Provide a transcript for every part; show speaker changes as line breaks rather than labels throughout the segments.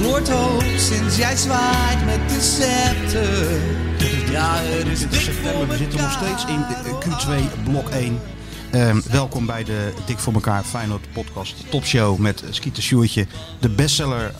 Noordhoop, sinds jij zwaait met de scepter. Ja, het is
Dit is
dik voor
september, we zitten nog
mekaar.
steeds in de eh, Q2 blok 1. Ehm, welkom bij de Dik voor elkaar Feyenoord podcast topshow met eh, Skeeter Sjoertje, de bestseller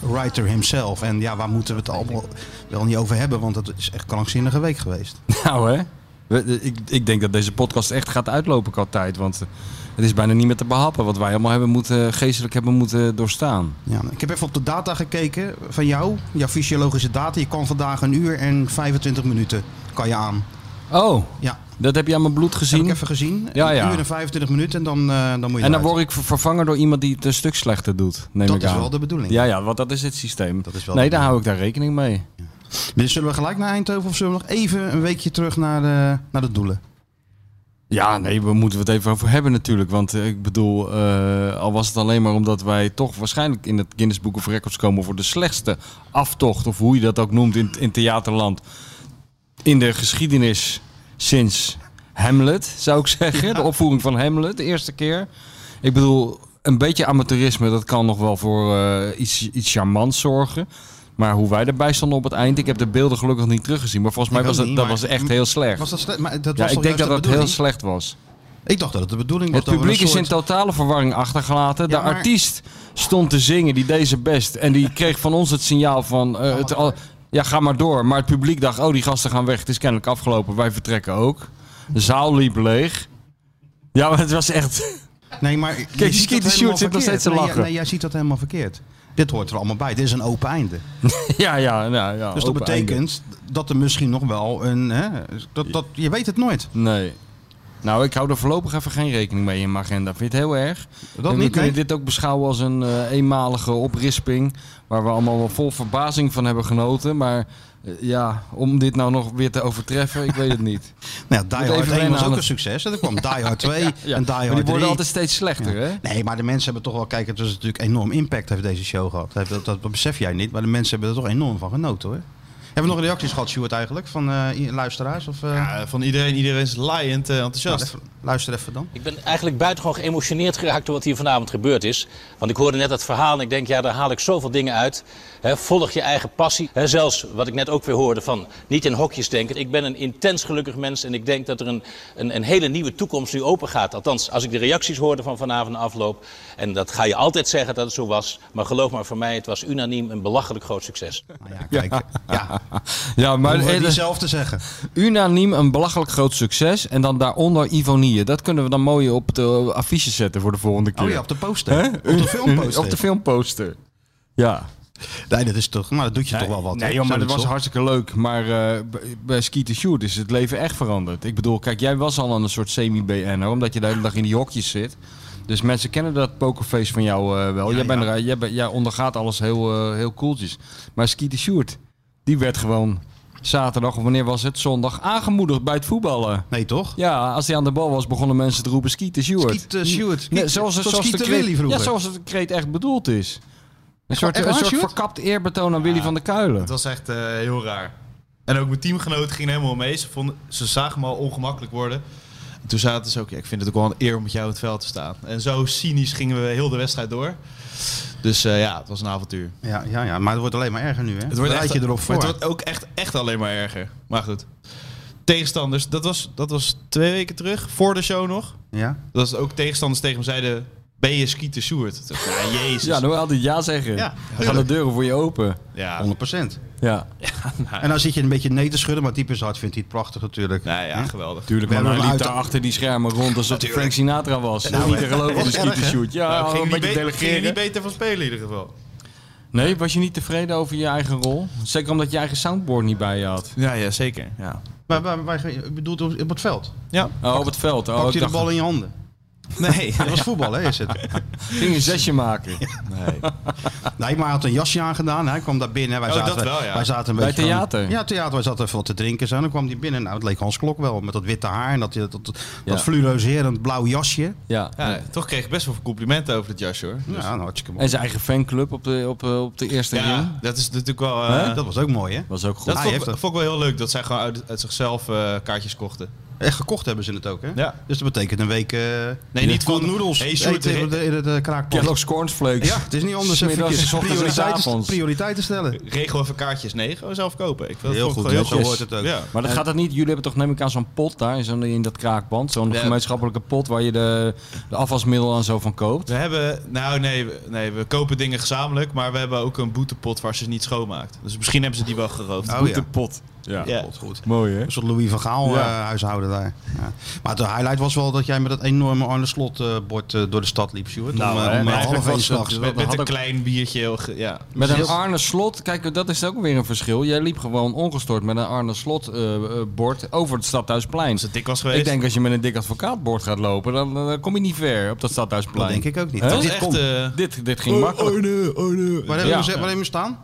writer himself. En ja, waar moeten we het allemaal wel niet over hebben, want het is echt een krankzinnige week geweest.
Nou hè, We- de- ik, ik denk dat deze podcast echt gaat uitlopen qua tijd. Want eh, het is bijna niet meer te behappen wat wij allemaal hebben moeten, eh, geestelijk hebben moeten doorstaan.
Ja, ik heb even op de data gekeken van jou, jouw fysiologische data. Je kan vandaag een uur en 25 minuten kan je aan.
Oh,
Ja,
dat heb je aan mijn bloed
heb ik
gezien.
even gezien.
Ja, ja.
Een uur en 25 minuten en dan, eh, dan moet je
En dan
eruit.
word ik ver- vervangen door iemand die het een stuk slechter doet, neem
Dat
ik
is
aan.
wel de bedoeling.
Ja, ja, want dat is het systeem.
Dat is wel
nee,
de
daar hou ik daar rekening mee.
Dus zullen we gelijk naar Eindhoven of zullen we nog even een weekje terug naar de, naar de doelen?
Ja, nee, we moeten het even over hebben natuurlijk. Want eh, ik bedoel, eh, al was het alleen maar omdat wij toch waarschijnlijk in het Guinness Book of Records komen voor de slechtste aftocht, of hoe je dat ook noemt in, in theaterland, in de geschiedenis sinds Hamlet, zou ik zeggen. De opvoering van Hamlet, de eerste keer. Ik bedoel, een beetje amateurisme, dat kan nog wel voor eh, iets, iets charmants zorgen. Maar hoe wij erbij stonden op het eind, ik heb de beelden gelukkig niet teruggezien. Maar volgens
Ik
mij was
ook niet,
dat, dat
maar-
was echt heel slecht.
Was dat slecht? Maar dat
ja,
was
ik
toch
denk dat
juist de
dat heel
bedoeling?
slecht was.
Ik dacht dat het de bedoeling was.
Het
dat we
publiek
een
is in
soort-
totale verwarring achtergelaten.
Ja,
de
maar-
artiest stond te zingen, die deze best. En die kreeg van ons het signaal van... eh, het, al, ja, ga maar door. Maar het publiek dacht, oh, die gasten gaan weg. Het is kennelijk afgelopen, wij vertrekken ook. De zaal liep leeg. Ja, maar het was echt...
Nee, maar je
die
ziet dat
Skeeter
helemaal
Sjoerd zit nog
verkeerd.
steeds te
Nee, jij-
lachen.
Nee, jij ziet dat helemaal verkeerd. Dit hoort er allemaal bij. Dit is een open einde.
ja, ja, ja, ja.
Dus dat
open einde.
betekent dat er misschien nog wel een... Hè, dat, dat, je weet het nooit.
Nee. Nou, ik hou er voorlopig even geen rekening mee in mijn agenda. Vind je het heel erg?
Dat
en we
niet,
kunnen
nee.
dit ook beschouwen als een eh, eenmalige oprisping. Waar we allemaal wel vol verbazing van hebben genoten. Maar eh, ja, om dit nou nog weer te overtreffen, ik weet het niet.
Nou, ja, Die
even
Hard 1
wennen
was
aan
ook een
het-
succes. En er kwam Die Hard 2
Ja,
en Die
maar
Hard
die worden
3.
altijd steeds slechter, hè?
Nee, maar de mensen hebben toch wel... Kijk, het is natuurlijk enorm impact heeft deze show gehad. Dat, dat, dat besef jij niet. Maar de mensen hebben er toch enorm van genoten, hoor. Hebben we nog reacties gehad, Stuart, eigenlijk? Van eh, luisteraars? Of, eh,
Ja, van iedereen, iedereen is laaiend eh,
nou,
enthousiast.
even- luister even dan.
Ik ben eigenlijk buitengewoon geëmotioneerd geraakt door wat hier vanavond gebeurd is. Want ik hoorde net dat verhaal en ik denk, ja, daar haal ik zoveel dingen uit. Hè, volg je eigen passie. Hè, zelfs wat ik net ook weer hoorde van niet in hokjes denken. Ik ben een intens gelukkig mens en ik denk dat er een, een, een hele nieuwe toekomst nu open gaat. Althans, als ik de reacties hoorde van vanavond en afloop. En dat ga je altijd zeggen dat het zo was. Maar geloof maar voor mij, het was unaniem een belachelijk groot succes.
Nou ja, kijk. Ja,
Ja, maar
hoeven we
eh,
niet zelf te zeggen. Oh
unaniem een belachelijk groot succes. En dan daaronder Ivonieën. Dat kunnen we dan mooi op de affiche zetten voor de volgende keer.
Oh ja, op de poster. Op de filmposter.
Op de filmposter. Ja.
Nee, dat is toch... Maar dat doet je toch wel wat.
Nee,
hè?
joh, maar dat
Zoiets,
was
toch?
hartstikke leuk. Maar eh, b- bij Ski to Shoot is het leven echt veranderd. Ik bedoel, kijk, jij was al aan een soort semi-BN'er, omdat je de hele dag in die hokjes zit. Dus mensen kennen dat pokerface van jou eh, wel. jij, bent er- jij, bent- jij ondergaat alles heel, eh, heel koeltjes. Maar Ski to Shoot, die werd gewoon zaterdag, of wanneer was het? Zondag, aangemoedigd bij het voetballen.
Nee, toch?
Ja, als hij aan de bal was, begonnen mensen te roepen Ski to Shoot.
Skeet, eh, Sjoerd.
Nee,
Skeet-
zoals,
tot
zoals de
Skeeter
kreet-
Willy vroeger.
Ja, zoals het kreet echt bedoeld is. Een soort,
echt
een
waar,
soort
Sjoerd?
verkapt eerbetoon aan Willy van der Kuilen.
Het was echt eh, heel raar. En ook mijn teamgenoten gingen helemaal mee. Ze, vonden, ze zagen me al ongemakkelijk worden. En toen zaten ze ook, ja, ik vind het ook wel een eer om met jou in het veld te staan. En zo cynisch gingen we heel de wedstrijd door. Dus eh, ja, het was een avontuur.
Ja, ja, ja, maar het wordt alleen maar erger nu, hè?
Het wordt,
Bereid
echt,
je erop voor.
het wordt ook echt, echt alleen maar erger. Maar goed. Tegenstanders, dat was, dat was twee weken terug, voor de show nog.
Ja?
Dat was ook tegenstanders tegen me zeiden, ben je skieten Sjoerd? Toen dacht ik, Ja, jezus.
Ja, dan wil je altijd ja zeggen.
Ja,
dan gaan de deuren voor je open.
Ja.
100 procent.
Ja,
En dan zit je een beetje nee te schudden, maar typisch hard vindt hij het prachtig natuurlijk.
Nou ja, geweldig.
tuurlijk.
We
Maar
hebben
hij
hem
liep
uit-
daar achter die schermen rond alsof het Frank Sinatra was. Nou, niet te geloven, de schieten shoot. Ja,
Nou, ging
Oh, een
je niet
beetje
be- ging je
delegeren.
niet beter van spelen in ieder geval.
Nee, was je niet tevreden over je eigen rol? Zeker omdat je eigen soundboard niet bij je had.
Ja, ja zeker. Ja.
Maar waar, waar, ik bedoel, op, op het veld.
ja.
Oh, op het veld. Oh,
Pak je
ik
de
dacht,
bal in je handen.
Nee.
Dat was voetbal, hè? Is het?
ging een zesje maken.
Nee, maar hij had een jasje aangedaan. Hij kwam daar binnen. Wij
Oh,
zaten,
dat wel, ja.
Wij zaten een
Bij
beetje van-
theater?
ja, theater. Wij zaten even wat te drinken. Zo. En dan kwam hij binnen. Nou, het leek Hans Klok wel. Met dat witte haar en dat, dat, dat,
Ja.
dat fluoriserend blauw jasje.
Ja.
Ja, Toch kreeg ik best wel veel complimenten over het jasje hoor.
Ja, nou, hartstikke mooi.
En zijn eigen fanclub op de, op, eh, op de eerste ring.
dat is natuurlijk wel... eh, Ah,
Dat was ook mooi, hè?
Was ook goed.
dat
hij
vond,
heeft
ik-
dat.
vond ik wel heel leuk, dat zij gewoon uit, uit zichzelf eh, kaartjes kochten.
Echt gekocht hebben ze het ook, hè?
Ja.
Dus dat betekent een week... eh,
niet
net
van-
cool noedels
Hey, Sjoerd,
eten in de- in het eh, kraakpand.
Kellogg's cornflakes.
Ja, het is niet anders.
Smiddags,
Eventjes
s ochtends en s
prioriteiten,
avonds.
prioriteiten stellen.
Regel even kaartjes nee, gewoon zelf kopen. Ik vind dat
Heel
vond ik
goed,
wel
ja, zo hoort het ook.
Ja.
Maar dat gaat dat niet. Jullie hebben toch neem ik aan zo'n pot daar in zo'n- in dat kraakband. Zo'n
Ja.
gemeenschappelijke pot waar je de, de afwasmiddel en zo van koopt.
We hebben, nou nee, we- nee, we kopen dingen gezamenlijk, maar we hebben ook een boetepot waar ze het niet schoonmaakt. Dus misschien hebben ze die wel geroofd.
Oh ja,
pot. Ja.
Ja.
goed, goed.
Mooi hè?
Een soort Louis van Gaal
Ja.
eh, huishouden daar. Ja. Maar de highlight was wel dat jij met dat enorme Arne Slot eh, bord eh, door de stad liep, Sjoerd.
Nou,
om, eh,
hè,
om
maar
half
eigenlijk
één
was het
s'nachts.
wel-
Dus Met,
dat
met
had
een
ook-
klein biertje. heel ge- Ja.
Met een Arne Slot, kijk, dat is ook weer een verschil. Jij liep gewoon ongestoord met een Arne Slot eh, eh, bord over het Stadhuisplein.
Als het dik was geweest.
Ik denk als je met een dik advocaatbord gaat lopen, dan, dan kom je niet ver op dat Stadhuisplein.
Dat denk ik ook niet.
Hè?
dat is
Dit kon.
echt... eh,
Dit, dit ging makkelijk.
Waar hebben
Ja.
we ze- waar hebben we staan?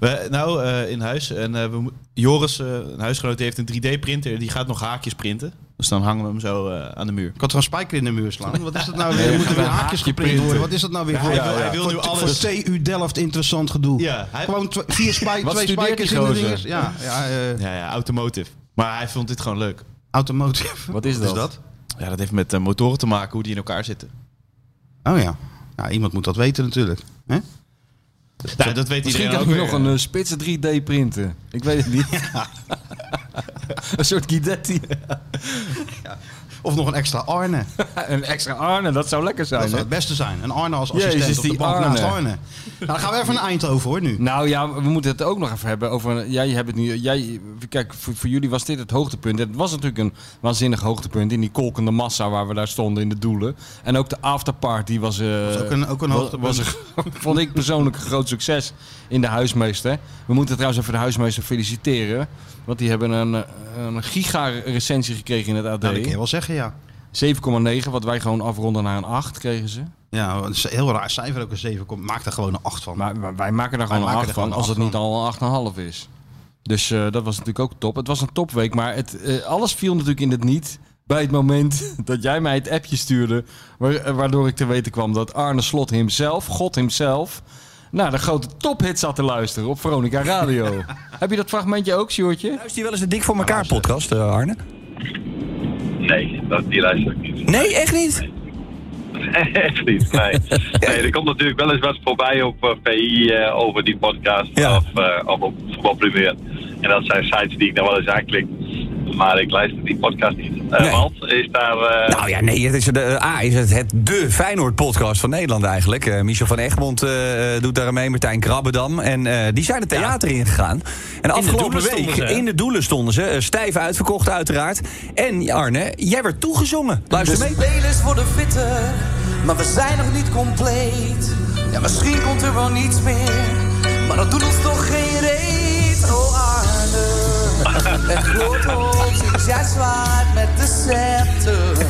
we, nou, eh, in huis. En eh, we, mo- Joris, eh, een huisgenoot, die heeft een 3D-printer. Die gaat nog haakjes printen. Dus dan hangen we hem zo eh, aan de muur.
Ik had gewoon spijker in de muur slaan. Wat is dat nou weer?
Nee,
Er moeten
we
weer
gaan
haakjes
haakje
geprint worden.
printen.
Wat is dat nou weer? voor,
hij wil- hij wil
voor-
nu alles.
Voor TU Delft interessant gedoe.
Ja, hij-
Gewoon tw- vier spij-
Wat
twee
studeert
spijkers
die
in de
gozer?
dinges. Ja, ja eh,
Ja, ja, automotive. Maar hij vond dit gewoon leuk.
automotive.
Wat is dat?
Ja, dat heeft met eh, motoren te maken, hoe die in elkaar zitten.
Oh ja. ja. Iemand moet dat weten natuurlijk. Hè?
Nou, dat weet
Misschien
iedereen
kan
ook
ik
weer.
nog een eh, spitse 3D printen. Ik weet het niet. een soort Guidetti.
Of nog een extra Arne.
een extra Arne, dat zou
Dat
lekker zijn.
zou
Hè?
het beste zijn. Een Arne als
Jezus,
assistent op de
die
bank naast
Arne.
Arne. Nou, dan gaan we even naar Eindhoven hoor nu.
Nou ja, we moeten het ook nog even hebben over. Jij hebt het nu. Jij, kijk, voor, voor jullie was dit het hoogtepunt. Het was natuurlijk een waanzinnig hoogtepunt in die kolkende massa waar we daar stonden in de doelen. En ook de afterparty was. eh,
was ook een- ook een
wa-
hoogtepunt.
Was een- vond ik persoonlijk een groot succes in de huismeester. We moeten trouwens even de huismeester feliciteren. Want die hebben een, eh, een giga-recensie gekregen in het AD.
Nou, dat kan je wel zeggen ja.
7,9, wat wij gewoon afronden naar een 8 kregen ze.
Ja, het is een heel raar cijfer ook een 7. komt. Maak er gewoon een 8 van.
Maar, maar wij maken daar gewoon
maken
een 8
er
van,
gewoon een
als het
acht
niet al een 8,5 is. Dus eh, dat was natuurlijk ook top. Het was een topweek, maar het, eh, alles viel natuurlijk in het niet bij het moment dat jij mij het appje stuurde, wa- eh, waardoor ik te weten kwam dat Arne Slot himself, God himself, naar de grote tophit zat te luisteren op Veronica Radio. Heb je dat fragmentje ook, Sjoertje?
Luister je wel eens de Dik voor
Ah,
elkaar podcast, eh, Arne?
Nee, dat, die luister ik niet.
Nee, echt niet?
Echt niet, nee. nee. Er komt natuurlijk wel eens wat voorbij op eh, PI eh, over die podcast
Ja.
of, eh, of op voetbalprimeur. En dat zijn sites die ik nog wel eens aanklik. Maar ik luister die podcast niet. Eh,
Nee.
Want is daar... eh,
Nou ja, nee. Het is de, eh, A is het, het de Feyenoord-podcast van Nederland eigenlijk. Eh, Michel van Egmond eh, eh, doet daar aan mee, Martijn Krabbedam. En eh, die zijn het theater ingegaan. En afgelopen
doelen
week,
stonden ze, hè?
in de doelen stonden ze. eh, Stijf uitverkocht uiteraard. En Arne, jij werd toegezongen. Luister
Dus-
mee.
Spelers worden fitter, maar we zijn nog niet compleet. Ja, misschien komt er wel niets meer, maar dat doet ons toch geen reet. Oh Arne,
Het groot hoofd, ik jij zwaait met de scepter.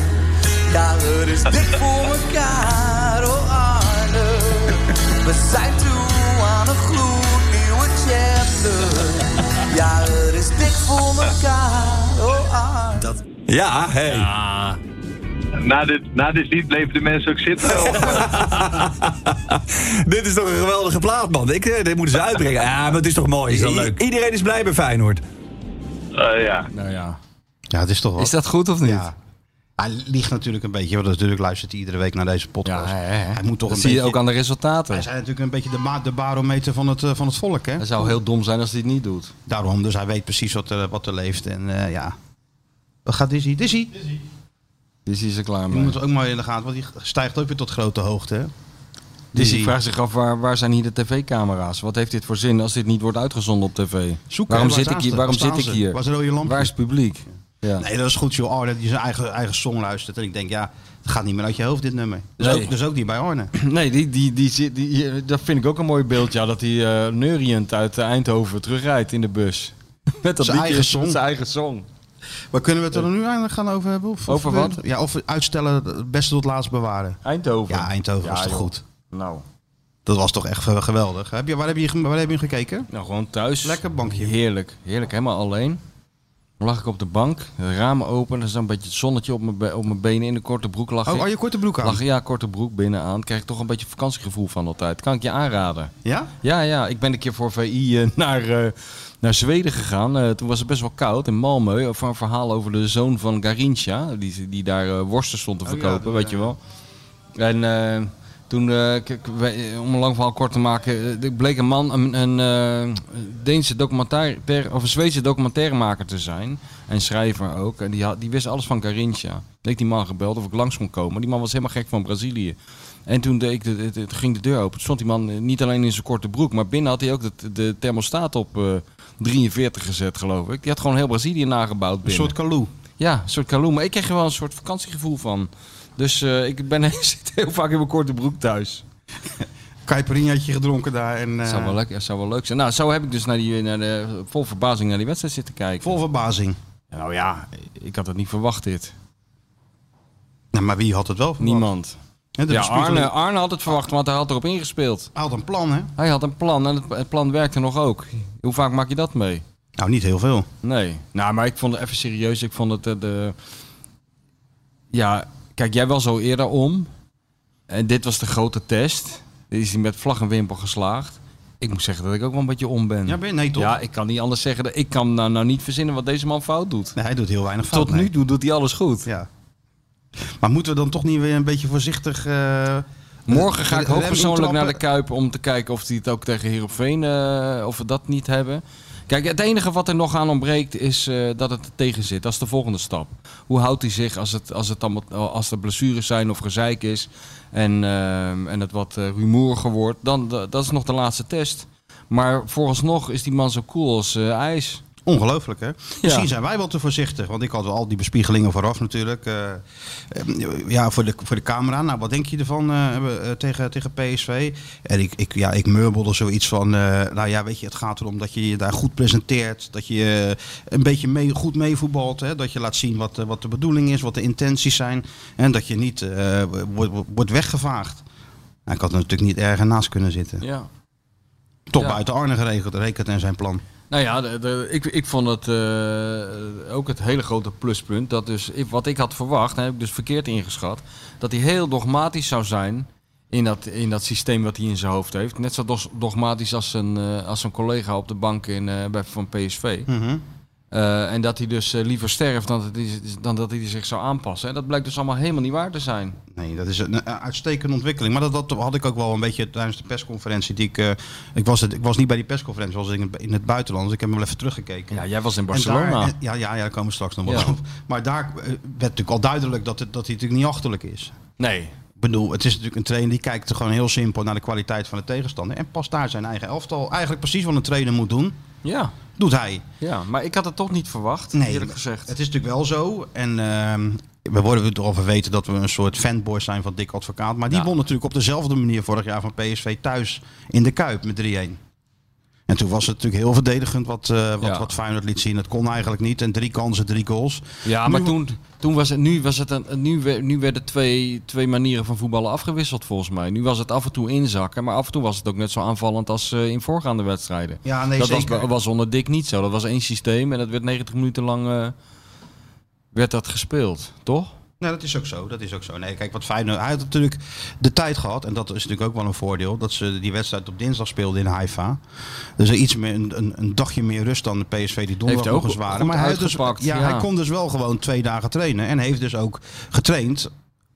Ja, er is dik voor elkaar, oh Arne. We zijn toe aan een gloednieuwe chapter. Ja, er is dik voor elkaar, oh Arne.
Ja, hey.
na, dit, na dit lied bleven de mensen ook zitten. Of,
Dit is toch een geweldige plaat, man. Ik, eh, dit moeten ze uitbrengen. Ja, maar het is toch mooi.
wel
I-
leuk.
Iedereen is blij bij Feyenoord.
eh, ja.
Nou ja.
Ja, het is toch wel.
Is dat goed of niet?
Ja. Hij ligt natuurlijk een beetje, want natuurlijk luistert hij iedere week naar deze
Ja,
podcast.
hè, hè.
Hij moet toch
dat
een
zie
beetje.
je ook aan de resultaten.
Hij zijn natuurlijk een beetje de, ma- de barometer van het, eh, van het volk, hè?
Het zou heel dom zijn als hij het niet doet.
Daarom, dus hij weet precies wat er, wat er leeft. En eh, ja. Wat gaat Dizzy? Dizzy,
Dus hij is er klaar
je
mee.
moet het ook maar in de gaten, want die stijgt ook weer tot grote hoogte. hè?
Dus
Die-
ik vraag zich af, waar, waar zijn hier de tv-camera's? Wat heeft dit voor zin als dit niet wordt uitgezonden op tv?
Zoek,
waarom
hè, waar
zit ik
staan
hier?
ze?
Waarom
Waar
zit
staan
ik
ze?
hier?
Waar zijn rode lampjes?
Waar is het publiek? Ja.
Nee, dat is goed, joh. Arne die zijn eigen, eigen song luistert. En ik denk, ja, het gaat niet meer uit je hoofd, dit nummer. Dus,
Nee.
ook, dus ook niet bij Arne.
Nee, die, die, die, zit- die, eh, dat vind ik ook een mooi beeld. Ja, dat hij eh neuriënd uit eh, Eindhoven terugrijdt in de bus. Met dat
Zijn
liedje,
eigen song.
met Zijn eigen song.
Maar kunnen we het er nu eigenlijk gaan over hebben? Of,
Over
of- eh,
wat?
Ja, of uitstellen, het beste tot laatst bewaren.
Eindhoven.
Ja, Eindhoven was toch
joh.
goed?
Nou,
Dat was toch echt eh, geweldig. Heb je, waar, heb je, waar heb je gekeken?
nou, gewoon thuis.
Lekker bankje.
Heerlijk. Heerlijk, helemaal alleen. Dan lag ik op de bank, de ramen open, er zat een beetje het zonnetje op mijn, be- op mijn benen in de korte broek. Lag
Oh,
ik.
oh, je korte broek aan?
Lag, ja, korte broek binnen aan. Krijg ik toch een beetje vakantiegevoel van altijd. Kan ik je aanraden?
Ja?
Ja, ja. Ik ben een keer voor VI eh, naar, eh, naar Zweden gegaan. Eh, toen was het best wel koud in Malmö. Voor een verhaal over de zoon van Garincha. Die, die daar eh, worsten stond te verkopen, weet je wel. En eh, toen, eh, k- k- wij- om een lang verhaal kort te maken, eh, er bleek een man, een, een eh, Deense documentaire, of een Zweedse documentairemaker te zijn. En schrijver ook. En die, had, die wist alles van Carinthia. Ik die man gebeld of ik langs kon komen. Die man was helemaal gek van Brazilië. En toen deed ik de, de- de- toen ging de deur open. Toen stond die man eh, niet alleen in zijn korte broek, maar binnen had hij ook de, de thermostaat op eh, 43 gezet, geloof ik. Die had gewoon heel Brazilië nagebouwd binnen.
Een soort kaloe.
Ja, een soort kaloen. Maar ik kreeg er wel een soort vakantiegevoel van. Dus eh, ik ben, zit heel vaak in mijn korte broek thuis.
Caipirinhaatje gedronken daar. En, eh,
Dat zou wel leuk, dat zou wel leuk zijn. Nou, zo heb ik dus naar die, naar de, vol verbazing naar die wedstrijd zitten kijken.
Vol verbazing.
Nou ja, ik had het niet verwacht dit.
Nou, maar wie had het wel verwacht?
Niemand.
Hè, de
Ja,
dispuut-
Arne, Arne had het verwacht, want hij had erop ingespeeld.
Hij had een plan, hè?
Hij had een plan en het, het plan werkte nog ook. Hoe vaak maak je dat mee?
Nou, niet heel veel.
Nee. Nou, maar ik vond het even serieus. Ik vond het eh, de... Ja, kijk, jij was al eerder om. En dit was de grote test. Dit is hij met vlag en wimpel geslaagd. Ik moet zeggen dat ik ook wel een beetje om ben.
Ja, ben je? Nee, toch?
Ja, ik kan niet anders zeggen. dat- Ik kan nou, nou niet verzinnen wat deze man fout doet.
Nee, hij doet heel weinig fout.
Tot nu toe doet hij alles goed.
Ja. Maar moeten we dan toch niet weer een beetje voorzichtig... eh,
Morgen ga ik
rem
hoogpersoonlijk naar de
intrappen?
Kuip om te kijken of die het ook tegen Heerenveen, eh of we dat niet hebben. Kijk, het enige wat er nog aan ontbreekt is eh, dat het er tegen zit. Dat is de volgende stap. Hoe houdt hij zich als, het, als, het allemaal, als er blessures zijn of gezeik is en, ehm, en het wat eh, rumoeriger wordt? Dan, dat dat is nog de laatste test. Maar vooralsnog is die man zo cool als eh, ijs.
Ongelooflijk, hè? Misschien zijn wij wel te voorzichtig. Want ik had wel al die bespiegelingen vooraf natuurlijk. eh, eh, ja, voor de, voor de camera. Nou, wat denk je ervan eh, hebben, eh, tegen, tegen PSV? En ik, ik, ja, ik murmelde zoiets van... eh, nou ja, weet je, het gaat erom dat je je daar goed presenteert. Dat je eh, een beetje mee, goed meevoetbalt. Hè? Dat je laat zien wat, eh, wat de bedoeling is, wat de intenties zijn. En dat je niet eh, wordt, wordt weggevaagd. Nou, ik had er natuurlijk niet erger naast kunnen zitten.
Ja.
Toch
Ja.
buiten Arne geregeld, rekent en zijn plan.
Nou ja, de- de- ik, ik vond het eh, ook het hele grote pluspunt. Dat dus, ik- wat ik had verwacht, en heb ik dus verkeerd ingeschat. Dat hij heel dogmatisch zou zijn in dat, in dat systeem wat hij in zijn hoofd heeft. Net zo dos- dogmatisch als zijn, eh, als zijn collega op de bank in, eh, bij, van PSV. Eh, en dat hij dus eh, liever sterft dan dat, hij, dan dat hij zich zou aanpassen. En dat blijkt dus allemaal helemaal niet waar te zijn.
Nee, dat is een een uitstekende ontwikkeling. Maar dat, dat had ik ook wel een beetje tijdens de persconferentie. Die ik, eh, ik, was het, ik was niet bij die persconferentie, was ik in- in het buitenland. Dus ik heb hem wel even teruggekeken.
Ja, jij was in
En daar-
Barcelona.
eh, ja, ja, ja, daar komen we straks nog wel
Ja.
op. Maar daar eh, werd natuurlijk al duidelijk dat, het, dat hij natuurlijk niet achterlijk is.
Nee,
Ik bedoel, het is natuurlijk een trainer die kijkt gewoon heel simpel naar de kwaliteit van de tegenstander. En past daar zijn eigen elftal. Eigenlijk precies wat een trainer moet doen,
ja.
doet hij.
ja. Maar ik had het toch niet verwacht,
Nee,
eerlijk gezegd.
Het is natuurlijk wel zo. En ehm, we worden er al van weten dat we een soort fanboys zijn van Dick Advocaat. Maar die
Ja.
won natuurlijk op dezelfde manier vorig jaar van PSV thuis in de Kuip met 3-1. En toen was het natuurlijk heel verdedigend wat, eh wat,
Ja.
wat Feyenoord liet zien. Het kon eigenlijk niet. En drie kansen, drie goals.
Ja, maar toen, toen was het, nu, was het een, nu, we- nu werden twee, twee manieren van voetballen afgewisseld volgens mij. Nu was het af en toe inzakken, maar af en toe was het ook net zo aanvallend als eh, in voorgaande wedstrijden.
Ja, nee,
dat
zeker.
Was, was onder Dick niet zo. Dat was één systeem en dat werd 90 minuten lang eh, werd dat gespeeld, toch?
Nou, dat is ook zo. Dat is ook zo. Nee, kijk, wat Feyenoord... Hij had natuurlijk de tijd gehad. En dat is natuurlijk ook wel een voordeel. Dat ze die wedstrijd op dinsdag speelden in Haifa. Dus er iets meer, een, een, een dagje meer rust dan de PSV die donderdag
ook
nog eens waren.
goed
maar hij, had dus,
uitgepakt,
ja,
ja.
hij kon dus wel gewoon twee dagen trainen. En heeft dus ook getraind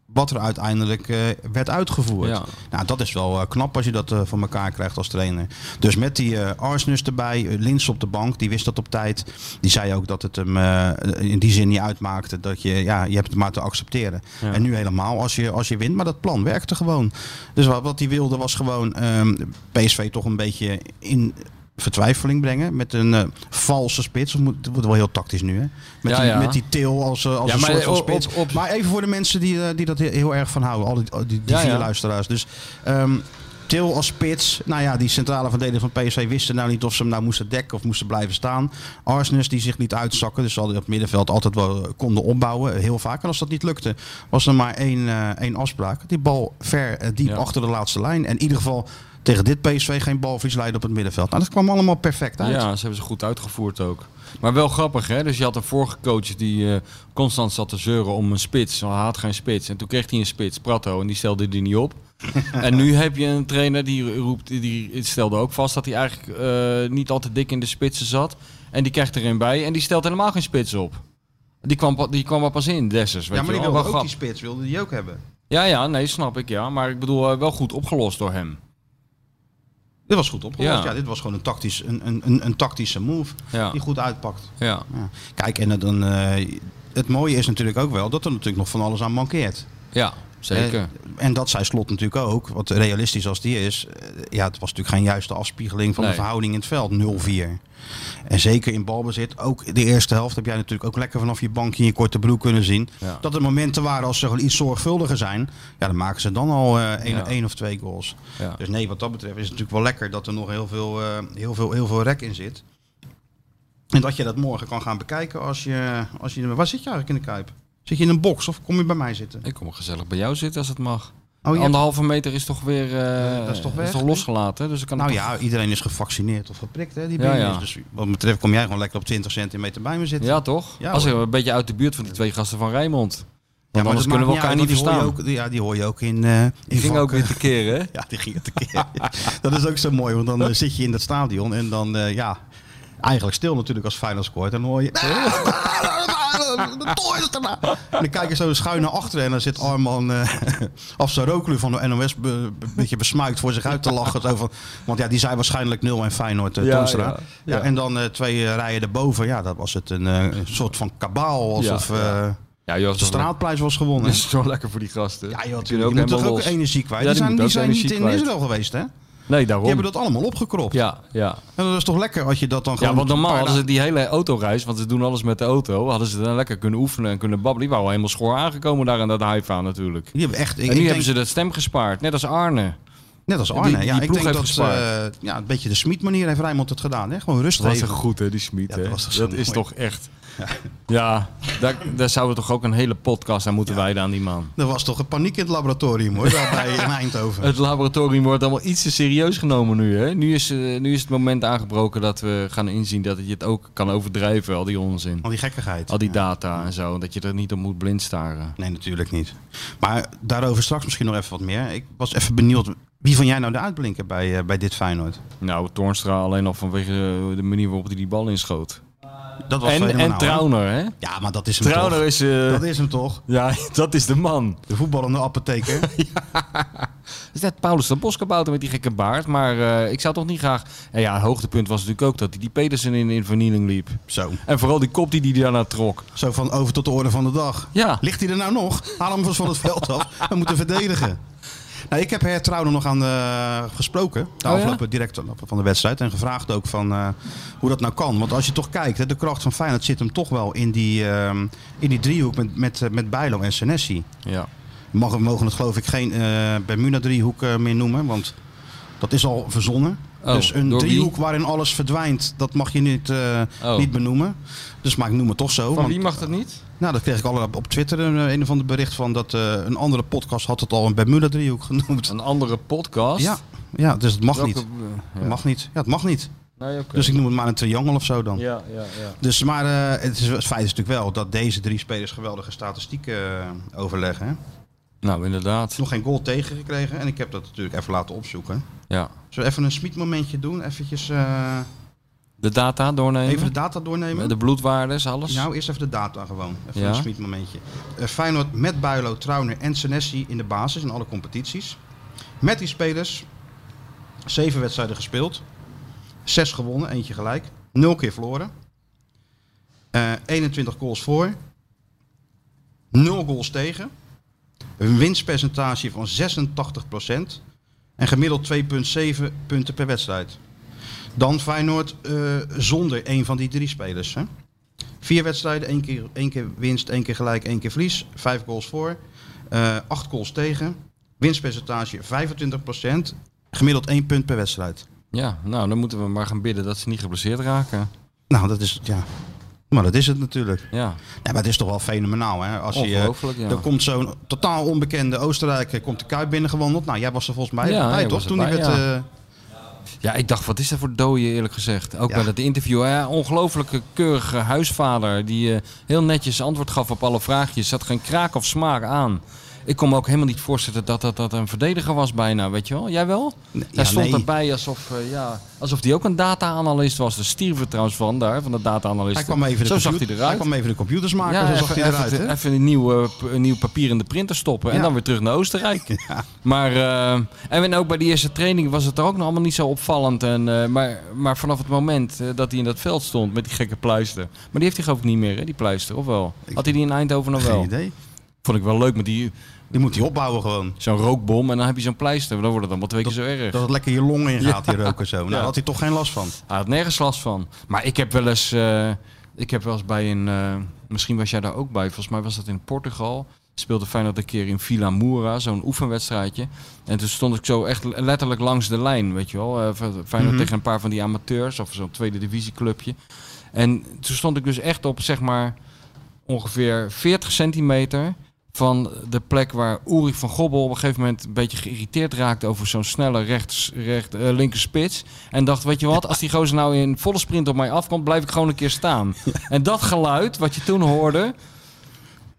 wat er uiteindelijk eh, werd uitgevoerd.
Ja.
Nou, dat is wel eh, knap als je dat eh, voor elkaar krijgt als trainer. Dus met die eh Arsnus erbij, eh, Lins op de bank, die wist dat op tijd. Die zei ook dat het hem eh, in die zin niet uitmaakte. Dat je, ja, je hebt het maar te accepteren. En nu helemaal als je, als je wint. Maar dat plan werkte gewoon. Dus wat, wat hij wilde was gewoon ehm, PSV toch een beetje in vertwijfeling brengen. Met een eh, valse spits. Of moet, het wordt wel heel tactisch nu, hè? Met,
Ja,
die,
ja.
met die til als, eh, als
Ja,
een
maar
soort van
op-
spits.
op- op-
maar even voor de mensen die, eh, die dat heel- heel erg van houden. Al die, al die, die
Ja,
vier
ja.
luisteraars. Dus ehm Til als spits. Nou ja, die centrale verdediger van PSV wisten nou niet of ze hem nou moesten dekken of moesten blijven staan. Arsnes die zich liet uitzakken. Dus ze hadden op het middenveld altijd wel eh, konden opbouwen. Heel vaak. En als dat niet lukte, was er maar één, eh, één afspraak. Die bal ver eh, diep
Ja.
achter de laatste lijn. En in ieder geval tegen dit PSV geen balverlies leiden op het middenveld. Nou, dat kwam allemaal perfect uit.
Ja, ze hebben ze goed uitgevoerd ook. Maar wel grappig, hè? Dus je had een vorige coach die eh, constant zat te zeuren om een spits. Hij had geen spits. En toen kreeg hij een spits, Pratto, en die stelde die niet op. en nu heb je een trainer die roept, die stelde ook vast dat hij eigenlijk eh, niet al te dik in de spitsen zat. En die krijgt er een bij en die stelt helemaal geen spits op. Die kwam, pa- die kwam er pas in, Dessers. Weet
Ja, maar
je
die
wel.
wilde
Wel
ook die
grappig.
spits, wilde die ook hebben.
Ja, ja, nee, snap ik, ja. Maar ik bedoel, eh, wel goed opgelost door hem.
Dit was goed opgelost.
Ja.
Ja, dit was gewoon een, tactisch, een, een, een, een tactische move
Ja.
die goed uitpakt.
Ja.
Ja. Kijk, en dan, eh, het mooie is natuurlijk ook wel dat er natuurlijk nog van alles aan mankeert.
Ja, zeker.
Eh, en dat zei Slot natuurlijk ook, want realistisch als die is, eh, ja, het was natuurlijk geen juiste afspiegeling van
Nee.
de verhouding in het veld, 0-4. En zeker in balbezit, ook de eerste helft heb jij natuurlijk ook lekker vanaf je bankje in je korte broek kunnen zien.
Ja.
Dat er momenten waren als ze gewoon iets zorgvuldiger zijn, ja, dan maken ze dan al eh één,
Ja.
één of twee goals.
Ja.
Dus nee, wat dat betreft is het natuurlijk wel lekker dat er nog heel veel, eh, heel veel, heel veel rek in zit. En dat je dat morgen kan gaan bekijken als je, als je... Waar zit je eigenlijk in de Kuip? Zit je in een box of kom je bij mij zitten?
Ik kom gezellig bij jou zitten als het mag.
Oh, ja.
Anderhalve meter is toch weer eh,
dat is toch weg, hè?
losgelaten. Dus ik kan
Nou
het toch-
ja, iedereen is gevaccineerd of geprikt, hè, die
Ja,
ja,
ja.
Dus wat me betreft kom jij gewoon lekker op 20 centimeter bij me zitten.
Ja, toch?
Ja,
als ik
hoor.
een beetje uit de buurt van die twee gasten van Rijmond.
Ja,
Want anders
dat
kunnen we
maakt
elkaar niet
uit, want die
verstaan.
hoor je Ook, die- ja, die hoor je ook in, eh in
Ik ging ook
vakken.
weer te keren, hè?
Ja, die ging het keer. dat is ook zo mooi, want dan eh, zit je in dat stadion en dan, eh, ja, eigenlijk stil natuurlijk als Feyenoord scoort. En dan hoor je... De tooi is erna. En dan kijk je zo schuin naar achteren en dan zit Arman eh Afsaroglu van de NOS be- een beetje besmuikt voor zich uit te lachen. Zo van, want ja, die zei waarschijnlijk 0 en Feyenoord eh
Ja,
Toonstra.
ja,
Ja,
ja.
en dan eh, twee eh, rijen erboven. Ja, dat was het een, eh, een soort van kabaal. Alsof
Ja,
eh
ja. Ja, joh, dat
de
is wel-
straatprijs was gewonnen.
dat is zo lekker voor die gasten.
Ja, joh,
Die kunnen
natuurlijk. Je moet toch
helemaal
ook
los.
energie kwijt.
Ja,
die zijn,
moeten
die
ook
zijn niet
energie
in
kwijt.
Israël geweest, hè? Die
Nee, daarom.
hebben dat allemaal opgekropt.
Ja, ja.
En dat is toch lekker als je dat dan gewoon...
ja, want normaal
een paar
hadden ze die hele autoreis, want ze doen alles met de auto, hadden ze dan lekker kunnen oefenen en kunnen babbelen. Die waren al helemaal schoor aangekomen daar aan dat Haifa natuurlijk.
dagen- Die hebben echt... Ik,
en
ik
nu
denk,
hebben ze dat stem gespaard, net als Arne.
Net als
die-
Arne.
die
ja, ik
ploeg
denk
heeft
dat eh
gespaard.
ja, een beetje de Smit-manier heeft Rijmond het gedaan. Hè? Gewoon rustig.
Dat was
even.
toch goed, hè, die Smit.
Ja, dat
hè? dat
was toch zo
is
mooi.
toch echt. Ja, daar, daar zouden we toch ook een hele podcast aan moeten wijden aan die man.
Er was toch een paniek in het laboratorium, hoor. daar bij in Eindhoven.
Het laboratorium wordt allemaal iets te serieus genomen nu. Hè? Nu, is, eh, nu is het moment aangebroken dat we gaan inzien dat je het ook kan overdrijven, al die onzin.
Al die gekkigheid.
Al die data en zo. Dat je er niet op moet blind staren.
Nee, natuurlijk niet. Maar daarover straks misschien nog even wat meer. Ik was even benieuwd. Wie van jij nou de uitblinker bij, eh, bij dit Feyenoord?
Nou, Toornstra alleen al vanwege eh, de manier waarop hij die bal inschoot.
Dat was
En,
fenomenaal,
en
hè?
Trauner, hè?
Ja, maar dat is hem
Trauner
toch.
is... eh,
Dat is hem toch.
Ja, dat is de man.
De voetballende apotheker.
Het is net Paulus van Boskabouter met die gekke baard. Maar eh, ik zou toch niet graag... En ja, hoogtepunt was natuurlijk ook dat hij die Pedersen in, in vernieling liep.
Zo.
En vooral die kop die hij daarna trok.
Zo van over tot de orde van de dag.
Ja.
Ligt hij er nou nog? Haal hem eens van het veld af. We moeten verdedigen. Nou, ik heb her trouwens nog aan de, gesproken. De
Oh ja?
afgelopen direct afloop van de wedstrijd. En gevraagd ook van eh, hoe dat nou kan. Want als je toch kijkt, hè, de kracht van Feyenoord zit hem toch wel in die, ehm, in die driehoek met, met, eh, met Bijlo en Senesi.
Ja.
Mag, we mogen het geloof ik geen eh Bermuda driehoek eh, meer noemen. Want dat is al verzonnen.
Oh,
dus een
door wie?
driehoek waarin alles verdwijnt, dat mag je niet, eh,
Oh.
niet benoemen. Dus maar ik noem het toch zo.
Van
want-
wie mag dat niet?
nou, dat kreeg ik al op Twitter een, eh, een of ander bericht van dat eh, een andere podcast had het al een Bermuda-driehoek genoemd.
Een andere podcast?
Ja, ja, dus het mag
Welke-
niet.
eh,
Het mag niet. Ja, het mag niet.
Nee, oké.
Dus ik noem het maar een triangel of zo dan.
Ja, ja, ja.
Dus, maar eh, het, is, het feit is natuurlijk wel dat deze drie spelers geweldige statistieken eh, overleggen. Hè?
Nou, inderdaad.
Nog geen goal tegengekregen en ik heb dat natuurlijk even laten opzoeken.
Ja.
Zullen we even een smietmomentje doen? Eventjes, eh,
De data doornemen.
even de data doornemen?
de bloedwaardes, alles.
Nou, eerst even de data gewoon. Even
Ja.
een smietmomentje. Eh, Feyenoord met Builo, Trauner en Senesi in de basis in alle competities. Met die spelers zeven wedstrijden gespeeld. Zes gewonnen, eentje gelijk. Nul keer verloren. Eh, 21 goals voor. Nul goals tegen. Een winstpercentage van 86%. En gemiddeld 2,7 punten per wedstrijd. Dan Feyenoord eh, zonder een van die drie spelers. Hè? Vier wedstrijden, één keer, één keer winst, één keer gelijk, één keer verlies. Vijf goals voor, eh, acht goals tegen. Winstpercentage 25%, gemiddeld één punt per wedstrijd.
Ja, nou, dan moeten we maar gaan bidden dat ze niet geblesseerd raken.
Nou, dat is het, ja. Maar dat is het natuurlijk.
Ja.
Ja, maar het is toch wel fenomenaal, hè? Als je, eh,
Ongelooflijk, ja.
Er komt zo'n totaal onbekende Oostenrijker, komt de Kuip binnengewandeld. Nou, jij was er volgens mij
Ja,
bij,
jij
toch?
was
Toen
erbij,
hij werd...
ja.
eh,
Ja, ik dacht, wat is dat voor dooie eerlijk gezegd? Ook bij dat interview. Ja, ongelooflijke keurige huisvader die eh, heel netjes antwoord gaf op alle vraagjes. Zat geen kraak of smaak aan. Ik kon me ook helemaal niet voorstellen dat dat, dat een verdediger was bijna, weet je wel? Jij wel? Hij
ja,
stond
nee.
erbij alsof eh, ja, alsof die ook een data-analyst was. Daar stierven we trouwens van daar, van de data-analyst.
Hij kwam even de,
Zo zag hij
computer- hij
eruit.
kwam even de computers maken,
Ja,
zo
even,
zag hij eruit.
even,
hè?
even een, nieuw, eh, p- een nieuw papier in de printer stoppen en
Ja.
dan weer terug naar Oostenrijk. Maar, eh, en ook bij die eerste training was het er ook nog allemaal niet zo opvallend. En, eh, maar, maar vanaf het moment eh, dat hij in dat veld stond met die gekke pluister. Maar die heeft hij geloof ik niet meer, hè, die pluister, of wel? Had hij die in Eindhoven nog
Geen
wel?
idee.
Vond ik wel leuk met die,
Die moet hij opbouwen gewoon.
zo'n rookbom en dan heb je zo'n pleister. Dan wordt het allemaal twee keer zo erg.
Dat het lekker je long in gaat, die rook en zo. Nou,
Ja.
daar had hij toch geen last van.
Hij had nergens last van. Maar ik heb wel eens, eh, ik heb wel eens bij een, eh, misschien was jij daar ook bij, volgens mij was dat in Portugal. Speelde Feyenoord een keer in Vila Moura, zo'n oefenwedstrijdje. En toen stond ik zo echt letterlijk langs de lijn, weet je wel. Eh, Feyenoord tegen een paar van die amateurs of zo'n tweede divisieclubje. En toen stond ik dus echt op, zeg maar, ongeveer 40 centimeter van de plek waar Uri van Gobbel op een gegeven moment een beetje geïrriteerd raakte over zo'n snelle rechts, recht, eh, linker spits. En dacht, weet je wat, als die gozer nou in volle sprint op mij afkomt, blijf ik gewoon een keer staan. En dat geluid, wat je toen hoorde,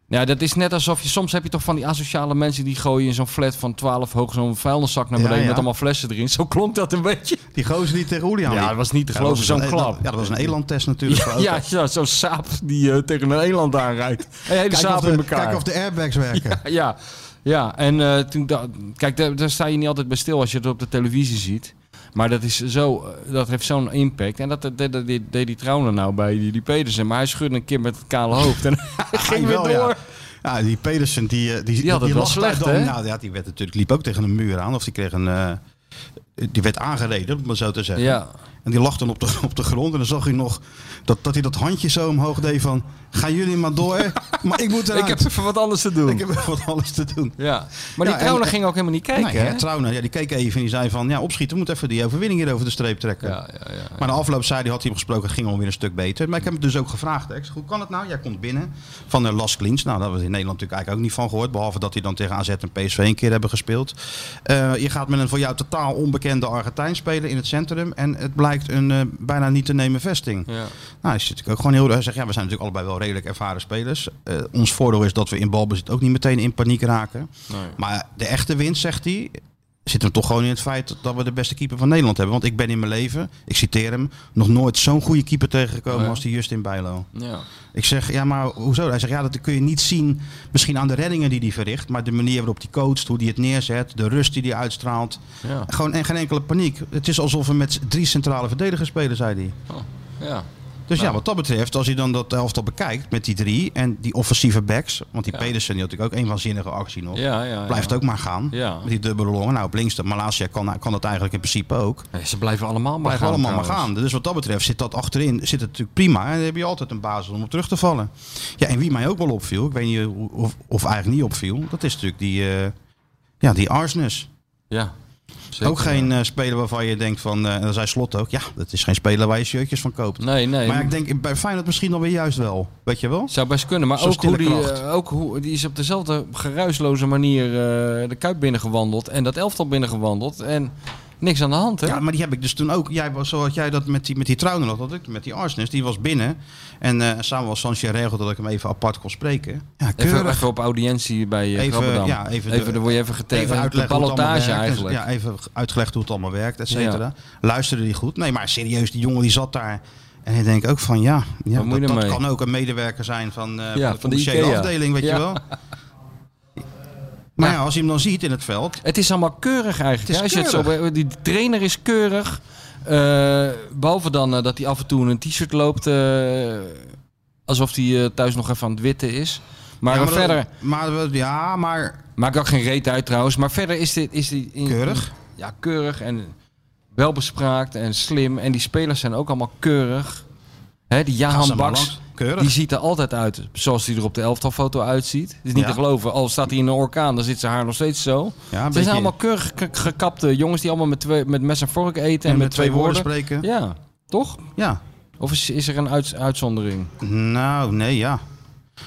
ja, dat is net alsof je soms heb je toch van die asociale mensen die gooien in zo'n flat van 12 hoog zo'n vuilniszak naar
Ja,
beneden
ja.
met allemaal flessen erin. Zo klonk dat een beetje.
Die gozer die tegen Oelian
Ja,
liep.
dat was niet te
Ja,
geloven,
dat was
zo'n
een-
klap.
dat- Ja, dat was een elandtest natuurlijk. voor auto's.
Ja, ja zo'n saap die eh, tegen een eland aanrijdt. Een hele
Kijk, of
saap in
de,
elkaar.
kijk of de airbags werken.
Ja, ja. en eh, toen da- kijk, daar, daar sta je niet altijd bij stil als je het op de televisie ziet. Maar dat, is zo, eh, dat heeft zo'n impact. En dat, dat, dat- dat- dat deed die Trouwner nou bij die, die Pedersen. Maar hij schudde een keer met het kale hoofd en hij ging weer
Ah, Wel, ja.
door.
Ja, die Pedersen, die, eh, die,
Die had het wel
lag daar
slecht,
dan.
hè?
Nou, ja, die werd natuurlijk, liep ook tegen een muur aan. Of die kreeg een... eh, die werd aangereden, om het maar zo te
Ja,
zeggen.
ja.
En die lag dan op de, op de grond. En dan zag hij nog dat, dat hij dat handje zo omhoog deed van... Gaan jullie maar door, maar ik moet eruit.
ik heb even wat anders te doen.
ik heb even wat alles te doen.
Ja. Maar die
en-
Trouwner ging ook helemaal niet kijken,
Nee,
hè?
ja, Trouwner, ja, die keek even en die zei van... Ja, opschieten, we moeten even die overwinning hier over de streep trekken.
Ja, ja, ja.
Maar na afloop zei hij, had hij hem gesproken, het ging alweer een stuk beter. Maar ik heb hem dus ook gevraagd. hè. Ik zeg, hoe kan het nou? Jij komt binnen van de Las Klins. Nou, daar was in Nederland natuurlijk eigenlijk ook niet van gehoord. Behalve dat hij dan tegen AZ en PSV een keer hebben gespeeld. Eh, je gaat met een voor jou totaal onbekende Argentijn spelen in het centrum. En het blijkt een eh, bijna niet te nemen vesting.
Ja.
Nou, hij zit natuurlijk ook gewoon heel... Hij zegt, ja, we zijn natuurlijk allebei wel redelijk ervaren spelers. Eh, ons voordeel is dat we in balbezit ook niet meteen in paniek raken. Maar de echte winst, zegt hij, zit hem toch gewoon in het feit dat we de beste keeper van Nederland hebben. Want ik ben in mijn leven, ik citeer hem, nog nooit zo'n goede keeper tegengekomen
Ja.
als die Justin Bijlo.
Ja.
Ik zeg, ja, maar hoezo? Hij zegt, ja, dat kun je niet zien misschien aan de reddingen die hij verricht. Maar de manier waarop hij coacht, hoe hij het neerzet, de rust die hij uitstraalt.
Ja.
Gewoon en geen enkele paniek. Het is alsof we met drie centrale verdedigers spelen, zei hij.
Oh, ja.
Dus
Nou.
ja, wat dat betreft, als je dan dat elftal bekijkt met die drie en die offensieve backs. Want die
Ja.
Pedersen die had natuurlijk ook een waanzinnige actie nog.
Ja, ja, ja.
Blijft ook maar gaan.
Ja.
Met die dubbele longen. Nou, op links, de Malasia kan, kan dat eigenlijk in principe ook.
Nee, ze blijven allemaal maar
Blijven
gaan.
allemaal maar
trouwens.
gaan. Dus wat dat betreft zit dat achterin zit het natuurlijk prima. En dan heb je altijd een basis om op terug te vallen. Ja, en wie mij ook wel opviel, ik weet niet hoe- of, of eigenlijk niet opviel, dat is natuurlijk die, eh, ja, die Arsnes.
Ja. Zeker,
Ook geen eh, speler waarvan je denkt van, eh en dat zei Slot ook, ja, dat is geen speler waar je shirtjes van koopt.
ja. Nee, nee.
Maar ik denk bij Feyenoord misschien dan weer juist wel. Weet je wel?
Zou best kunnen, maar
Zo'n
ook hoe, die,
stille
eh,
kracht.
ook hoe die is op dezelfde geruisloze manier eh, de Kuip binnengewandeld en dat elftal binnengewandeld en niks aan de hand, hè?
Ja, maar die heb ik dus toen ook. Jij was, zoals jij dat met die, met die Trouwner had, dat ik met die Arsnes. Die was binnen. En eh Samuel Sanchez regelde dat ik hem even apart kon spreken. Ja,
even,
keurig.
even op audiëntie bij eh
Even,
Krabbedam.
ja, even de-
dan word je even getekend. Even de
hoe het allemaal
ballotage
werkt.
eigenlijk.
Ja, even uitgelegd hoe het allemaal werkt, et cetera. Luisterde die goed? Nee, maar serieus, die jongen die zat daar. En ik denk ook van, ja, ja
moet je
dat, dat
ermee?
kan ook een medewerker zijn van, eh,
Ja,
van de
van de
commerciële
IKEA.
afdeling, weet
Ja.
je wel. Maar
Ja.
ja, als je hem dan ziet in het veld,
Het is allemaal keurig eigenlijk.
is
hè, als je Het zo, die trainer is keurig. Eh, behalve dan eh, dat hij af en toe in een t-shirt loopt. eh, alsof hij eh, thuis nog even aan het witten is. Maar,
Ja,
eh,
maar dat-
verder...
maar, we- ja, maar
Maakt ook geen reet uit trouwens. Maar verder is dit... Is die in-
Keurig.
ja, keurig en welbespraakt en slim. En die spelers zijn ook allemaal keurig. Hè, die
gaan
Jahan
ze maar
Baks,
langs. Keurig.
die ziet er altijd uit zoals hij er op de elftalfoto uitziet. Het is niet
Ja.
te geloven. Al staat hij in een orkaan, dan zit zijn haar nog steeds zo.
Ja, een
het zijn
beetje-
allemaal keurig ge- gekapte jongens die allemaal met, twee, met mes en vork eten. En,
En
met,
met
twee
twee
woorden,
woorden spreken.
Ja, toch?
ja.
Of is, is er een uits- uitzondering?
Nou, nee, ja.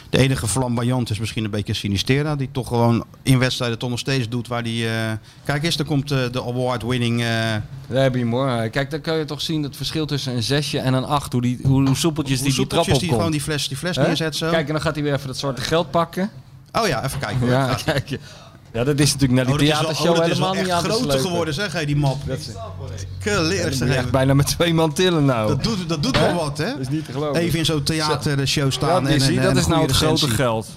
De enige flamboyant is misschien een beetje Sinistera. Die toch gewoon in wedstrijden toch nog steeds doet waar die... eh, Kijk eens, daar komt eh, de award-winning... eh,
Daar heb je hem hoor. Eh, Kijk, dan kun je toch zien het verschil tussen een zesje en een acht. Hoe, die, hoe, hoe soepeltjes
hoe
die
soepeltjes
die trap
die
opkomt.
gewoon die fles, die fles
Hè?
neerzet zo.
Kijk, en dan gaat hij weer even dat zwarte geld pakken.
Oh ja, even kijken. hoor.
Ja,
Gaat-
kijk. je. Ja, dat is natuurlijk naar
Oh, dat
die
is wel,
theatershow
oh, dat is
helemaal
wel
niet
echt
aan te
groter
slepen.
geworden, zeg. hé, die map.
Dat is-
Keurig,
Dan
zeg.
moet je
hé.
echt bijna met twee man tillen nou.
Dat doet, dat doet wel wat, hè?
Dat is niet te geloven.
Even in zo'n theatershow
Ja,
staan.
die
en,
zie,
en-
dat
en
is
een
nou
goede
het grote
recensie.
geld.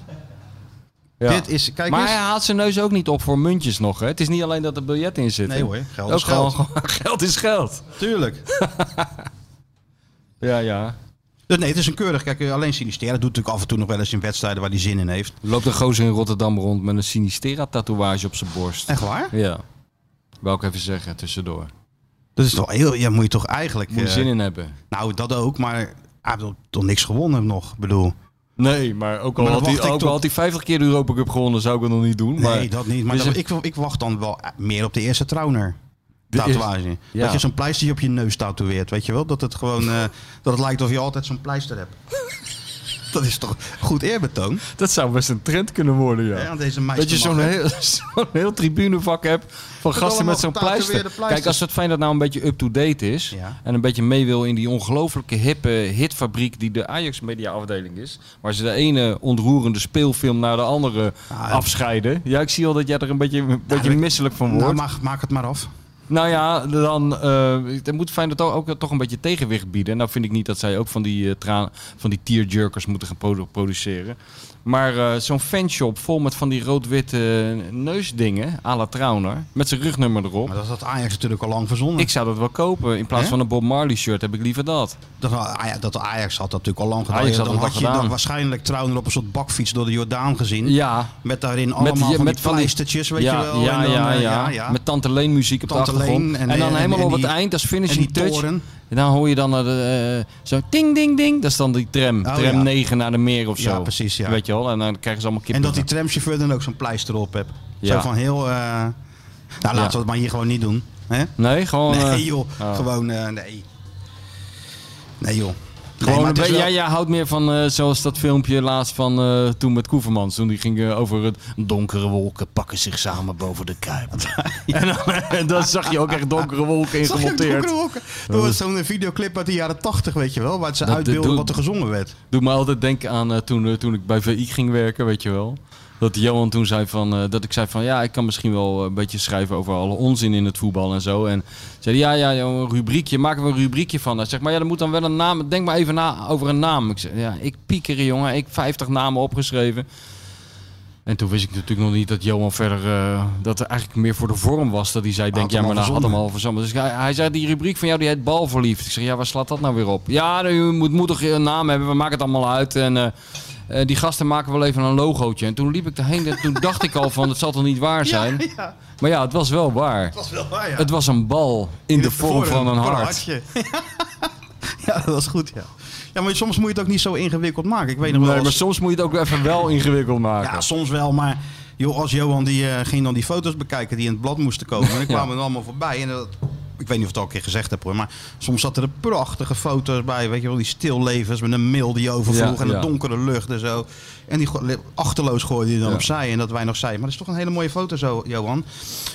Ja.
Dit is, kijk
maar
eens.
hij haalt zijn neus ook niet op voor muntjes nog. Hè? Het is niet alleen dat er biljet in zit.
Nee
hè.
hoor, geld
ook
is geld.
Gewoon, geld is geld.
Tuurlijk.
Ja, ja.
Dus nee, het is een keurig. Kijk, alleen Sinistera doet natuurlijk af en toe nog wel eens in wedstrijden waar hij zin in heeft.
Loopt een gozer in Rotterdam rond met een Sinistera-tatoeage op zijn borst.
Echt waar?
Ja. Wou ik even zeggen, tussendoor.
Dat is toch heel. Ja, moet je toch eigenlijk.
Moet je
eh,
zin in hebben.
Nou, dat ook, maar hij heeft toch niks gewonnen nog. Ik bedoel.
Nee, maar ook al,
Maar dan
had, hij,
wacht ik
ook al
tot-
had hij 50 keer de Europa Cup gewonnen, zou ik het nog niet doen. Maar
nee, dat niet. Maar
dus
dat-
een-
ik, ik wacht dan wel eh, meer op de eerste trouwner.
eerste-
Tatoeage.
ja.
Dat je zo'n pleistertje op je neus tatoeëert. Weet je wel? Dat het gewoon. eh, dat het lijkt of je altijd zo'n pleister hebt. dat is toch goed eerbetoon?
dat zou best een trend kunnen worden, ja.
Hè, aan deze meisjes.
dat je zo'n heel, zo'n heel tribunevak hebt van gasten
allemaal
met zo'n
getatoeëerde
pleister.
pleisters.
Kijk, als het fijn dat nou een beetje up-to-date is
Ja.
en een beetje mee wil in die ongelooflijke hippe hitfabriek die de Ajax Media afdeling is, waar ze de ene ontroerende speelfilm naar de andere
Ah,
afscheiden. Ja, ik zie al dat jij er een beetje, een beetje misselijk van wordt.
Nou, mag, maak het maar af.
Nou ja, dan eh, dan moet Feyenoord ook, ook toch een beetje tegenwicht bieden. En nou vind ik niet dat zij ook van die, eh, traan, van die tierjerkers moeten gaan produ- produceren. Maar eh, zo'n fanshop vol met van die rood-witte neusdingen, à la Trauner, met zijn rugnummer
Maar
erop.
dat had Ajax natuurlijk al lang verzonnen.
Ik zou dat wel kopen. In plaats
Hè?
van een Bob Marley shirt heb ik liever dat.
Dat, Ajax, dat Ajax had dat natuurlijk al lang gedaan.
Ajax had
dan
het al
had je
gedaan.
dan waarschijnlijk trouwens op een soort bakfiets door de Jordaan gezien.
Ja.
Met daarin allemaal
je-
van die pleistertjes, weet
ja,
je wel.
Ja,
en dan,
ja,
eh,
ja. Met Tante Leen muziek op
Tante
de achtergrond.
Leen
en,
en-
dan
en-
helemaal
en
op
die-
het eind, als finishing
en die
touch.
toren.
En dan hoor je dan eh, de, eh, zo ding, ding, ding. Dat is dan die tram. tram
Oh, ja.
9 naar de meer of zo.
Ja, precies, ja.
Weet je wel. En dan krijgen ze allemaal
En
kippen.
dat die tramchauffeur dan ook zo'n pleister op hebt.
Ja.
Zo van heel... eh, nou, laten
Ja.
we het maar hier gewoon niet doen. Hè?
Nee, gewoon... eh,
Nee joh, gewoon eh, nee. Nee joh. Nee,
Gewoon
maar
een
het is
beetje-
wel-
jij, jij houdt meer van eh, zoals dat filmpje laatst van eh, toen met Koevermans. Toen die ging eh, over het donkere wolken pakken zich samen boven de kuip. en, dan, en dan zag je ook echt donkere wolken in
Zag je ook die
gemonteerd.
donkere wolken? Dat was zo'n videoclip uit de jaren 80, weet je wel. Waar ze
Dat-
uitbeelden
dat-
wat er gezongen werd.
Doe me altijd denken aan eh, toen, eh, toen ik bij VI ging werken, weet je wel. Dat Johan toen zei van, eh, dat ik zei van, ja, ik kan misschien wel eh, een beetje schrijven over alle onzin in het voetbal en zo. En zei hij, ja, ja, ja, een rubriekje, maken we een rubriekje van. Hij zegt, maar ja, er moet dan wel een naam, denk maar even na over een naam. Ik zeg, ja, ik piekeren jongen, ik 50 namen opgeschreven. En toen wist ik natuurlijk nog niet dat Johan verder, eh, dat er eigenlijk meer voor de vorm was. Dat hij zei, denk,
had
ja,
hem
maar
al
nou had hem
verzonnen.
al verzonnen. Dus hij, hij zei, die rubriek van jou, die heet Balverliefd. Ik zeg, ja, waar slaat dat nou weer op? Ja, u moet moedig een naam hebben, we maken het allemaal uit. En eh, eh, die gasten maken wel even een logootje. En toen liep ik daarheen en toen dacht ik al van, het zal toch niet waar zijn? Maar ja, het was wel waar. Het was,
wel waar, ja.
een bal in, de vorm van een hart.
hartje. ja, dat was goed, ja. Ja, maar soms moet je het ook niet zo ingewikkeld maken. Ik weet nog wel.
Nee, maar
als-
soms moet je het ook even wel ingewikkeld maken.
ja, soms wel, maar joh, als Johan die eh, ging dan die foto's bekijken die in het blad moesten komen. En dan kwamen er allemaal voorbij. En dat, ik weet niet of ik het al een keer gezegd heb hoor, maar soms zaten er prachtige foto's bij. Weet je wel, die stillevens met een mail die overvloeg
Ja,
en de
ja.
donkere lucht en zo. En die go- achterloos gooide die dan
Ja.
opzij. En dat wij nog zeiden, maar dat is toch een hele mooie foto zo, Johan.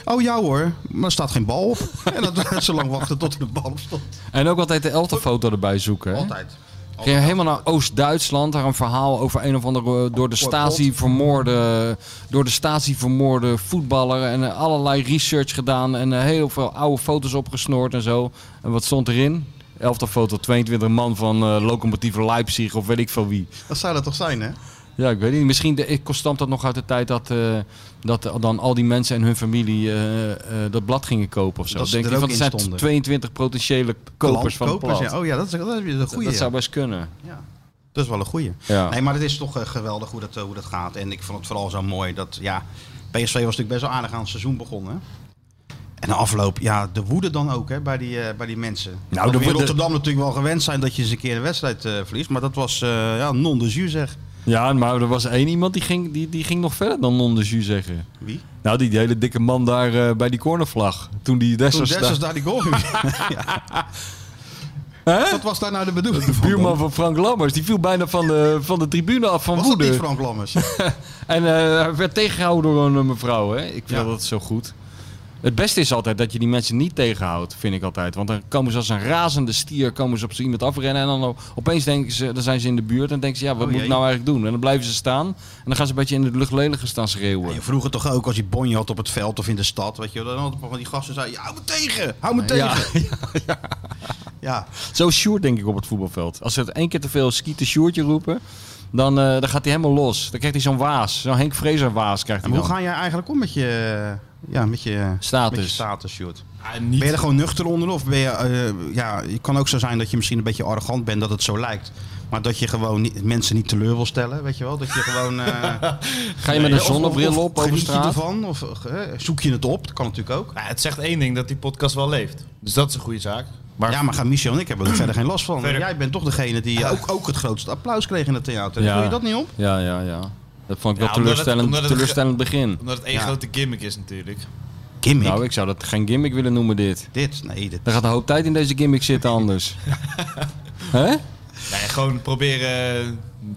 Oh ja hoor, maar er staat geen bal op. en dat zo lang wachten tot er de bal op stond.
En ook altijd de elftefoto erbij zoeken. hè?
Altijd.
Ging helemaal naar Oost-Duitsland, daar een verhaal over een of andere eh, door de Stasi vermoorde, door de Stasi vermoorde voetballer. En eh, allerlei research gedaan en eh, heel veel oude foto's opgesnoord en zo. En wat stond erin? Elfde foto, 22 man van eh locomotieve Leipzig of weet ik van wie.
Dat zou dat toch zijn, hè?
Ja, ik weet niet. Misschien de, ik stamt dat nog uit de tijd dat, eh, dat dan al die mensen en hun familie eh, eh, dat blad gingen kopen of zo.
Dat ze
Denk
er
je van,
ook
het
in
zijn
stonden.
22 potentiële kopers van het
Kopers,
blad.
ja. Oh ja, dat is, dat is een
dat,
goede.
dat zou best kunnen.
Ja. Dat is wel een goeie.
Ja.
Nee, maar het is toch eh, geweldig hoe dat, eh, hoe dat gaat. En ik vond het vooral zo mooi dat, ja, PSV was natuurlijk best wel aardig aan het seizoen begonnen. En de afloop, ja, de woede dan ook hè, bij, die, eh, bij die mensen. Nou,
de
de in
woede-
Rotterdam natuurlijk wel gewend zijn dat je eens een keer een wedstrijd eh, verliest. Maar dat was eh, ja, non de jus, zeg.
Ja, maar er was één iemand die ging, die, die ging nog verder dan non de jus zeggen.
Wie?
Nou, die, die hele dikke man daar eh, bij die cornervlag. Toen die
Toen
Dessers...
Dessers
daar-
daar die goal ging. ja. Wat was daar nou de bedoeling
De
van?
buurman van Frank Lammers, die viel bijna van de, van de tribune af van
was dat
woede.
niet Frank Lammers?
En eh, hij werd tegengehouden door een eh, mevrouw. Hè? Ik vind
Ja.
dat zo goed. Het beste is altijd dat je die mensen niet tegenhoudt, vind ik altijd. Want dan komen ze als een razende stier komen ze op zo iemand afrennen. En dan o- opeens denken ze, dan zijn ze in de buurt en denken ze, ja, wat moet ik
Oh jee.
nou eigenlijk doen? En dan blijven ze staan. En dan gaan ze een beetje in het luchtledige staan schreeuwen.
Je vroeger toch ook als je bonje had op het veld of in de stad, weet je, wel, dan had van die gasten zei, ja, hou me tegen, hou me
Ja.
tegen. Ja,
Zo Sjoerd denk ik op het voetbalveld. Als ze het één keer te veel skieten Sjoerdje roepen, dan, eh, dan gaat hij helemaal los. Dan krijgt hij zo'n waas. Zo'n Henk Vrezer waas krijgt
En
hij
hoe
dan.
ga jij eigenlijk om met je, ja, met je
Status.
Met je status shoot?
Ja,
Ben je er
niet,
gewoon nuchter onder of ben je, eh, ja, het kan ook zo zijn dat je misschien een beetje arrogant bent dat het zo lijkt. Maar dat je gewoon niet, mensen niet teleur wil stellen, weet je wel? Dat je gewoon... eh,
Ga je met een
of- of-
zonnebril
of
op over
geniet je
straat?
ervan? Of eh, zoek je het op? Dat kan natuurlijk ook.
Ja, Nou, het zegt één ding, dat die podcast wel leeft. Dus dat is een goede zaak. Maar
Ja, maar gaan Michel en ik hebben er verder geen last van.
Verder-
Jij bent toch degene die ook, ook het grootste applaus kreeg in het theater.
Ja.
Voel je dat niet op?
Ja, ja, ja. Dat vond ik wel
Ja, omdat het-
teleurstellend,
omdat het ge-
teleurstellend begin.
omdat het één
Ja.
grote gimmick is natuurlijk.
Gimmick?
Nou, ik zou dat geen gimmick willen noemen dit.
Dit? Nee, dit.
Er gaat een hoop tijd in deze gimmick zitten anders. Hè?
Nee, gewoon proberen eh,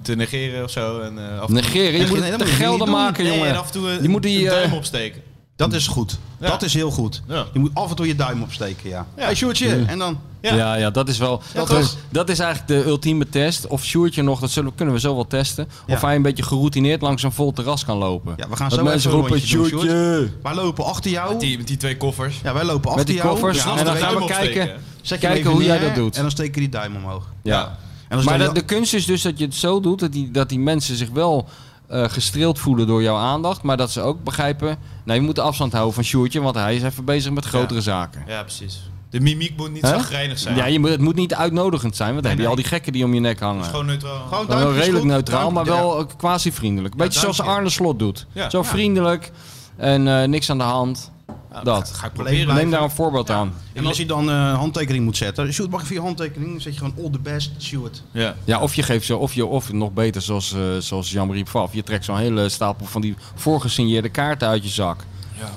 te negeren of zo. En, eh, af en toe-
Negeren, je
Nee,
moet
dat
het te
moet je niet
gelden
doen.
maken,
Nee,
jongen.
en af en toe een,
je moet die,
een
eh,
duim opsteken.
Dat is goed.
Ja.
Dat is heel goed.
Ja.
Je moet af en toe je duim opsteken, ja.
Ja.
Hey, Sjoerdje, en dan...
ja.
Ja.
Ja, dat is wel. dat,
toch?
is, dat is eigenlijk de ultieme test. Of Sjoertje nog, dat zullen, we- kunnen we zo wel testen. Of
Ja.
hij een beetje geroutineerd langs een vol terras kan lopen.
Ja, we gaan
dat
zo even
mensen
een
roepen:
rondje doen, Sjoerd.
Sjoertje!
Wij lopen achter jou.
Met die, met die twee koffers.
Ja, wij lopen
Met
achter
die
jou.
koffers.
Ja,
en dan
de
gaan we
duim opsteken.
kijken,
Zet je hem
kijken
even
hoe jij
neer
dat doet.
En dan steken die duim omhoog.
ja.
En als
Maar
dan
de, de kunst is dus dat je het zo doet dat die, dat die mensen zich wel eh, gestreeld voelen door jouw aandacht. Maar dat ze ook begrijpen. Nou, je moet de afstand houden van Sjoertje, want hij is even bezig met grotere zaken.
Ja, precies. De mimiek moet niet
Hè?
zo grijnig zijn.
Ja, je moet, het moet niet uitnodigend zijn, want dan heb je al die gekken die om je nek hangen.
Het is gewoon neutraal.
gewoon
Wel
duimpjes
redelijk
goed,
neutraal, maar
duimpje-
wel eh, quasi-vriendelijk. Beetje zoals
duimpje.
Arne Slot doet.
Ja.
Zo
Ja.
vriendelijk en eh, niks aan de hand. dat.
Ga
Leef
ik proberen.
Neem daar een voorbeeld aan.
En als je dan eh, een handtekening moet zetten. Sjoerd, mag ik voor je handtekening? Dan zet je gewoon all the best, Sjoerd.
Ja.
Ja, of je geeft ze, of, je, of nog beter zoals, eh, zoals Jean-Marie Pfaff. Je trekt zo'n hele stapel van die voorgesigneerde kaarten uit je zak.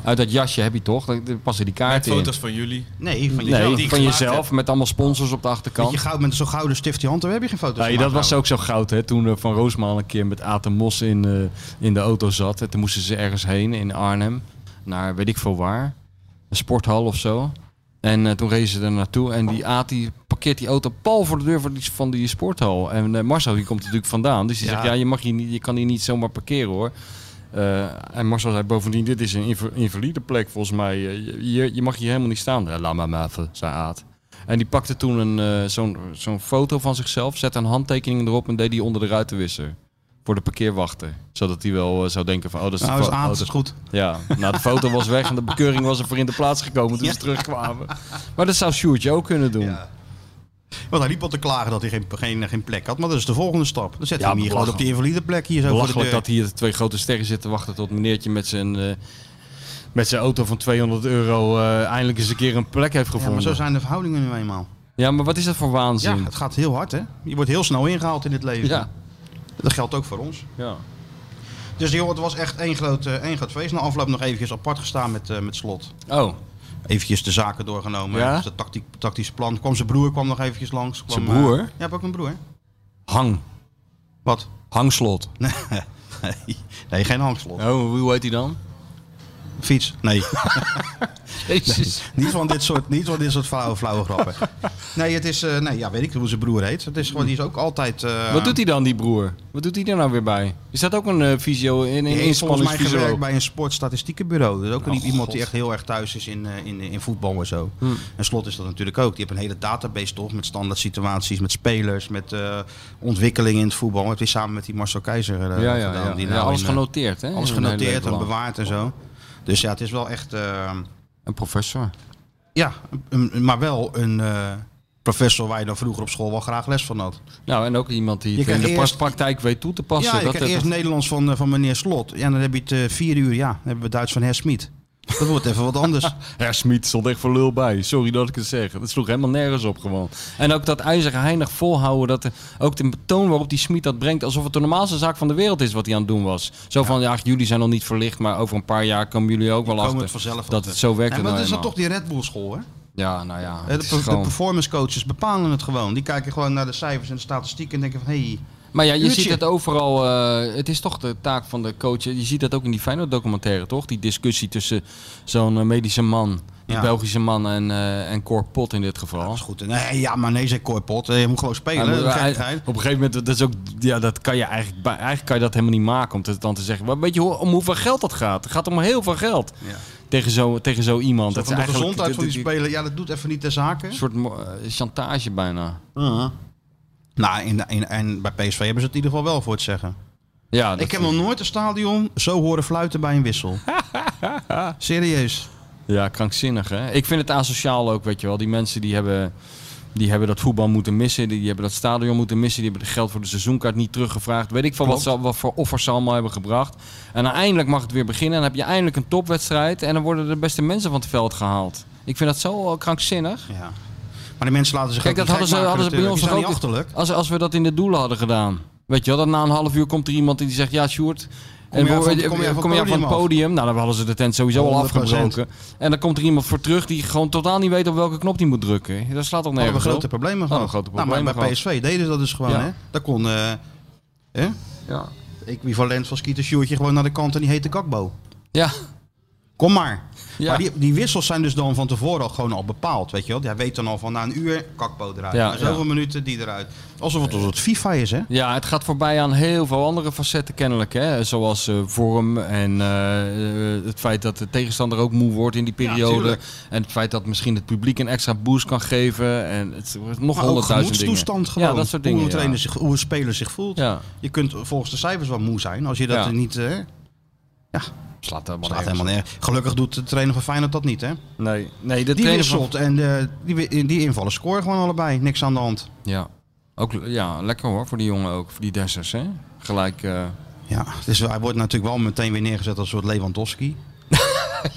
Uit dat jasje heb je toch? Daar daar passen die
Met
kaarten in.
foto's van jullie.
Nee, van jezelf.
Nee,
die ik
van
gemaakt
jezelf, met allemaal sponsors op de
Met,
achterkant.
je goud, met zo'n gouden stift die hand, daar heb je geen foto's
Nee,
gemaakt,
dat was
nou.
ook zo goud, hè? Toen eh, Van Roosmaal een keer met Aten Mos in, eh, in de auto zat. En toen moesten ze ergens heen in Arnhem. Naar weet ik veel waar. Een sporthal of zo. En eh, toen rezen ze er naartoe. En die Aat die parkeert die auto pal voor de deur van die, van die sporthal. En eh, Marcel die komt er natuurlijk vandaan. Dus die
Ja.
zegt, ja, je, mag hier niet, je kan hier niet zomaar parkeren hoor. Eh, en Marcel zei bovendien, dit is een inv invalide plek volgens mij. Eh, je- je, je mag hier helemaal niet staan. Ja, laat maar maar even, zei Aad. En die pakte toen een, eh, zo'n, zo'n foto van zichzelf, zette een handtekening erop en deed die onder de ruitenwisser. Voor de parkeerwachter. Zodat hij wel eh, zou denken van, oh, dat is
Nou,
de
is
fo-
aan,
oh,
is goed.
dat- Ja, nou, de foto was weg en de bekeuring was er voor in de plaats gekomen toen ze terugkwamen. Maar dat zou Sjoerdje ook kunnen doen.
Ja. Want hij liep al te klagen dat hij geen, geen, geen plek had. Maar dat is de volgende stap. Dan zet
Ja,
hij hem hier gewoon op die invalide plek. Hier zo voor de
Belachelijk
deur.
dat hier twee grote sterren zitten wachten tot meneertje met zijn, eh, met zijn auto van 200 euro eh, eindelijk eens een keer een plek heeft
Ja,
gevonden.
maar zo zijn de verhoudingen nu eenmaal.
wat is dat voor
Ja,
waanzin?
het gaat heel hard, hè? Je wordt heel snel ingehaald in het leven.
eh, ja.
Dat geldt ook voor ons.
ja.
Dus joh, het was echt één groot, eh, één groot feest. Na afloop nog eventjes apart gestaan met, eh, met Slot.
Oh,
Eventjes de zaken doorgenomen.
Ja?
Dus het tactiek, tactische plan. Kwam zijn broer kwam nog eventjes langs. Kwam,
Zijn broer?
eh, ja, heb ook een broer.
hang.
Wat?
Hangslot.
Nee, nee geen hangslot.
Oh, hoe heet hij dan?
Fiets? Nee.
Jezus.
niet, van dit soort, niet van dit soort flauwe, flauwe grappen. Nee, het is, eh, nee, ja, weet ik hoe zijn broer heet. Het is gewoon, die is ook altijd... eh,
Wat doet hij dan, die broer? Wat doet hij er nou weer bij? Is dat ook een eh visio, een,
die
een
heeft volgens mij
inspanningsvisio?
gewerkt bij een sportstatistiekenbureau. Dus ook
Oh,
niet iemand die echt heel erg thuis is in, eh, in, in voetbal en zo.
Hm.
En Slot is dat natuurlijk ook. Die heeft een hele database toch met standaard situaties, met spelers, met eh, ontwikkelingen in het voetbal. Het is samen met die Marcel Keizer eh,
Ja, ja, ja.
gedaan. Die
Ja,
nou
alles
in, eh,
genoteerd, hè?
alles
In een hele
genoteerd
leven
en
lang.
bewaard en zo. Dus ja, het is wel echt... eh,
Een professor.
Ja, een- maar wel een eh, professor waar je dan vroeger op school wel graag les van had.
Nou, en ook iemand die
Je
het in de
krijgt eerst-
praktijk weet toe te passen.
ja, ik
dat,
kreeg eerst
dat-
Nederlands van, eh, van meneer Slot. Ja, en dan heb je het eh, vier uur, ja, dan hebben we Duits van Herr Smit. Dat wordt even wat anders.
Herr Smit stond echt voor lul bij. Sorry dat ik het zeg. Dat sloeg helemaal nergens op gewoon. En ook dat ijzeren heinig volhouden. Dat er- ook de toon waarop die Smit dat brengt. Alsof het de normaalste zaak van de wereld is wat hij aan het doen was. Zo van, ja, jullie zijn nog niet verlicht. Maar over een paar jaar komen jullie ook wel
Komen
achter.
het vanzelf wel
dat
te-
het zo werkt.
Nee,
het
maar
nou
dat is dan
eenmaal.
toch die Red Bull school, hè?
Ja, nou ja.
Hè,
het
De,
is
per- de
gewoon-
performance coaches bepalen het gewoon. Die kijken gewoon naar de cijfers en de statistieken en denken van hé, hey,
Maar ja, je
Uurtje.
ziet het overal. eh, het is toch de taak van de coach. Je ziet dat ook in die Feyenoord documentaire, toch? Die discussie tussen zo'n eh, medische man, die
Ja.
Belgische man en, eh en Cor Pot in dit geval.
dat is goed. Nee, ja, maar nee, zei Korpot. Je moet gewoon spelen.
Hij moet-
dat
hij-
gekkigheid.
op een gegeven moment, dat is ook, ja, dat kan je eigenlijk, bij- eigenlijk kan je dat helemaal niet maken om te, dan te zeggen. Maar weet je hoe- om hoeveel geld dat gaat? Het gaat om heel veel geld
Ja.
tegen, zo, tegen zo iemand.
Dat van
Dat is
de
eigenlijk
gezondheid van die
dit- dit-
speler, ja, dat doet even niet de zaken.
Een soort mo- eh, chantage bijna.
Nou, en, en, en bij PSV hebben ze het in ieder geval wel voor het zeggen.
Ja, dat-
Ik heb nog nooit een stadion zo horen fluiten bij een wissel. Serieus.
Ja, krankzinnig hè. Ik vind het asociaal ook, weet je wel. Die mensen die hebben, die hebben dat voetbal moeten missen. Die, die hebben dat stadion moeten missen. Die hebben het geld voor de seizoenkaart niet teruggevraagd. Weet ik van wat, ze, wat voor offers ze allemaal hebben gebracht. En uiteindelijk mag het weer beginnen. En dan heb je eindelijk een topwedstrijd. En dan worden de beste mensen van het veld gehaald. Ik vind dat zo eh, krankzinnig.
Ja. Maar die mensen laten zich
Kijk,
ook
dat
niet
hadden ze,
gek maken
hadden ze bij ons
natuurlijk.
toch
Die staan
ook.
niet achterlijk.
Als, als we dat in de doelen hadden gedaan. Weet je wel, dat na een half uur komt er iemand die zegt: Ja, Sjoerd. en
jij
we-
van-
eh,
kom jij van het
kom jij van het
podium af?
podium? Nou, dan hadden ze de tent sowieso al
100%.
afgebroken. En dan komt er iemand voor terug die gewoon totaal niet weet op welke knop die moet drukken. Dat slaat
Hadden
toch
we
nergens
grote
op.
problemen gehad.
Hadden we grote
nou, maar
problemen
bij PSV deden ze dat dus gewoon,
Ja.
hè. Daar kon... eh hè?
Ja.
Equivalent van Skeeter Sjoertje gewoon naar de kant en die hete kakbo.
Ja,
Kom maar.
Ja.
Maar die, die wissels zijn dus dan van tevoren al gewoon al bepaald, weet je wel. Jij weet dan al van na een uur kakbo eruit,
Ja,
na zoveel
ja.
minuten die eruit. Alsof het, alsof het FIFA is, hè.
ja, het gaat voorbij aan heel veel andere facetten kennelijk. Hè? Zoals eh, vorm en eh, eh, het feit dat de tegenstander ook moe wordt in die periode. en het feit dat misschien het publiek een extra boost kan geven. En het wordt nog
Maar ook
honderdduizend dingen.
gemoedstoestand gewoon.
Ja, dat soort dingen.
Hoe een,
ja.
trainer zich, hoe een speler zich voelt.
Ja.
Je kunt volgens de cijfers wel moe zijn als je dat
Ja.
er niet... eh,
Slaat helemaal
staat helemaal neer. Gelukkig doet de trainer van Feyenoord dat niet, hè.
Nee, nee de
Die
trainer van-
wisselt en eh, die, wi- die invallen scoren gewoon allebei. Niks aan de hand.
Ja. Ook, ja, lekker hoor, voor die jongen ook. Voor die Dessers, hè. Gelijk... eh,
Ja, dus hij wordt natuurlijk wel meteen weer neergezet als een soort Lewandowski.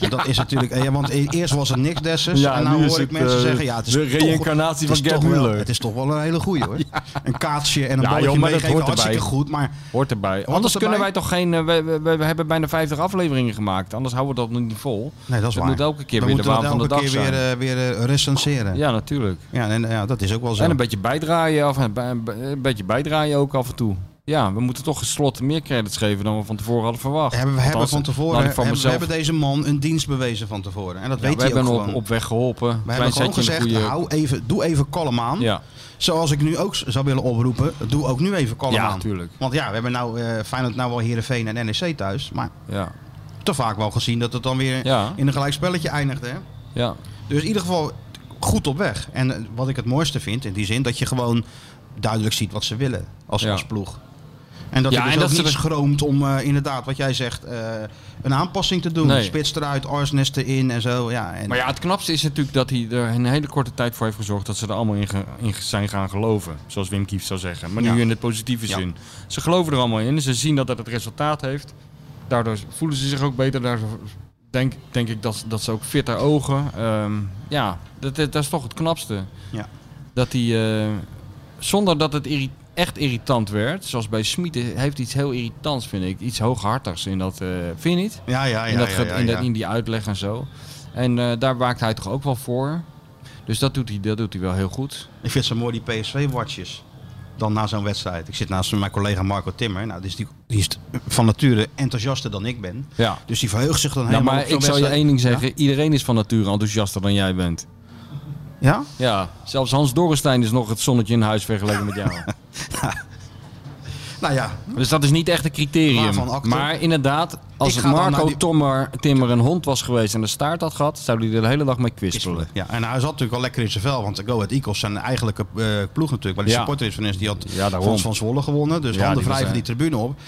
En Dat is natuurlijk, eh, ja, want e- eerst was het niks Dessers.
Ja,
en nu
nu is
hoor ik
het,
mensen
eh,
zeggen: ja, het is
de
toch-
reïncarnatie
het
van
is
Gerd
toch wel-
Müller.
Het is toch wel een hele goeie hoor. Een kaatsje en een
Ja,
balletje
joh, maar dat
meegeven,
hoort erbij.
hartstikke goed. Maar
hoort erbij. Anders
het
kunnen
erbij?
wij toch geen... eh, we, we, we hebben bijna 50 afleveringen gemaakt. Anders houden we dat nog niet vol.
nee, dat is waar.
moet elke keer
We
weer de
moeten dat
waan van de dag
elke keer
zijn.
weer, eh, weer eh, recenseren. Ja,
Ja, natuurlijk.
en, ja, dat is ook wel zo.
En een beetje bijdraaien, af en, bij- een beetje bijdraaien ook af en toe. Ja, we moeten toch gesloten meer credits geven dan we van tevoren hadden verwacht.
hebben, we hebben
Althans,
van
laat
tevoren
ik van
hebben, we
mezelf.
hebben deze man een dienst bewezen van tevoren. En dat
Ja,
weet
we
hij ook
hebben
gewoon.
hem op, op weg geholpen.
we
Klein
hebben gewoon
zetje in de
gezegd,
goede-
hou even, doe even kalm aan.
Ja,
Zoals ik nu ook zou willen oproepen, doe ook nu even kalm
Ja,
aan.
tuurlijk.
Want ja, we hebben nou eh Feyenoord nou wel Heerenveen en NEC thuis. Maar
ja,
te vaak wel gezien dat het dan weer
Ja.
in een gelijkspelletje eindigt. Hè?
ja.
Dus in ieder geval goed op weg. En eh, wat ik het mooiste vind, in die zin, dat je gewoon duidelijk ziet wat ze willen als,
Ja.
als ploeg. En dat
Ja,
hij dus
en
ook
dat ze
niet
er-
schroomt om eh, inderdaad, wat jij zegt, eh, een aanpassing te doen.
Nee.
Spits eruit, Arsnes erin en zo. Ja, en
Maar ja, het knapste is natuurlijk dat hij er een hele korte tijd voor heeft gezorgd dat ze er allemaal in, ge- in zijn gaan geloven. Zoals Wim Kieft zou zeggen. Maar nu
Ja.
in het positieve
Ja.
zin. Ze geloven er allemaal in. Ze zien dat dat het resultaat heeft. Daardoor voelen ze zich ook beter. Daardoor denk, denk ik dat, dat ze ook fitter ogen. Ehm, ja, dat, dat, dat is toch het knapste.
Ja.
Dat hij, eh, zonder dat het irri- echt irritant werd, zoals bij Smit, heeft iets heel irritants, vind ik. Iets hooghartigs in dat, eh vind je niet?
ja, Ah, ja, ja,
in, dat,
ja,
ge-
ja,
in, dat,
ja.
in die uitleg en zo. En eh, daar waakt hij toch ook wel voor. Dus dat doet hij, dat doet hij wel heel goed.
Ik vind zo mooi die PSV-watjes. Dan na zo'n wedstrijd. Ik zit naast mijn collega Marco Timmer. Nou, die is, die, die is van nature enthousiaster dan ik ben.
Ja.
Dus die verheugt zich dan
Nou,
helemaal
maar
op zo'n
ik zal je
wedstrijd.
één ding zeggen. Iedereen is van nature enthousiaster dan jij bent.
Ja?
Ja, zelfs Hans Dorrestein is nog het zonnetje in huis vergeleken met jou.
Nou ja.
Dus dat is niet echt een criterium.
Waarvan acte?
Maar inderdaad,
Ik
als
ga dan naar
Marco
die-
Tommer, Timmer een hond was geweest en een staart had gehad, zou hij er de hele dag mee kwispelen.
ja. En hij zat natuurlijk wel lekker in zijn vel. Want de Go Ahead Eagles zijn de eigenlijke eh, ploeg natuurlijk. Waar de
Ja.
supporter is van is. Die had
Ja, daarom.
van, van Zwolle gewonnen. Dus
Ja,
handen
die was,
vrij van die
eh,
tribune op.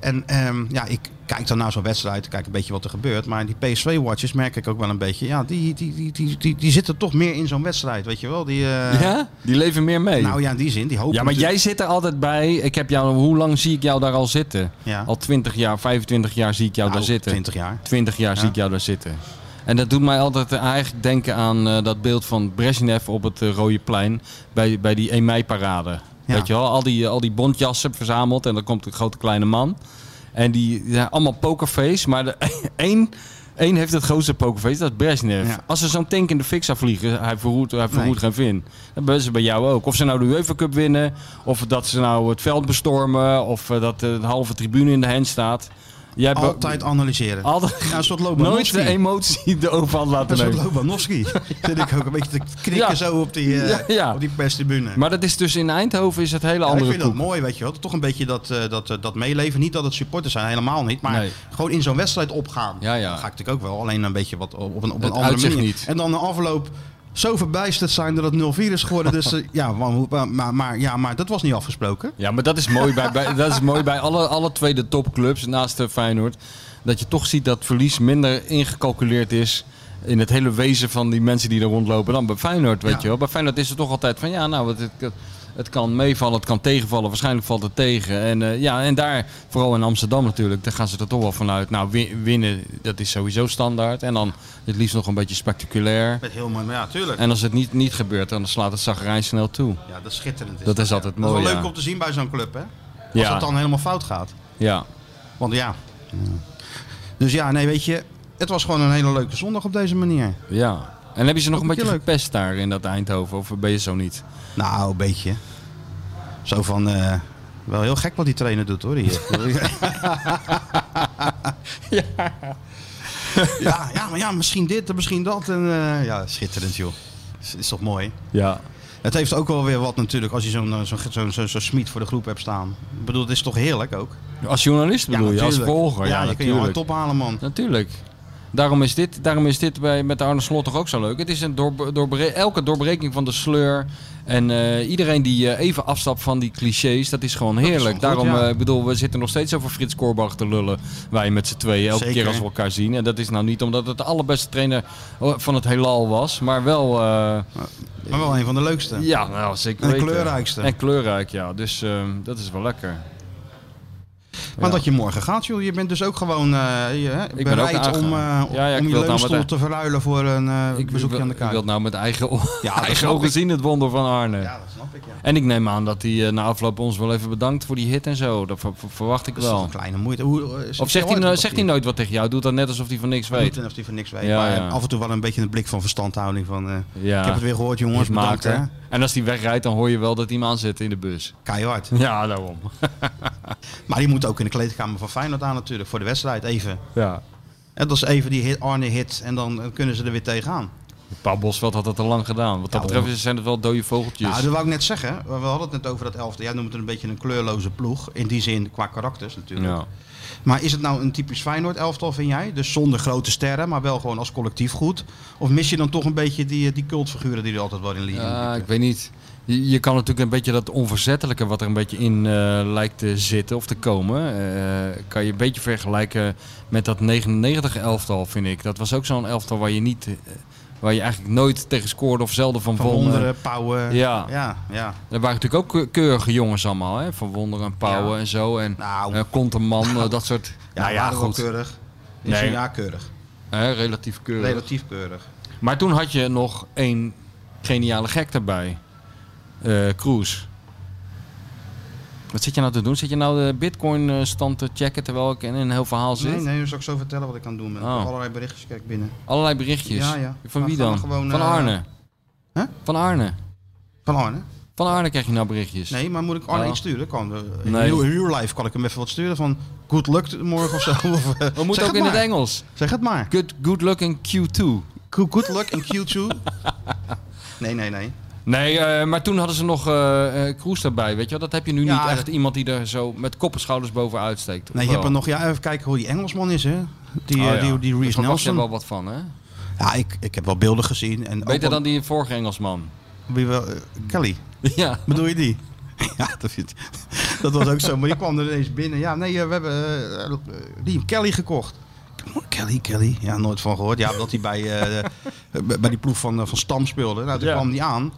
En ehm, ja, ik kijk dan naar zo'n wedstrijd. Kijk een beetje wat er gebeurt. Maar die PSV-watjes merk ik ook wel een beetje. Ja, die, die, die, die, die, die zitten toch meer in zo'n wedstrijd. Weet je wel? Die, eh,
Ja? Die leven meer mee.
Nou ja, in die zin. Die hopen
Ja, maar
natuurlijk-
jij zit er altijd bij. Ik heb jou, hoe lang zie ik jou daar al zitten?
Ja.
Al 20 jaar, 25 jaar zie ik jou
Nou,
daar zitten.
20 jaar.
20 jaar zie ik jou daar zitten. En dat doet mij altijd eh, eigenlijk denken aan eh, dat beeld van Brezhnev op het eh, Rode Plein. Bij, bij die 1 mei-parade.
Ja.
Weet je wel, al die, eh, al die bondjassen verzameld. En dan komt een grote kleine man. En die ja, allemaal pokerface. Maar de één Eén heeft het grootste pokerfeest, dat is Brezhnev.
Ja.
Als ze zo'n tank in de fik zou vliegen, hij verroert, hij verroert
Nee.
geen vin. Dat hebben ze bij jou ook. Of ze nou de UEFA Cup winnen, of dat ze nou het veld bestormen, of eh, dat de halve tribune in de hand staat. Jij hebt
Altijd analyseren.
Altijd-
Ja, een soort
nooit
Lobanovski.
de emotie de overhand laten
een soort
nemen.
Lobanovski. Zit ik ook een beetje te knikken
Ja.
zo op die, eh
Ja, ja.
Op die perstribune.
Maar dat is dus in Eindhoven is het hele
Ja, ik
andere
vind dat
koek.
mooi, weet je wel. Toch een beetje dat, eh, dat, eh, dat meeleven. Niet dat het supporters zijn, helemaal niet. Maar
Nee.
gewoon in zo'n wedstrijd opgaan.
Ja, ja.
Dat ga ik natuurlijk ook wel. Alleen een beetje wat op een, op een
Het
andere
uitzicht
manier.
niet.
En dan de afloop zo verbijsterd zijn dat het 0-4 is geworden. Dus eh, ja, maar, maar, maar, ja, maar dat was niet afgesproken.
Ja, maar dat is mooi bij, bij, dat is mooi bij alle, alle twee de topclubs naast de Feyenoord. Dat je toch ziet dat verlies minder ingecalculeerd is in het hele wezen van die mensen die er rondlopen dan bij Feyenoord, weet
Ja.
je wel. Bij Feyenoord is het toch altijd van ja, nou, het, het, het kan meevallen, het kan tegenvallen, waarschijnlijk valt het tegen. En eh, ja, en daar, vooral in Amsterdam natuurlijk, daar gaan ze er toch wel vanuit. Nou, win- winnen, dat is sowieso standaard. En dan het liefst nog een beetje spectaculair.
Met heel mooi, maar ja, tuurlijk.
En als het niet, niet gebeurt, dan slaat het zagrijn snel toe.
Ja, dat is schitterend.
Dat is altijd
Dat
mooi,
is wel
ja.
leuk om te zien bij zo'n club, hè? Als
Ja.
het dan helemaal fout gaat.
Ja.
Want ja. Dus ja, nee, weet je. Het was gewoon een hele leuke zondag op deze manier.
Ja. En heb je ze nog een
Ook een
beetje
keer
gepest daar in dat Eindhoven? Of ben je zo niet?
Nou, een beetje. Zo van. eh, wel heel gek wat die trainer doet hoor. Hier. ja, ja, maar ja, misschien dit en misschien dat. En, eh, ja, schitterend joh. Is, is toch mooi?
Ja.
Het heeft ook wel weer wat natuurlijk als je zo'n eh, zo'n zo'n zo'n zo'n smiet voor de groep hebt staan. Ik bedoel, het is toch heerlijk ook?
Als journalist bedoel je, als
natuurlijk.
volger. Ja,
Ja, je kun je wel een
natuurlijk.
top halen man.
Natuurlijk. Daarom is dit, daarom is dit bij, met Arne Slot toch ook zo leuk. Het is een doorbe- doorbre- elke doorbreking van de sleur. En eh, iedereen die eh, even afstapt van die clichés, dat is gewoon heerlijk.
gewoon goed,
daarom,
ja.
eh, ik bedoel, we zitten nog steeds over Frits Korbach te lullen. Wij met z'n tweeën, elke
Zeker.
keer als we elkaar zien. En dat is nou niet omdat het de allerbeste trainer eh, van het heelal was. Maar wel... eh,
Maar wel een van de leukste.
Ja, nou zeker
En de
weten.
kleurrijkste.
En kleurrijk, ja. Dus ehm, dat is wel lekker.
Maar
Ja.
dat je morgen gaat, joh. Je bent dus ook gewoon eh, je, hè,
ben ook
bereid om,
aangegaan.
eh,
Ja, ja, ik
om je
wil het nou
leunstoel
met-
te verruilen voor een eh,
Ik
bezoekje
wil-
aan de
Ik
kaart.
wil het nou met eigen, o-
Ja, dat
eigen
snap
ogen
ik.
zien, het wonder van Arne.
Ja, dat snap ik, ja.
En ik neem aan dat hij eh, na afloop ons wel even bedankt voor die hit en zo. Dat ver- ver- verwacht ik
Dat is toch
wel.
een kleine moeite. Hoe, eh,
Of zegt
ooit
hij, nou-
wat
zegt hij
hier?
nooit wat tegen jou? Doet dat net alsof hij van niks weet.
Niet en of hij van niks weet.
Ja,
maar eh,
ja.
af en toe wel een beetje een blik van verstandhouding. Van, eh,
Ja.
Ik heb het weer gehoord,
Het
jongens. Bedankt,
maakt, hè.
hè.
En als hij wegrijdt, dan hoor je wel dat hij hem aanzet in de bus.
Keihard.
Ja, daarom.
Maar die moet ook in de kleedkamer van Feyenoord aan natuurlijk. Voor de wedstrijd even.
Ja.
En dat is even die hit, Arne hit. En dan eh, kunnen ze er weer tegenaan.
Paul Bosveld had dat al lang gedaan. Wat dat
Ja,
betreft zijn het wel dode vogeltjes.
Nou, dat wou ik net zeggen. We hadden het net over dat elfde. Jij noemt het een beetje een kleurloze ploeg. In die zin qua karakters natuurlijk.
ja.
Maar is het nou een typisch Feyenoord elftal vind jij? Dus zonder grote sterren, maar wel gewoon als collectief goed? Of mis je dan toch een beetje die, eh, die cultfiguren die er altijd wel in liggen?
Ja, ik weet niet. Je, je kan natuurlijk een beetje dat onverzettelijke wat er een beetje in eh, lijkt te zitten of te komen. eh, kan je een beetje vergelijken met dat 99 elftal, vind ik. Dat was ook zo'n elftal waar je niet. eh, waar je eigenlijk nooit tegen scoorde of zelden van,
Van
won.
Wonderen, Pauwen.
eh, Ja.
ja, ja.
Er waren natuurlijk ook ke- keurige jongens allemaal, hè? Van Wonderen en Pauwen
Ja.
en zo. En
Nou.
eh Konteman, eh, dat soort.
Ja,
Nou
waren wel keurig. In
Nee.
zijn jaar keurig.
Hè, relatief keurig.
Relatief keurig.
Maar toen had je nog één geniale gek erbij. Eh Cruise. Wat zit je nou te doen? Zit je nou de bitcoin-stand te checken terwijl ik in een heel verhaal zit?
Nee, nee, dan zal ik zo vertellen wat ik aan het doen ben. Ik
Oh.
heb Allerlei berichtjes krijg ik binnen.
Allerlei berichtjes.
Ja, ja.
Van
Maar
wie
gaan
dan?
we gewoon,
Van
eh,
Arne.
Hè?
Van Arne.
Van Arne?
Van Arne krijg je nou berichtjes.
Nee, maar moet ik Arne
Ja.
iets sturen? Kan, eh, in
Nee.
heel, heel live kan ik hem even wat sturen van good luck morgen of zo. Of, eh,
We moeten
zeg
ook in
maar.
het Engels.
Zeg het maar.
Good, good luck in Q2.
Good, good luck in Q2. nee, nee, nee.
Nee, eh, maar toen hadden ze nog eh eh, Cruise erbij, weet je wel. Dat heb je nu
Ja,
niet echt
dat-
iemand die er zo met kop en schouders bovenuit steekt. of
Nee, je hebt
wel?
er nog, ja, even kijken hoe die Engelsman is, hè? Die,
Oh,
eh,
ja.
die, die
Daar
Reece
verwacht je
Nelson.
wel wat van, hè?
Ja, ik, ik heb wel beelden gezien. En
Beter
ook
dan die vorige Engelsman.
wel- wie wel, eh, Kelly,
Ja. dus
bedoel je die? ja, dat, vind, dat was ook zo. Maar die kwam er ineens binnen. Ja, nee, eh, we hebben eh, eh, die Kelly gekocht. Kelly, Kelly. Ja, nooit van gehoord. Ja, dat hij bij, eh, eh, bij- bij die ploeg van, eh, van Stam speelde. Nou, toen
Ja.
kwam die aan.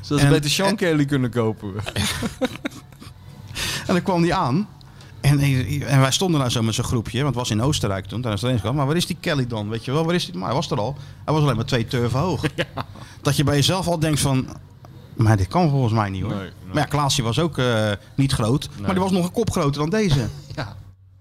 Zodat
En-
ze beter Sean Kelly kunnen kopen.
En dan kwam die aan. En, en wij stonden daar zo met zo'n groepje, want het was in Oostenrijk toen, tijdens de trainingskamp. Maar waar is die Kelly dan? Weet je wel, waar is die? Maar hij was er al. Hij was alleen maar twee turven hoog. Dat je bij jezelf al denkt van, maar dit kan volgens mij niet hoor.
Nee, nee.
Maar ja, Klaasje was ook eh, niet groot, maar die was nog een kop groter dan deze.
Ja.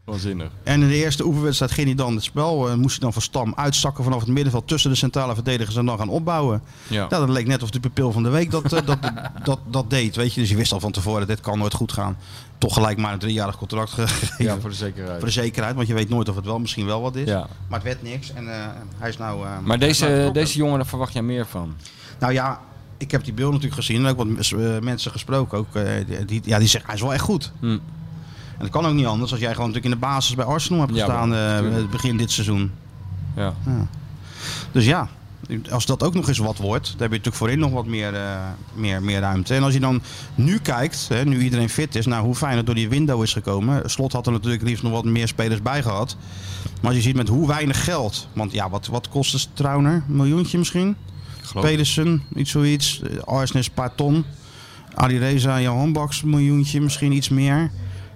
Waanzinnig.
En in de eerste oefenwedstrijd ging hij dan het spel. eh, moest hij dan van stam uitzakken vanaf het middenveld tussen de centrale verdedigers en dan gaan opbouwen.
Ja.
Nou, dat leek net of de pupil van de week dat, eh, dat, dat, dat deed. Weet je? Dus je wist al van tevoren, dit kan nooit goed gaan. Toch gelijk maar een driejarig contract gegeven.
Ja, voor de
Voor
zekerheid.
de zekerheid, want je weet nooit of het wel misschien wel wat is.
Ja.
Maar het werd niks en eh, hij is nou... eh, hij
Maar
is nou
deze,
vertrokken.
deze jongen, daar verwacht jij meer van.
Nou ja, ik heb die beeld natuurlijk gezien en ook wat mes- eh, mensen gesproken. Ook, eh, die- die, ja, die zeggen hij is wel echt goed.
Hm.
En dat kan ook niet anders als jij gewoon natuurlijk in de basis bij Arsenal hebt
Ja,
gestaan
maar-
eh,
tuurlijk.
begin dit seizoen.
Ja.
Dus ja, als dat ook nog eens wat wordt, dan heb je natuurlijk voorin nog wat meer, eh, meer, meer ruimte. En als je dan nu kijkt, hè, nu iedereen fit is, naar hoe fijn het door die window is gekomen. Slot had er natuurlijk liefst nog wat meer spelers bij gehad. Maar als je ziet met hoe weinig geld. Want ja, wat, wat kost dus Trauner? Een miljoentje misschien?
geloof het.
Pedersen, iets zoiets. Eh, Arsnes, een paar ton. Ali Reza, Johan Baks, een miljoentje, misschien iets meer.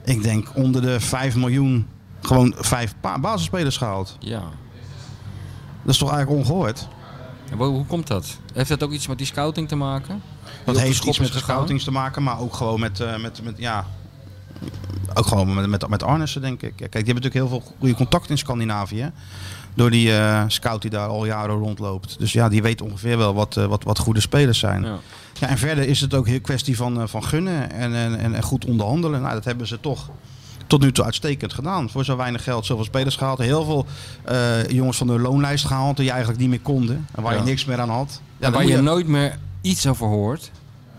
Ik denk onder de 5 miljoen gewoon vijf pa- basisspelers gehaald.
Ja.
Dat is toch eigenlijk ongehoord?
En hoe, hoe komt dat? Heeft dat ook iets met die scouting te maken? Die op
Dat
de
heeft
schop
iets
is
met de
gegaan?
scoutings te maken, maar ook gewoon met, eh, met, met ja, ook gewoon met, met, met Arnissen, denk ik. Ja, Kijk, die hebben natuurlijk heel veel goede contacten in Scandinavië. Door die eh, scout die daar al jaren rondloopt. Dus ja, die weet ongeveer wel wat, eh, wat, wat goede spelers zijn.
Ja.
Ja. en verder is het ook heel kwestie van, eh, van gunnen en, en, en, en goed onderhandelen. Nou, dat hebben ze toch tot nu toe uitstekend gedaan. Voor zo weinig geld zoveel spelers gehaald. Heel veel eh, jongens van de loonlijst gehaald die je eigenlijk niet meer konden. En waar
Ja.
je niks meer aan had. Ja, dan
waar
moet
je, nooit meer iets over hoort.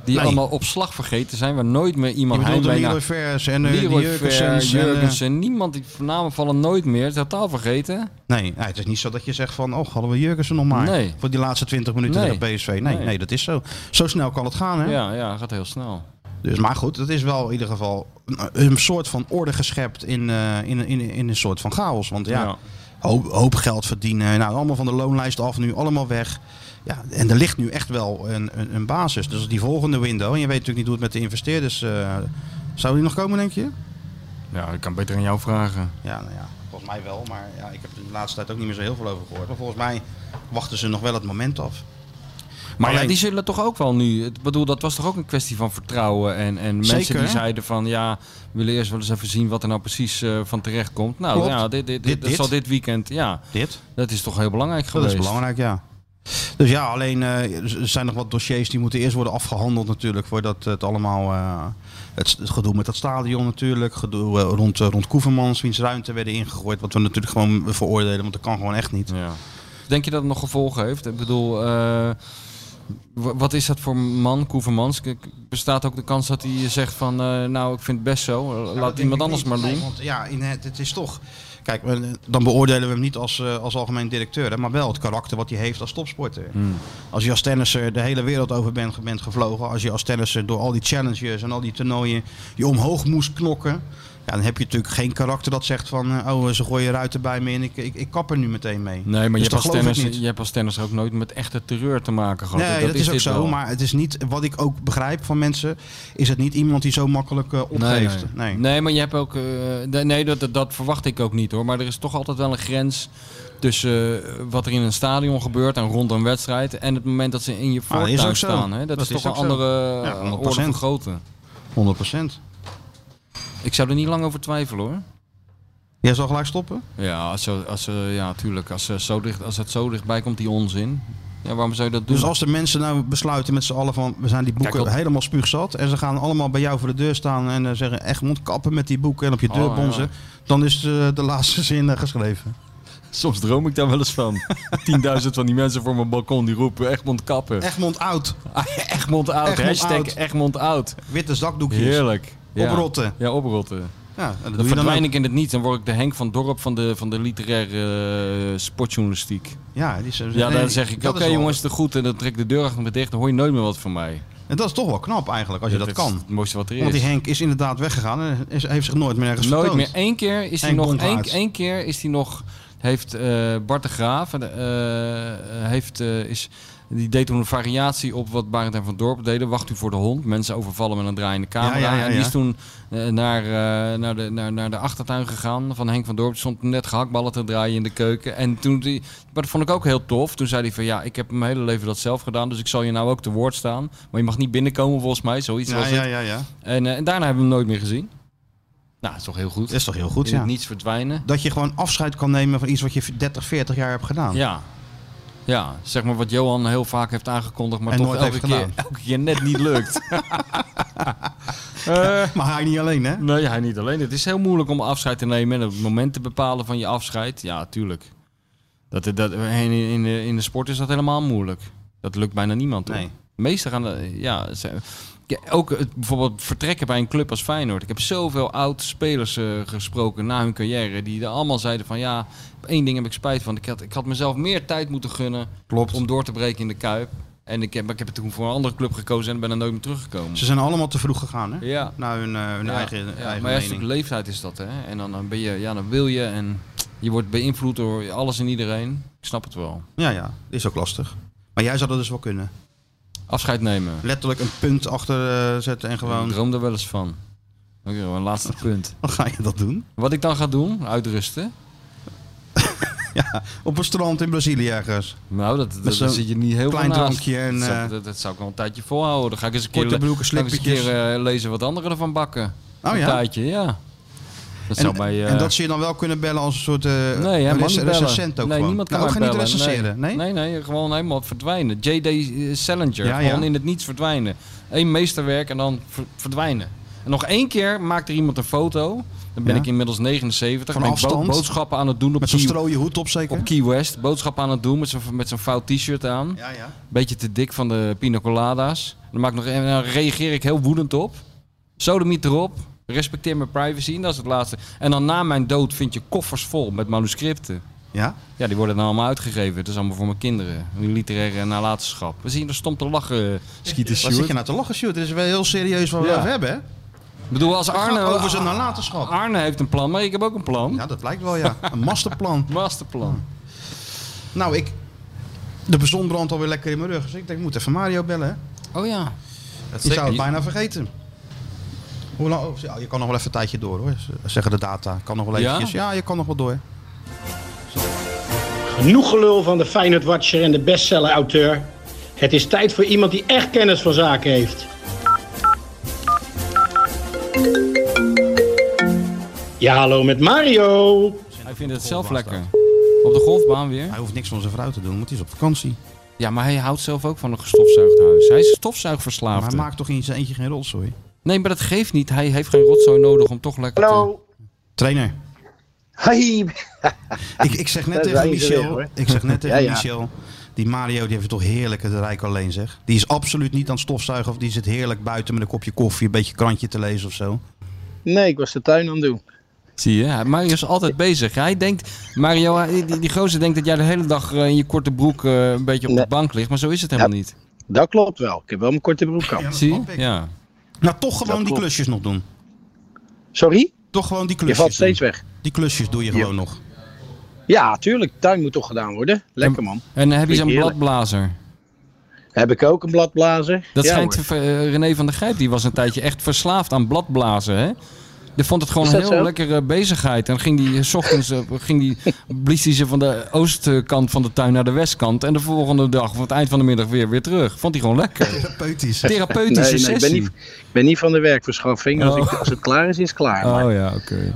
Die
Nee.
allemaal op slag vergeten zijn. Waar nooit meer
Je
iemand
bedoelt de
heimwee
Leroy
naar...
Vers en eh, die
Leroy
Jurgensen. eh,
Fer, Jurgensen. Niemand, die namen vallen nooit meer. Totaal vergeten.
Nee, nee, het is niet zo dat je zegt van, oh, hadden we Jurgensen nog maar.
Nee.
Voor die laatste 20 minuten
Nee.
tegen PSV. Nee,
Nee.
nee. dat is zo. Zo snel kan het gaan, hè?
Ja, ja, gaat heel snel.
Dus, maar goed, dat is wel in ieder geval een, een soort van orde geschept in, eh, in, in, in een soort van chaos. Want ja,
Ja.
Hoop, hoop geld verdienen. Nou, allemaal van de loonlijst af nu, allemaal weg. Ja, en er ligt nu echt wel een, een, een basis. Dus die volgende window, en je weet natuurlijk niet hoe het met de investeerders... eh, zou die nog komen, denk je?
Ja, ik kan beter aan jou vragen.
Ja, nou ja, volgens mij wel. Maar ja, ik heb er de laatste tijd ook niet meer zo heel veel over gehoord. Maar volgens mij wachten ze nog wel het moment af.
Maar ja,
Alleen-
die zullen toch ook wel nu. Ik bedoel, dat was toch ook een kwestie van vertrouwen. En, en mensen
Zeker,
die
hè?
zeiden van ja, we willen eerst wel eens even zien wat er nou precies eh, van terecht komt. Nou
Klopt.
ja, dit, dit, dit,
Dit-
dat
dit.
zal dit weekend. Ja,
Dit?
dat is toch heel belangrijk
Dat
geweest.
is belangrijk, ja. Dus ja, alleen eh, er zijn nog wat dossiers die moeten eerst worden afgehandeld natuurlijk. Voordat het allemaal... eh, het, het gedoe met dat stadion natuurlijk. Gedoe eh, rond, eh, rond Koevermans, wiens ruimte werden ingegooid. Wat we natuurlijk gewoon veroordelen, want dat kan gewoon echt niet.
Ja. Denk je dat het nog gevolgen heeft? Ik bedoel, eh, wa- wat is dat voor man, Koevermans? K- Bestaat ook de kans dat hij zegt van eh, nou, ik vind het best zo.
Nou,
Laat
dat denk
iemand
ik
anders
niet.
maar
Nee,
doen.
want ja, in het, het is toch. Kijk, eh, dan beoordelen we hem niet als, eh, als algemeen directeur, hè, maar wel het karakter wat hij heeft als topsporter.
Hmm.
Als je als tennisser de hele wereld over bent, bent gevlogen, als je als tennisser door al die challenges en al die toernooien je omhoog moest knokken, ja, dan heb je natuurlijk geen karakter dat zegt van, eh, oh ze gooien ruiten bij me en ik, ik, ik kap er nu meteen mee.
Nee,
Dus
maar je,
dat
hebt als
geloof ik
tennis,
niet.
je hebt als tennis ook nooit met echte terreur te maken gehad.
Nee, dat, is, ook
dit
zo.
wel.
Maar het is niet, wat ik ook begrijp van mensen, is het niet iemand die zo makkelijk eh, opgeeft.
Nee, nee. Nee, maar je hebt ook. eh, de- nee, dat, dat, dat verwacht ik ook niet hoor. Maar er is toch altijd wel een grens tussen eh, wat er in een stadion gebeurt en rond een wedstrijd. En het moment dat ze in je
dat Ah, is
voortuin
ook zo.
staan. Hè? Dat,
Dat
is
is
toch een
ook zo.
andere
Ja,
eh,
100%.
orde van grootte.
100%.
Ik zou er niet lang over twijfelen hoor.
Jij zal gelijk stoppen?
Ja, als ze, als ze, ja tuurlijk. Als, ze zo dicht, als het zo dichtbij komt, die onzin. Ja, waarom zou je dat doen?
Dus als de mensen nou besluiten met z'n allen van we zijn die boeken
Kijk, dat-
helemaal spuugzat en ze gaan allemaal bij jou voor de deur staan en eh, zeggen echt mond kappen met die boeken en op je deur
Oh, ja.
bonzen, dan is eh, de laatste zin eh, geschreven.
Soms droom ik daar wel eens van. 10.000 van die mensen voor mijn balkon die roepen Egmond kappen.
Egmond oud,
Egmond oud.
Egmond
hashtag
oud.
Egmond oud.
witte zakdoekjes.
Heerlijk. Ja.
Oprotten.
Ja, oprotten.
Ja, en dat
Dan
doe je dan
verdwijn
ook.
ik in het niet. Dan word ik de Henk van Dorp van de, van de literaire eh, sportjournalistiek.
Ja, die is-
Ja,
nee,
dan zeg ik, oké
dat is wel-
jongens, de goed. En dan trek ik de deur achter me dicht. Dan hoor je nooit meer wat van mij.
En dat is toch wel knap eigenlijk als je dat
is
kan.
het mooiste wat er is.
Want die Henk is inderdaad weggegaan en is- heeft zich nooit meer ergens
Nooit
vertoond.
meer. Eén keer is hij
Henk
nog. Één,
Bongaard.
één keer is hij nog. Heeft eh, Bart de Graaf. eh, heeft, eh, is, die deed toen een variatie op wat Barend en Van Dorp deden. Wacht u voor de hond. Mensen overvallen met een draaiende camera.
Ja, ja, ja,
En die
ja.
is toen eh, naar, eh, naar, de, naar, naar de achtertuin gegaan van Henk van Dorp. Die stond net gehaktballen te draaien in de keuken. En toen die, maar dat vond ik ook heel tof. Toen zei hij van ja, ik heb mijn hele leven dat zelf gedaan. Dus ik zal je nou ook te woord staan. Maar je mag niet binnenkomen volgens mij. Zoiets
Ja,
was
ja,
het.
ja, ja.
En, eh, en daarna hebben we hem nooit meer gezien. Nou, dat is toch heel goed.
Dat is toch heel goed,
In het
ja.
niets verdwijnen.
Dat je gewoon afscheid kan nemen van iets wat je 30, 40 jaar hebt gedaan.
Ja. Ja, zeg maar wat Johan heel vaak heeft aangekondigd, maar
En
toch
nooit
elke,
heeft
keer,
gedaan.
elke keer net niet lukt. Eh,
Maar hij niet alleen, hè?
nee, hij niet alleen. Het is heel moeilijk om afscheid te nemen en het moment te bepalen van je afscheid. Ja, tuurlijk. Dat, dat, in, in, de, in de sport is dat helemaal moeilijk. Dat lukt bijna niemand. hoor.
Nee.
Meestal gaan de, ja, ze- ja, ook het, bijvoorbeeld vertrekken bij een club als Feyenoord. Ik heb zoveel oud-spelers eh, gesproken na hun carrière. Die er allemaal zeiden van ja, op één ding heb ik spijt van. Ik had, ik had mezelf meer tijd moeten gunnen
Klopt.
om door te breken in de Kuip. En ik heb, maar ik heb het toen voor een andere club gekozen en ben er nooit meer teruggekomen.
Ze zijn allemaal te vroeg gegaan, hè?
Ja.
Naar hun, eh, hun
Ja,
eigen, eigen
ja, maar ja,
mening.
natuurlijk leeftijd is dat, hè? En dan, dan ben je, ja, dan wil je en je wordt beïnvloed door alles en iedereen. Ik snap het wel.
Ja, ja. Is ook lastig. Maar jij zou dat dus wel kunnen.
Afscheid nemen.
Letterlijk een punt achter eh, zetten en
Ik
gewoon...
droom er wel eens van. Oké, een laatste punt.
Dan ga je dat doen.
Wat ik dan ga doen? Uitrusten.
Op een strand in Brazilië ergens.
Nou, dat, dat,
zo'n
dat zit je niet heel
klein
veel naast.
drankje en,
dat, zou,
eh,
dat, dat zou ik wel een tijdje volhouden. Dan ga ik eens een keer,
Korte
le-
broeken,
ga ik eens een
slippertjes.
keer eh, lezen wat anderen ervan bakken.
Oh
een
ja?
tijdje, ja. Dat
En,
zou bij, eh,
en dat ze je dan wel kunnen bellen als een soort eh
Nee, hij mag
rec-
niet bellen.
recensent ook
nee,
gewoon.
niemand kan
nou, ook
mij
geen niet
bellen.
recenseren. Nee?
Nee? nee, gewoon helemaal verdwijnen. J.D. Salinger,
Ja,
gewoon
ja.
in het niets verdwijnen. Eén meesterwerk en dan ver- verdwijnen. En nog één keer maakt er iemand een foto. Dan ben
Ja.
ik inmiddels 79.
Van
ben ik bo-
afstand?
boodschappen aan het doen op
Met zo'n
Key-
strooie hoed op zeker?
op Key West. Boodschappen aan het doen met zo'n met zo'n fout t-shirt aan.
Ja, ja.
Beetje te dik van de pina colada's. Dan, maak ik nog, en dan reageer ik heel woedend op. Sodemiet erop. Respecteer mijn privacy. En dat is het laatste. En dan na mijn dood vind je koffers vol met manuscripten.
Ja?
Ja, die worden dan allemaal uitgegeven. Dat is allemaal voor mijn kinderen. Hun literaire nalatenschap. We zien er stom te lachen, Skeeter
Wat zit
Stewart.
je nou te lachen, Sjoerd? Dit is wel heel serieus wat we
Ja. ah.
over hebben, hè?
Ik bedoel, als Arne...
over zijn nalatenschap.
Arne heeft een plan, maar ik heb ook een plan.
Ja, dat lijkt wel, ja. Een masterplan.
Masterplan.
Nou, ik... De zon brandt alweer lekker in mijn rug. Dus ik denk, ik moet even Mario bellen, hè?
Oh ja.
Dat
Je
zeker
zou het
niet.
bijna vergeten. Hoe lang? oh, ja, je kan nog wel even een tijdje door hoor. Z- Zeggen de data. Kan nog wel
Ja?
eventjes. Ja, je kan nog wel door.
Genoeg gelul van de Feyenoord Watcher en de bestseller auteur. Het is tijd voor iemand die echt kennis van zaken heeft. Ja, hallo met Mario.
Hij vindt het zelf lekker. Op de golfbaan weer.
Hij hoeft niks van zijn vrouw te doen, want die is op vakantie.
Ja, maar hij houdt zelf ook van een gestofzuigd huis. Hij is
Maar hij
stofzuigverslaafd.
maakt toch in zijn eentje geen rotzooi.
Nee, maar dat geeft niet. Hij heeft geen rotzooi nodig om toch lekker te...
Trainer.
Hi.
Ik, ik zeg net
Daar
tegen
zijn ze weer,
Michel.
hoor.
ik zeg net tegen
Ja, ja.
Michel. Die Mario die heeft het toch heerlijk het rijk alleen zeg. Die is absoluut niet aan het stofzuigen. Of die zit heerlijk buiten met een kopje koffie. Een beetje krantje te lezen of zo.
Nee, ik was de tuin aan het doen.
Zie je, hij- Mario is altijd bezig. Hij denkt, Mario, hij- die, die gozer denkt dat jij de hele dag eh, in je korte broek eh, een beetje op
Nee.
de bank ligt. Maar zo is het helemaal niet.
Dat klopt wel. Ik heb wel mijn korte broek aan.
Zie je?
snap ik.
Ja.
Nou toch gewoon die
klopt.
klusjes nog doen.
Sorry?
Toch gewoon die
Je
klusjes
valt steeds
doen.
weg.
Die klusjes doe je gewoon nog.
Ja, tuurlijk. Tuin moet toch gedaan worden. Lekker man.
En dan heb je
Vind
zo'n
ik heerlijk.
bladblazer.
Heb ik ook een bladblazer?
Dat
ja,
schijnt
hoor.
te ver- eh, René van der Gijp, die was een tijdje echt verslaafd aan bladblazen. Hè? Die vond het gewoon
Is
een
dat
heel
zo?
lekkere bezigheid. En dan ging die, eh, 's ochtends, eh, ging die, blies hij ze van de oostkant van de tuin naar de westkant. En de volgende dag, of het eind van de middag, weer, weer terug. Vond hij gewoon lekker.
Therapeutisch.
Therapeutische
Nee, nee, ik, ben
sessie.
niet, ik ben niet van de werkverschaffing. Als,
Oh.
ik, als het klaar is, is het klaar. Maar
Oh ja, oké.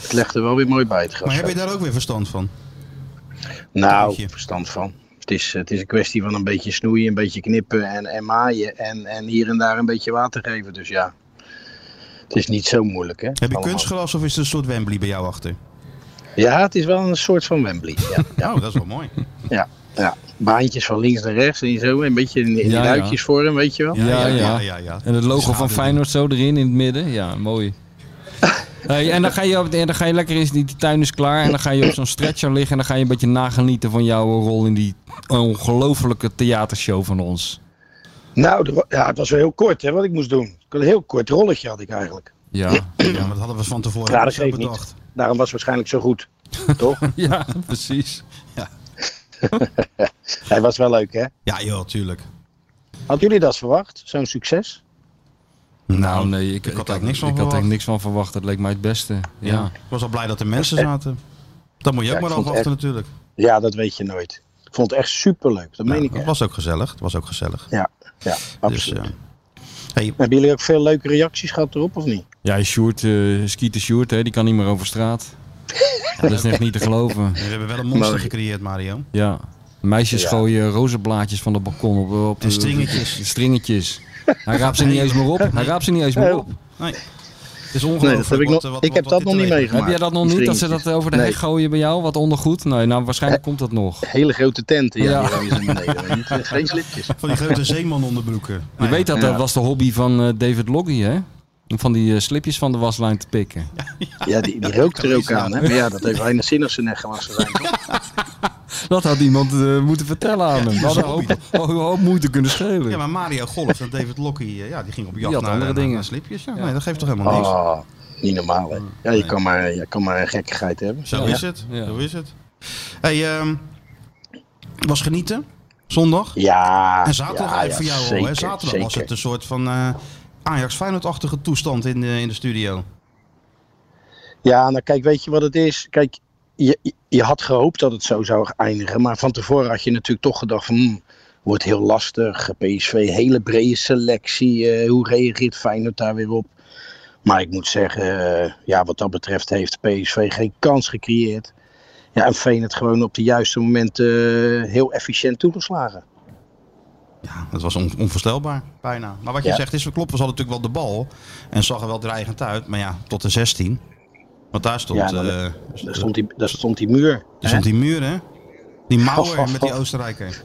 het legt er wel weer mooi bij het gras.
Maar heb je daar ook weer verstand van?
Nou,
Tuintje.
verstand van. Het is, het is een kwestie van een beetje snoeien, een beetje knippen en, en maaien. En, en hier en daar een beetje water geven. Dus ja, het is niet zo moeilijk. Hè?
Heb je
Allemaal.
kunstgras of is het een soort Wembley bij jou achter?
Ja, het is wel een soort van Wembley. Ja,
Ja, Oh, dat is wel mooi.
ja, ja. Baantjes van links naar rechts en zo. Een beetje in, in
Ja, ja.
ruitjesvorm, weet je wel.
Ja, ja.
ja, ja.
En het logo van Feyenoord zo erin in het midden. Ja, mooi. Hey, en dan ga, je op, en dan ga je lekker eens, die die tuin is klaar. En dan ga je op zo'n stretcher liggen. En dan ga je een beetje nagenieten van jouw rol in die ongelofelijke theatershow van ons.
Nou, de-
Dus,
ja, het was wel heel kort hè, wat ik moest doen. Een heel kort rolletje had ik eigenlijk.
Ja,
Ja, maar dat hadden we van tevoren
Ja,
ook
dat
zo
geeft niet.
bedacht.
Daarom was het waarschijnlijk zo goed. Toch?
ja precies.
Hij was wel leuk, hè?
Ja, joh, tuurlijk.
Hadden jullie dat verwacht? Zo'n succes?
Nou nee, ik,
had eigenlijk niks van
ik had
verwacht.
eigenlijk niks van verwacht. Dat leek mij het beste. Ja.
Ja. Ik was al blij dat er
Eh,
mensen zaten. Dat moet je ook
Ja,
maar
ik vond
afwachten natuurlijk. Nou,
Ja, dat weet je nooit. Ik vond het echt superleuk. Dat meen ik
het
echt.
was ook gezellig. Het was ook gezellig.
Ja, ja, absoluut.
Dus, eh, hey,
Hebben jullie ook veel leuke reacties gehad erop, of niet?
Ja, Sjoerd, eh Skeeter Sjoerd, hè, die kan niet meer over straat. Ja, dat is echt niet te geloven.
We hebben wel een monster
Maar-
gecreëerd, Mario.
Ja. Meisjes gooien rozenblaadjes van het balkon op, op de
En stringetjes.
de stringetjes. Hij raapt ze niet eens meer op. Hij raapt ze niet eens meer op.
Nee. Het is
Nee,
ongelooflijk.
dat heb ik,
wat,
nog,
eh, wat-
ik heb
wat
dat
dit
nog niet
teweeg-
meegemaakt.
Heb jij dat nog niet? Dat ze dat
Stringetjes.
over de
Nee,
hek gooien bij jou? Wat ondergoed? Nee, nou waarschijnlijk komt dat nog.
Hele grote tenten, ja,
Ja.
die hangen ze naar beneden. Niet, eh, Geen slipjes.
Van die grote zeemanonderbroeken.
Je weet dat,
Ja.
dat was de hobby van eh, David Loggy, hè? Om van die eh, slipjes van de waslijn te pikken.
Ja, die, die rookt er ook aan, hè? Maar ja, dat heeft weinig zin als ze net gewassen zijn. toch?
Dat had iemand eh, moeten vertellen aan hem. We hadden een hoop, een hoop moeite kunnen schelen.
Ja, maar Mario Golf en David Lockie, eh, ja, die ging op jacht
had
naar,
andere
naar-
dingen.
naar slipjes. Ja, Nee, dat geeft toch helemaal niks.
Oh, niet normaal, hè? Ja, je kan maar, je kan maar een gekkigheid hebben.
Zo
Ja.
is het.
Ja.
Zo is het.
Hey, ehm, was genieten, zondag.
Ja,
En zaterdag
ja,
even
ja,
voor jou al, hè?
zeker,
Zaterdag was
zeker.
het een soort van eh Ajax-Feyenoord-achtige toestand in, de- in de studio.
Ja, nou kijk, weet je wat het is? Kijk, je, je- je had gehoopt dat het zo zou eindigen. Maar van tevoren had je natuurlijk toch gedacht van... hmm, wordt heel lastig. PSV, hele brede selectie. eh, hoe reageert Feyenoord daar weer op? Maar ik moet zeggen, eh, ja, wat dat betreft heeft PSV geen kans gecreëerd. Ja, en Feyenoord gewoon op de juiste moment eh, heel efficiënt toegeslagen.
Ja, dat was on- onvoorstelbaar, bijna. Maar wat je
Ja.
zegt is, we kloppen. Ze hadden natuurlijk wel de bal en zag er wel dreigend uit. Maar ja, tot de 16. Want daar stond,
Ja, maar
eh,
dat-
st-
Daar stond die, daar stond die muur.
daar
hè?
stond die muur, hè? Die Mauer met die Oostenrijker.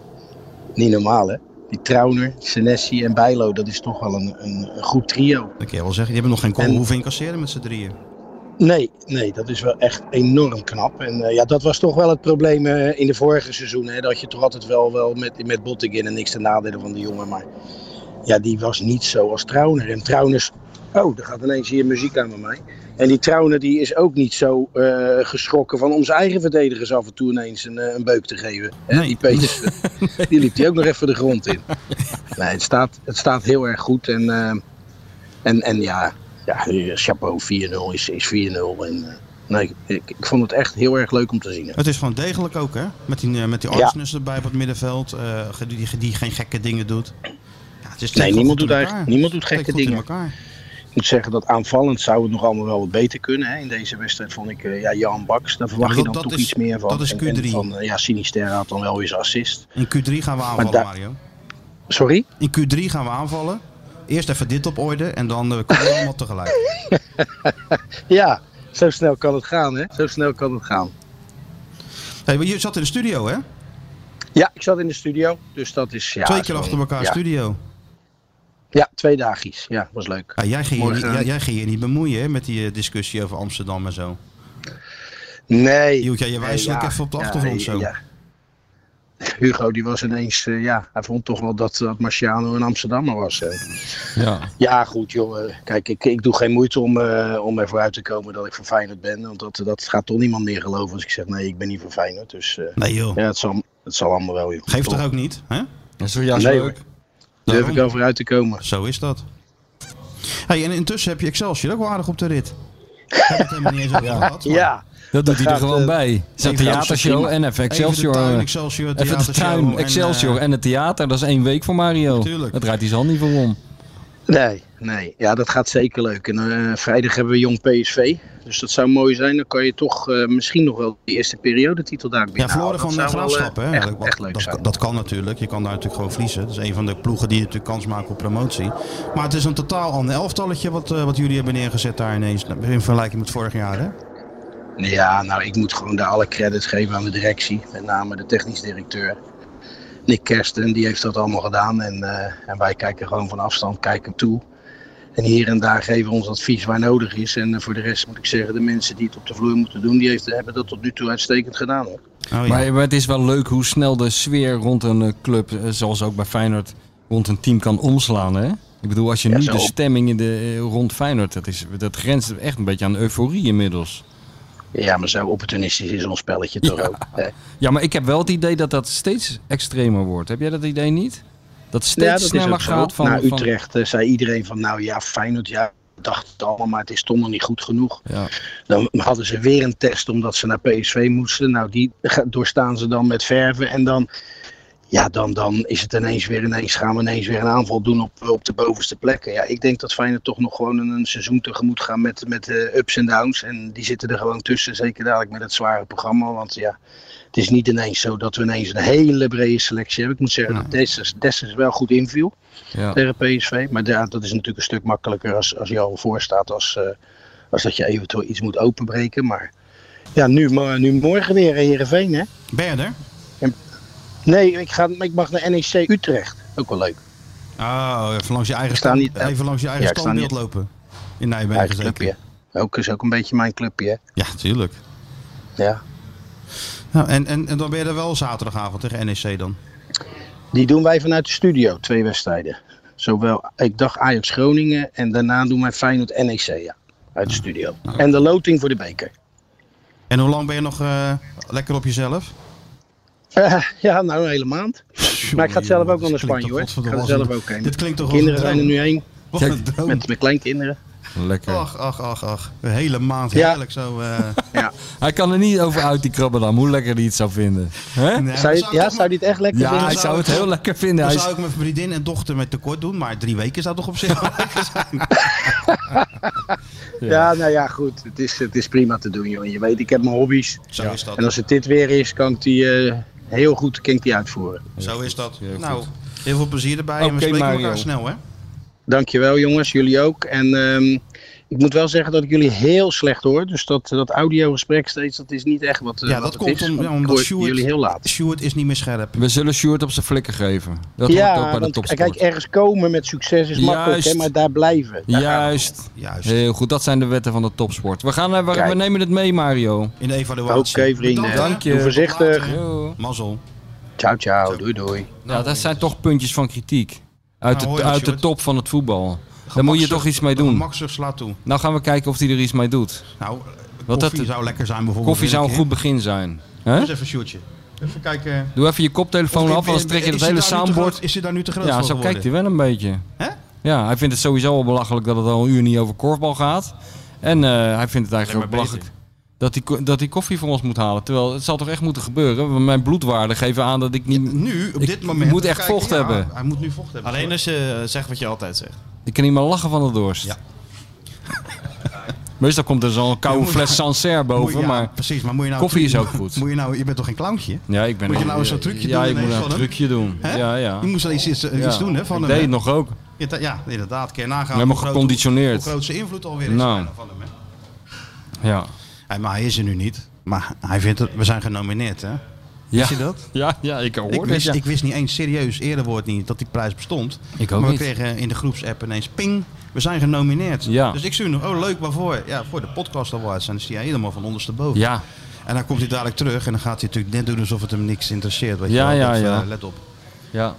Niet normaal, hè? Die Trauner, Senesi en Bijlo, dat is toch wel een, een, een goed trio.
Dat kun je wel zeggen. Die hebben nog geen goal
En-
hoeven incasseren met z'n drieën.
Nee, nee, dat is wel echt enorm knap. En eh, ja, dat was toch wel het probleem eh, in de vorige seizoen. Hè, dat je toch altijd wel, wel met, met Bottigin en niks te nadelen van de jongen. Maar ja, die was niet zo als Trauner. En Trauner... Oh, er gaat ineens hier muziek aan bij mij. En die Trauner die is ook niet zo eh, geschrokken van onze eigen verdedigers af en toe ineens een, eh, een beuk te geven. Hè,
Nee.
Die Peters, die liep die ook nog even de grond in. Nee, het staat, het staat heel erg goed. En, eh, en, en ja, ja, chapeau 4-0 is, is 4-0. En, eh, nee, ik, ik vond het echt heel erg leuk om te zien. hè.
Het is gewoon degelijk ook, hè? Met die, eh, met die
Ja.
Arsnes erbij op het middenveld. eh, ge- die, die, die geen gekke dingen doet. Ja, het is steekt
Nee,
wel goed
niemand
in
doet,
elkaar.
eigenlijk, niemand doet
Steekt
gekke
goed in
dingen.
elkaar.
Ik moet zeggen dat aanvallend zou het nog allemaal wel wat beter kunnen. Hè. In deze wedstrijd vond ik eh, ja, Jan Baks, daar verwacht
Ja,
je
dat-
dan
dat
toch
is-
iets meer van.
dat is
En- En,
Q3.
van, eh, ja, Sinisterra had dan wel weer zijn assist.
In Q3 gaan we aanvallen,
daar-
Mario.
Sorry?
In Q3 gaan we aanvallen. Eerst even dit op orde en dan eh, komen we allemaal tegelijk.
Ja, zo snel kan het gaan, hè? Zo snel kan het gaan.
Hey, maar je zat in de studio, hè?
Ja, ik zat in de studio, dus dat is... Ja,
Twee keer
gewoon-
achter elkaar
ja.
studio.
Ja, twee dagjes. Ja, was leuk.
Ja, jij, ging Ah, je niet,
Morgen-
jij, jij ging je niet bemoeien hè, met die eh, discussie over Amsterdam en zo.
Nee.
Hield jij je wijselijk
ja,
even op de
ja,
achtergrond zo?
ja. Hugo die was ineens, eh, ja, hij vond toch wel dat, dat Marciano een Amsterdammer was. hè.
Ja.
Ja, goed joh. eh, Kijk, ik, ik doe geen moeite om, eh, om er vooruit te komen dat ik voor Feyenoord ben. Want dat, dat gaat toch niemand meer geloven als ik zeg, nee, ik ben niet voor Feyenoord. Dus eh,
Nee joh,
ja, het zal, het zal allemaal wel joh.
geeft
Toch?
toch ook niet? Hè?
Dat is zojuist
Nee,
leuk.
Durf
Daarom.
ik over uit te komen.
Zo is dat. Hey, en intussen heb je Excelsior ook wel aardig op de rit. Ik heb het helemaal niet eens over gehad. maar
Ja,
Dat doet hij er
gaat,
gewoon
eh,
bij. Zo'n
even
theatershow
prima.
en even Excelsior.
Even de tuin,
eh,
Excelsior,
Even de
theatershow
tuin,
en, eh,
Excelsior en het theater. Dat is één week voor Mario.
Tuurlijk.
Dat draait hij zijn hand niet voor om.
Nee, nee. Ja, dat gaat zeker leuk. En eh, vrijdag hebben we jong PSV. Dus dat zou mooi zijn. Dan kan je toch eh, misschien nog wel de eerste periodetitel daar
ja,
binnenhalen.
verloren
Dat
van de
zou wel, eh,
Graafschap. hè?
Echt,
dat,
echt leuk
dat,
zijn.
dat kan natuurlijk. Je kan daar natuurlijk gewoon verliezen. Dat is een van de ploegen die natuurlijk kans maken op promotie. Maar het is een totaal ander elftalletje wat, eh, wat jullie hebben neergezet daar ineens. nou, In vergelijking met vorig jaar, hè?
Ja, nou, ik moet gewoon daar alle credits geven aan de directie. Met name de technisch directeur. Nick Kersten, die heeft dat allemaal gedaan. En, eh, en wij kijken gewoon van afstand, kijken toe. En hier en daar geven we ons advies waar nodig is. En eh, voor de rest moet ik zeggen, de mensen die het op de vloer moeten doen, die heeft, hebben dat tot nu toe uitstekend gedaan. Hoor.
Oh, ja.
Maar, maar het is wel leuk hoe snel de sfeer rond een eh, club, eh, zoals ook bij Feyenoord, rond een team kan omslaan. Hè? Ik bedoel, als je
Ja,
nu
zo.
de stemming in de, eh, rond Feyenoord, dat, is, dat grenst echt een beetje aan euforie inmiddels.
Ja, maar zo opportunistisch is ons spelletje toch ook. hè?
Ja, maar ik heb wel het idee dat dat steeds extremer wordt. Heb jij dat idee niet? Dat het steeds
ja, dat
sneller
is ook
gaat
zo.
van...
Na
van-
Utrecht eh, zei iedereen van, nou ja, Feyenoord, ja, ik dacht het allemaal, maar het is toch nog niet goed genoeg.
Ja.
Dan hadden ze weer een test omdat ze naar PSV moesten. Nou, die ga- doorstaan ze dan met verven en dan... Ja, dan, dan is het ineens weer ineens gaan we ineens weer een aanval doen op, op de bovenste plekken. Ja, ik denk dat Feyenoord toch nog gewoon een, een seizoen tegemoet gaan met, met eh, ups en downs. En die zitten er gewoon tussen, zeker dadelijk met het zware programma. Want ja, het is niet ineens zo dat we ineens een hele brede selectie hebben. Ik moet zeggen dat Dessers, Dessers wel goed inviel
Ja.
tegen PSV. Maar ja, dat is natuurlijk een stuk makkelijker als, als je al voor staat als, eh, als dat je eventueel iets moet openbreken. Maar ja, nu, mo- nu morgen weer eh, Heerenveen hè.
Ben je er?
Nee, ik, ga, ik mag naar NEC Utrecht. Ook wel leuk.
Oh, even langs je eigen,
Ik sta
stand-
niet-
even langs je eigen
Ja, ik sta
standbeeld
niet-
lopen. In Nijmegen
Eigen
zeker.
clubje. Ook is ook een beetje mijn clubje. hè.
Ja, tuurlijk.
Ja.
Nou, en, en, en dan ben je er wel zaterdagavond tegen NEC dan?
Die doen wij vanuit de studio, twee wedstrijden. Zowel, ik dacht Ajax Groningen en daarna doen wij Feyenoord NEC, ja. Uit de studio. En de loting voor de beker.
En hoe lang ben je nog eh, lekker op jezelf?
Eh, ja, nou een hele maand. Maar ik ga het zelf ook
Dit
nog naar
klinkt
Spanje
toch
hoor. Ik
godverdomme
ga er
als een-
zelf ook heen.
Dit klinkt toch als
Kinderen
een Oh.
zijn er nu heen.
Wat een droom.
Met mijn kleinkinderen.
Lekker.
Ach, ach, ach, ach. Een hele maand
Ja.
heerlijk zo. eh.
Ja,
Hij kan er niet over uit, die krabbendam, hoe lekker hij het zou vinden. Hè?
Nee,
zou,
dan
je,
zou ik
ja,
toch
zou die het echt lekker
Ja,
vinden?
hij zou het heel lekker vinden.
Dan
Hij
zou ik mijn vriendin en dochter met tekort doen, maar drie weken zou toch op zich wel lekker zijn.
Ja, nou ja, goed. Het is, het is prima te doen, joh. Je weet, ik heb mijn hobby's.
Zo is dat.
En als het dit weer is, kan ik die eh, heel goed kan ik die uitvoeren.
Zo is dat.
Heel
nou,
goed.
heel veel plezier erbij en
Oké,
we spreken
Mario.
elkaar snel, hè?
Dankjewel jongens, jullie ook. En ehm, ik moet wel zeggen dat ik jullie heel slecht hoor. Dus dat, dat audiogesprek steeds, dat is niet echt wat, eh,
Ja,
wat
dat
het
komt
is.
om-
Want
ja,
ik
omdat
hoor
Sjoerd-
jullie heel laat.
Stuart is niet meer scherp.
We zullen Sjoerd op zijn flikken geven. Dat hoort ook
Ja,
bij de
want
topsport.
kijk, ergens komen met succes is makkelijk, hè,
Juist.
maar daar blijven. Daar gaan we.
Juist.
Juist.
Heel goed, dat zijn de wetten van de topsport. We, gaan, eh, we, we
Kijk.
nemen het mee, Mario.
In de evaluatie.
Oké, vrienden.
Bedankt, eh, hè.
Dank je.
Doe voorzichtig.
Later. Mazzel.
Ciao, ciao. Doei, doei.
Ja, dat zijn toch puntjes van kritiek. Uit,
Nou, hoor
de,
je dat,
uit de
Sjoerd?
top van het voetbal. Daar moet je toch iets mee doen.
Max slaat toe.
Nou gaan we kijken of hij er iets mee doet.
Nou,
dat-
koffie zou lekker zijn bijvoorbeeld.
Koffie zou een
Weet ik,
goed begin zijn. Hè?
hè? Eens even shootje. Even kijken.
Doe even je koptelefoon af, anders trek je het hele soundboard.
Is hij daar nu te groot
Ja,
voor
zo
geworden?
kijkt hij wel een beetje.
Hè?
Ja, hij vindt het sowieso al belachelijk dat het al een uur niet over korfbal gaat. En eh, hij vindt het eigenlijk ook
Alleen maar
belachelijk dat hij, ko- dat hij koffie voor ons moet halen. Terwijl het zal toch echt moeten gebeuren. Want mijn bloedwaarden geven aan dat ik niet...
Nu, op
Ik
dit moment.
moet echt
kijken,
vocht
ja,
hebben.
Hij moet nu vocht hebben.
Alleen als je eh, zegt wat je altijd zegt.
Ik kan niet meer lachen van de dorst.
Ja.
Meestal komt er zo'n koude
Je moet-
fles Sancerre
Moet je-
boven,
ja,
maar...
Precies, maar moet je nou...
Koffie is ook goed.
Moet je nou... Je bent toch geen clowntje?
Ja, ik ben
Moet je
ook-
nou eens zo'n trucje
ja,
doen
ik moet
ineens
nou
van
een
hem?
trucje doen.
Hè?
Ja, ja.
Je moest wel iets, iets, iets
Ja,
doen, hè? Van
ik
hem,
deed
hè?
het nog ook.
Ja, ta- Ja, inderdaad. Kun je nagaan
Helemaal
hoe groot-
geconditioneerd.
Hoe groot zijn invloed alweer is
Nou.
bijna van hem, hè?
Ja.
Hey, maar hij is er nu niet. Maar hij vindt het, we zijn genomineerd, hè?
ja.
je dat?
Ja, ja, ik hoor
Ik
dit,
wist,
ja.
ik wist niet eens serieus, eerder woord niet, dat die prijs bestond.
Ik ook
maar we
niet.
kregen in de groepsapp ineens ping, we zijn genomineerd.
Ja.
Dus ik stuur nog, oh leuk, waarvoor? Ja, voor de podcast awards. En dan is hij helemaal van ondersteboven.
Ja,
En dan komt hij dadelijk terug en dan gaat hij natuurlijk net doen alsof het hem niks interesseert. Weet
Ja,
je wel.
ja,
Dat,
ja.
eh, let op.
ja.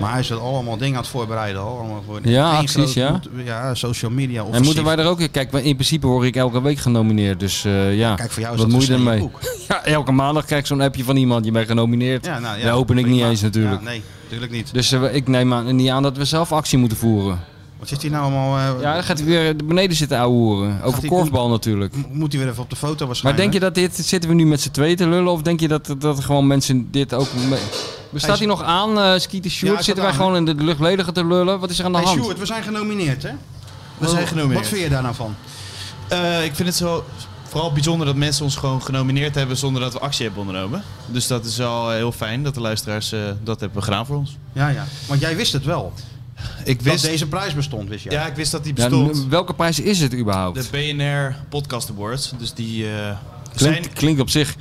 Maar hij is er allemaal dingen aan het voorbereiden. Al. Allemaal voor
Ja,
één
acties,
groot
ja.
moet- ja, social media.
En
offensief.
moeten wij er ook... Kijk, in principe word ik elke week genomineerd. Dus eh, ja,
Kijk, voor jou is
wat
dat dus
moet je
een
ermee?
snelle koek.
Ja, elke maandag krijg ik zo'n appje van iemand. Je bent genomineerd.
Ja, nou, ja,
Daar open ik niet
prima.
eens natuurlijk.
Ja, nee, natuurlijk niet.
Dus eh, ik neem aan, niet aan dat we zelf actie moeten voeren.
Wat zit hij nou allemaal... eh,
Ja, dan gaat hij weer beneden zitten ouwehoeren. Over
hij
korfbal natuurlijk.
m- Moet hij weer even op de foto
Maar
waarschijnlijk.
denk je dat dit... Zitten we nu met z'n tweeën te lullen? Of denk je dat, dat er gewoon mensen dit ook... mee- Bestaat hij nog aan, eh Ski de
Ja,
Short?
hij
Zitten wij
staat
gewoon in de luchtledige te lullen? Wat is er aan de
Hey
hand?
Sjoerd, we zijn genomineerd, hè?
We zijn genomineerd.
Wat vind je daar nou van?
Eh, ik vind het zo vooral bijzonder dat mensen ons gewoon genomineerd hebben zonder dat we actie hebben ondernomen. Dus dat is wel heel fijn dat de luisteraars eh, dat hebben gedaan voor ons.
Ja, ja. Want jij wist het wel.
Ik
Dat
wist,
deze prijs bestond, wist jij.
ja, ik wist dat die
Ja,
bestond.
n- welke prijs is het überhaupt?
de BNR Podcast Awards. Dus die eh, zijn...
Klinkt, klinkt op zich.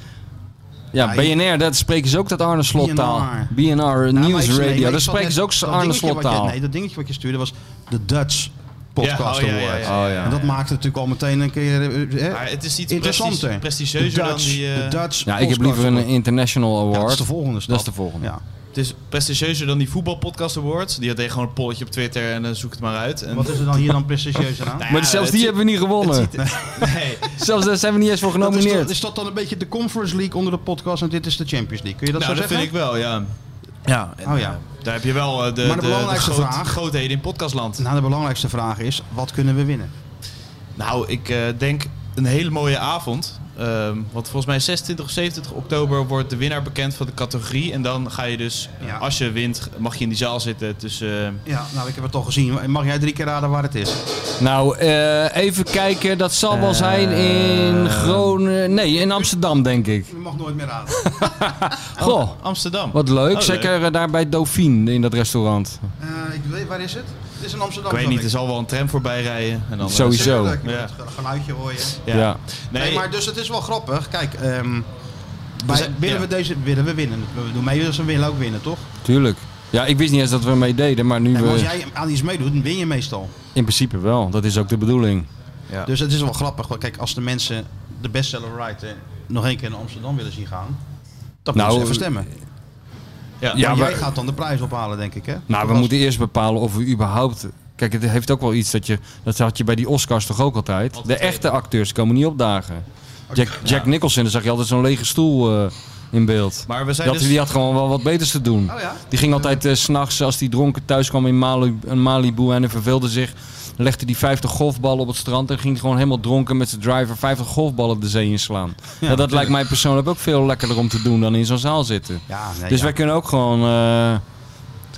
Ja,
Ja, je-
BNR, dat spreken ze ook dat Arne Slot taal.
BNR.
BNR,
Nou, maar
News
ik- nee, maar
Radio,
ik
dat
zat
spreken
net-
dus
ze ook
dat
Arne
dingetje
Slot
wat je-
taal.
Nee, dat dingetje wat je stuurde was de Dutch Podcast
Ja, oh, ja,
Award.
ja, ja,
ja, ja.
En dat maakte natuurlijk al meteen een keer eh,
Maar het is iets
interessanter.
prestige- prestigieuzer
De
dan
Dutch-
die... eh,
de Dutch
Ja, ik heb
Podcast
liever een
Award.
International Award.
Ja, dat is de volgende stap.
Dat is de volgende.
Ja.
Het is prestigieuzer dan die voetbalpodcast awards. Die had gewoon een polletje op Twitter en dan zoek het maar uit. En,
Wat is er dan hier dan prestigieuzer aan?
Nou
Maar
ja,
zelfs die
het zi-
hebben we niet gewonnen.
Nee,
Zelfs daar zijn we niet eens voor
Dat is,
genomineerd.
toch- is dat dan een beetje de Conference League onder de podcast en dit is de Champions League? Kun je dat
nou,
zo
dat
zeggen?
vind ik wel, ja.
ja. Oh ja.
Daar heb je wel eh, de,
Maar de
de, de
belangrijkste
groot-
vraag-
grootheden in podcastland.
Nou, de belangrijkste vraag is, wat kunnen we winnen?
Nou, ik eh, denk een hele mooie avond Ehm, want volgens mij 26 of 27 oktober wordt de winnaar bekend van de categorie. En dan ga je dus,
Ja.
als je wint, mag je in die zaal zitten tussen... eh,
Ja, nou, ik heb het al gezien. Mag jij drie keer raden waar het is?
Nou, eh, even kijken. Dat zal wel zijn
Eh.
in Groningen. Nee, in Amsterdam, denk ik.
Je mag nooit meer raden. Oh.
Goh,
Amsterdam.
wat leuk.
Oh,
Zeker eh, daar bij Dauphine in dat restaurant.
Eh, ik weet, waar is het? Het is in Amsterdam.
Ik weet
zag
niet, er zal wel een tram voorbij rijden. En dan
Sowieso.
Tuurlijk, je
Ja.
moet Het geluidje hoor je.
Ja.
Ja.
Nee,
Nee, maar dus het is wel grappig. Kijk, ehm wij-
zijn-
willen
ja.
we deze willen we winnen? We doen mee, dus we willen ook winnen, toch?
Tuurlijk. Ja, ik wist niet eens dat we mee deden, maar nu
En als
we...
jij aan iets meedoet, dan win je meestal.
in principe wel. Dat is ook de bedoeling.
Ja.
Dus het is wel grappig. Want kijk, als de mensen de bestseller writer nog één keer naar Amsterdam willen zien gaan, dan moeten
Nou,
ze even stemmen.
ja.
Ja,
Ja,
maar-
jij gaat dan de prijs ophalen, denk ik, hè?
Nou, we
Als-
moeten eerst bepalen of we überhaupt... Kijk, het heeft ook wel iets dat je... Dat had je bij die Oscars toch ook altijd. de echte acteurs komen niet opdagen. Jack, Jack Nicholson, daar zag je altijd zo'n lege stoel eh, in beeld.
Maar we zijn
dat,
dus-
Die had gewoon wel wat beters te doen.
Oh ja?
Die ging altijd eh, 's s'nachts, als hij dronken thuis kwam in Malibu, in Malibu en hij verveelde zich... legde die 50 golfballen op het strand en ging gewoon helemaal dronken met zijn driver 50 golfballen de zee inslaan. Ja, dat lijkt mij persoonlijk ook veel lekkerder om te doen dan in zo'n zaal zitten.
Ja, nee,
Dus
ja.
wij kunnen ook gewoon, eh,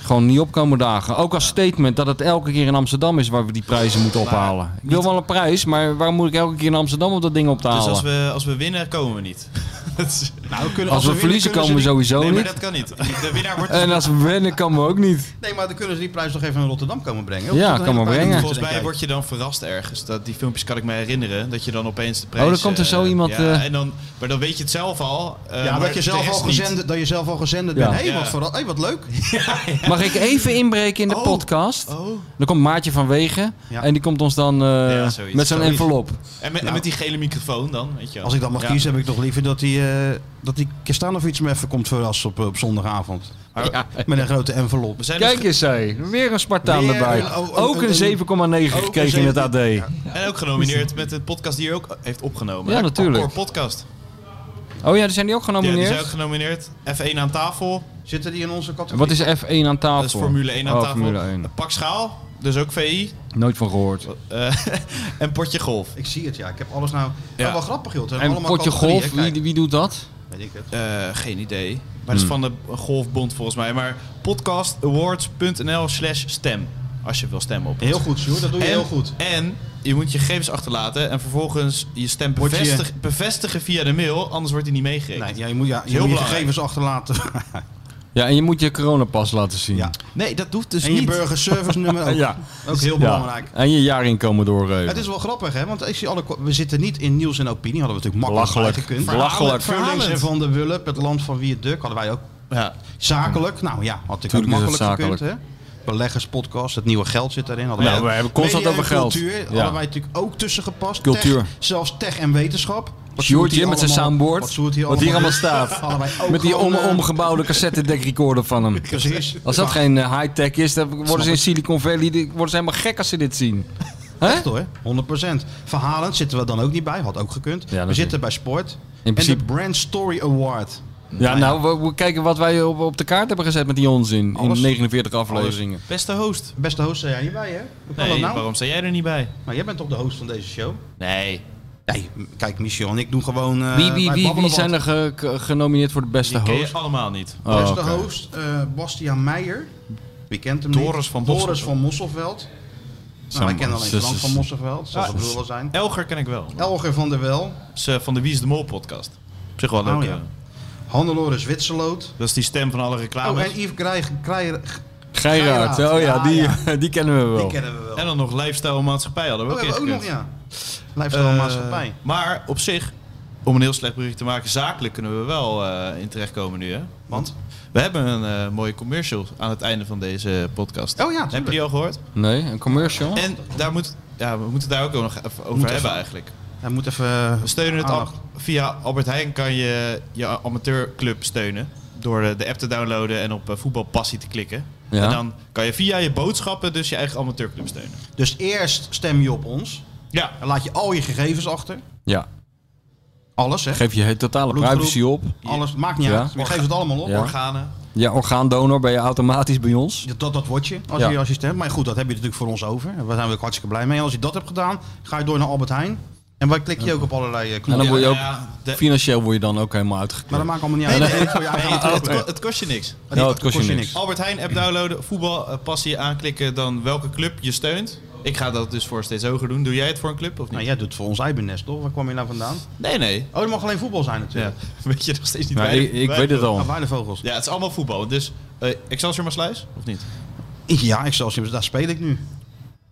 gewoon niet opkomen dagen. Ook als statement dat het elke keer in Amsterdam is waar we die prijzen moeten ophalen. Ik wil wel een prijs, maar waarom moet ik elke keer in Amsterdam om dat ding op te halen?
Dus als
als we,
we, als we winnen, komen we niet. Dat is-
Nou, we kunnen, winnen,
verliezen
kunnen
komen we
ze
sowieso
nee, maar
niet.
dat kan niet. De winnaar wordt... dus
En als we winnen komen we ook niet.
die- Nee, maar dan kunnen ze die prijs nog even in Rotterdam komen brengen.
Ja,
Of ze dan
kan maar
even-
brengen.
Volgens mij word je dan verrast ergens. Dat, die filmpjes kan ik me herinneren. Dat je dan opeens de prijs...
Oh, dan komt er
eh,
zo iemand,
Ja,
eh,
en dan, maar dan weet je het zelf al. eh,
Ja,
maar
dat je,
de
zelf al
rest niet.
gezenden, dat je zelf al gezenderd
Ja.
bent. Hé, hey,
Ja.
wat, verra- hey, wat leuk.
Mag ik even inbreken in de podcast?
Oh.
Dan komt Maartje van Wegen
Ja.
en die komt ons dan eh,
Ja, zoiets,
met zo'n
zoiets.
envelop.
En met, en met die gele microfoon dan, weet je wel.
Nou. Als ik dat mag
Ja.
kiezen, heb ik toch liever dat die, eh dat die Kestanovic me even komt verrassen op, op zondagavond. Met een grote envelop.
We zijn dus
Kijk eens, hé. weer een Spartaan
Weer
erbij.
een- oh, oh,
ook
een-
een 7,9
oh,
gekregen in het AD.
7,9,
ge- en ook genomineerd met de podcast die je ook heeft opgenomen.
Ja,
hè?
natuurlijk.
Encore podcast.
Oh ja, die zijn die ook
Ja, die
genomineerd?
zijn ook genomineerd. F1 aan tafel.
Zitten die in onze categorie?
Wat is F1 aan tafel?
Dat is Formule 1 aan
Oh,
tafel.
Formule 1.
Een Pak schaal. Dus ook VI.
Nooit van gehoord.
Eh, en potje golf.
Ik zie het, ja. Ik heb alles nou...
Ja.
Oh, wel grappig, joh. Het zijn
En
allemaal
potje
categorieën,
golf,
kijk.
wie, wie doet dat?
Weet ik het.
Eh, geen idee. Maar dat is
Hmm.
van de Golfbond volgens mij. Maar podcastawards.nl slash stem. Als je wil stemmen op.
Heel goed, Sjoerd. Dat doe je
en,
heel goed.
En je moet je gegevens achterlaten. En vervolgens je stem
Wordt je-
bevestig- bevestigen via de mail. Anders wordt die niet meegerekend.
Nee, ja, je moet, ja, je,
heel
moet je
belangrijk.
gegevens achterlaten.
Ja, en je moet je coronapas laten zien.
Ja.
Nee, dat hoeft dus
en je
niet.
burgerservice nummer ook.
Ja.
Ook heel
Ja.
belangrijk.
En je jaarinkomen doorgeven.
Het is wel grappig, hè? Want ik zie alle, we zitten niet in nieuws en opinie. Hadden we natuurlijk makkelijk
Belachelijk.
gekund.
Belachelijk.
Vullings en Van der Wulp, het land van Wie het Duk, hadden wij ook.
Ja.
Zakelijk, nou ja, had ik
Tuurlijk
ook
is het
makkelijk gekund, hè?
zakelijk.
Beleggerspodcast, het nieuwe geld zit daarin. Hadden
Nou,
wij ook.
we hebben constant
Media en
over geld.
Cultuur,
Ja.
hadden wij natuurlijk ook tussen gepast.
Cultuur.
Tech, zelfs tech en wetenschap. Wat
Sjoerd
Sjoerd
hier
hier
met zijn
allemaal-
soundboard.
Wat, Sjoerd hier
Wat hier allemaal
allemaal
staat.
hadden wij ook
Met die
gewoon,
om,
eh,
omgebouwde cassettedekrecorder van hem.
Precies.
Als dat
Maar
geen eh, high-tech is, dan worden ze in
het.
Silicon Valley die worden ze helemaal gek als ze dit zien. Hè?
Echt hoor, 100%. Verhalend zitten we dan ook niet bij, had ook gekund. we
natuurlijk.
zitten bij sport.
principe-
En de Brand Story Award.
Ja, nou, we, we kijken wat wij op, op de kaart hebben gezet met die onzin.
Alles. eh,
In 49 afleveringen.
Beste host.
Beste host, zijn jij niet bij, hè? Hoe kan
Nee,
dat nou?
waarom sta jij er niet bij?
Maar jij bent toch de host van deze show?
Nee.
Nee, m- kijk, Michel en ik doen gewoon. eh,
Wie, wie,
wij
wie,
babbelen
wie
wat.
zijn er ge- ge- genomineerd voor de beste
Die ken
host?
je allemaal niet.
Oh,
Beste
oké.
host, eh Bastiaan Meijer. Wie kent hem
Doris
niet?
van
Doris
Mosselveld.
van Mosselveld.
Zo,
Nou, wij kennen alleen
zus,
Frank
zus.
van Mosselveld. Zal
Ja,
zijn
dus-
broer wel zijn.
Elger ken ik wel.
Elger van der Wel.
Is, eh, van de Wie is de Mol podcast. Op zich wel leuk.
Oh, ja.
eh.
Hannelore Zwitserloot.
Dat is die stem van alle reclames.
Oh, en Yves Krijg. Krijg-
Geiraat.
Geiraat.
Oh ja,
Ah,
die,
ja.
die kennen we wel.
Die kennen we wel.
En dan nog Lifestyle en Maatschappij hadden we
Oh,
ook
hebben we ook nog,
ingekund.
ja. Lifestyle
Eh,
maatschappij.
Maar op zich, om een heel slecht brugje te maken, zakelijk kunnen we wel eh, in terechtkomen nu. Hè?
Want?
We hebben een eh, mooie commercial aan het einde van deze podcast.
Oh ja,
Heb je
tuurlijk.
die al gehoord?
Nee, een commercial?
En daar moet, ja, we moeten daar ook nog even over
Moet
hebben
even.
eigenlijk.
Hij moet even. eh,
We steunen het
aandacht.
ab- via Albert Heijn kan je je amateurclub steunen. Door eh, de app te downloaden en op eh, voetbalpassie te klikken.
Ja.
En dan kan je via je boodschappen dus je eigen amateurclub steunen.
Dus eerst stem je op ons.
Ja,
Dan laat je al je gegevens achter.
Ja.
Alles, hè?
Geef je he- totale
Bloedgroep.
privacy op.
Alles, maakt niet
Ja.
uit. Je geeft het allemaal op.
Ja.
organen.
Ja, orgaandonor ben je automatisch bij ons.
Ja, Dat, dat word je als,
Ja.
je als je stemt. Maar goed, dat heb je natuurlijk voor ons over. En Daar zijn we ook hartstikke blij mee. En als je dat hebt gedaan, ga je door naar Albert Heijn. En waar klik je ook op allerlei eh,
En dan
knopjes.
word je ook,
ja, de-
financieel word je dan ook helemaal uitgeknipt.
Maar dat maakt allemaal niet uit. Oh, Nee, voor je eigen
Nee, het,
auto.
het- het kost je niks.
Ja, het kost je niks.
Albert Heijn app downloaden, voetbal, eh, passie aanklikken, dan welke club je steunt. Ik ga dat dus voor steeds hoger doen. Doe jij het voor een club of niet?
Nou, jij doet het voor ons eibenest, toch? Waar kwam je nou vandaan?
Nee, nee.
Oh, het mag alleen voetbal zijn
Ja,
natuurlijk.
weet je nog steeds niet
Maar
bij de-
Nou, ik, ik
bij
weet
de-
het al.
Maar waar de vogels?
Ja, het is allemaal voetbal. Dus eh Excelsior Maasluis, of niet?
Ja, Excelsior, daar speel ik nu.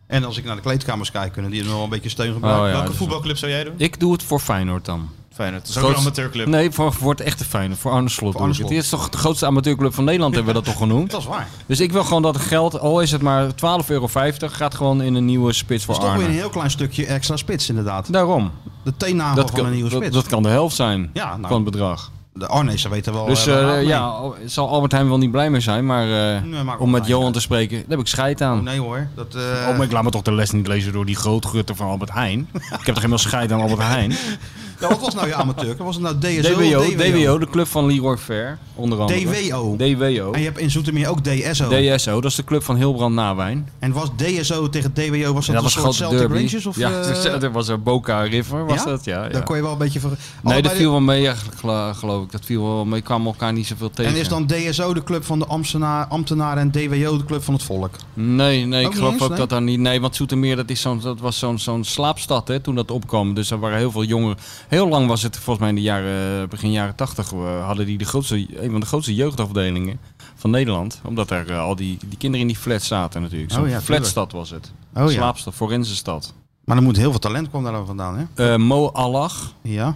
En als ik naar de kleedkamers kijk, kunnen die nog wel een beetje steun gebruiken.
Oh, ja,
Welke
dus-
voetbalclub zou jij doen?
Ik doe het voor Feyenoord dan.
Feyenoord. Dat is ook
Grootste-
een amateurclub.
Nee, voor, voor het echte Feyenoord. Voor Arne Slot.
Voor
doe
Arne
ik het.
Slot.
Dit is toch de grootste amateurclub van Nederland, hebben we dat toch genoemd?
Dat is waar.
Dus ik wil gewoon dat het geld, al is het maar 12,50 euro, gaat gewoon in een nieuwe spits voor
Dat is toch weer een
Arne.
heel klein stukje extra spits inderdaad.
Daarom.
De teennagel
Dat
van een
kan,
nieuwe
dat,
spits.
dat kan de helft zijn
Ja, nou.
van het bedrag.
De Arnezen weten wel...
Dus
eh, waar
eh,
raad mee.
ja, al- zal Albert Heijn wel niet blij mee zijn, maar eh,
Nee, maakt
om
wel
met
uit.
Johan te spreken, daar heb ik scheid aan.
Oh, nee hoor. Dat, eh,
Oh, maar ik laat me toch de les niet lezen door die grootgutter van Albert Heijn. ik heb toch helemaal scheid aan Albert Heijn.
ja, wat was nou je amateur? Was het nou DSO
DWO,
of
DWO, de club van Leroy Fair, onder andere.
DWO.
DWO.
En je hebt in Zoetermeer ook DSO.
DSO, dat is de club van Hilbrand Nawijn.
en was DSO tegen DWO, was dat,
En dat
een
was een
soort
grote
Celtic
derby.
Rangers? Of,
ja,
eh,
dat was er Boca River, was dat? Ja, ja.
Daar kon je wel een beetje voor...
Nee, dat
Allebei de-
viel wel mee eigenlijk, gel- geloof ik. Dat viel wel mee, kwamen elkaar niet zoveel tegen.
En is dan DSO de club van de ambtenaar, ambtenaren en DWO de club van het volk?
Nee, nee,
Ook
ik
niet
geloof
eens,
ook
nee?
dat daar niet... Nee, want Zoetermeer, dat, is zo'n, dat was zo'n, zo'n slaapstad hè, toen dat opkwam. Dus er waren heel veel jongeren. Heel lang was het, volgens mij in de jaren, eh, begin jaren tachtig... eh, hadden die de grootste, een van de grootste jeugdafdelingen van Nederland. Omdat er eh, al die, die kinderen in die flats zaten natuurlijk. Zo'n
Oh ja,
flatstad was het.
Oh ja.
Slaapstad, forensenstad.
Maar er moet heel veel talent kwam daar dan vandaan, hè?
Eh Mo Allag.
Ja.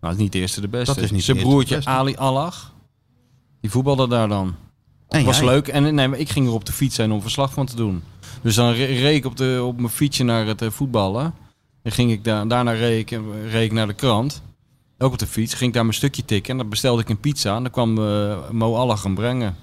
Nou, dat is niet de eerste de beste.
Dat is niet
Zijn
de eerste de
broertje
beste.
Ali Allag. Die voetbalde daar dan.
En
was
jij?
leuk. En nee, maar ik ging er op de fiets zijn om verslag van te doen. Dus dan re- reed ik op, de, op mijn fietsje naar het eh, voetballen. En ging ik daar, daarna reed ik, eh, reed ik naar de krant. Ook op de fiets. Ging ik daar mijn stukje tikken. En dan bestelde ik een pizza. En dan kwam eh, Mo Allag hem brengen.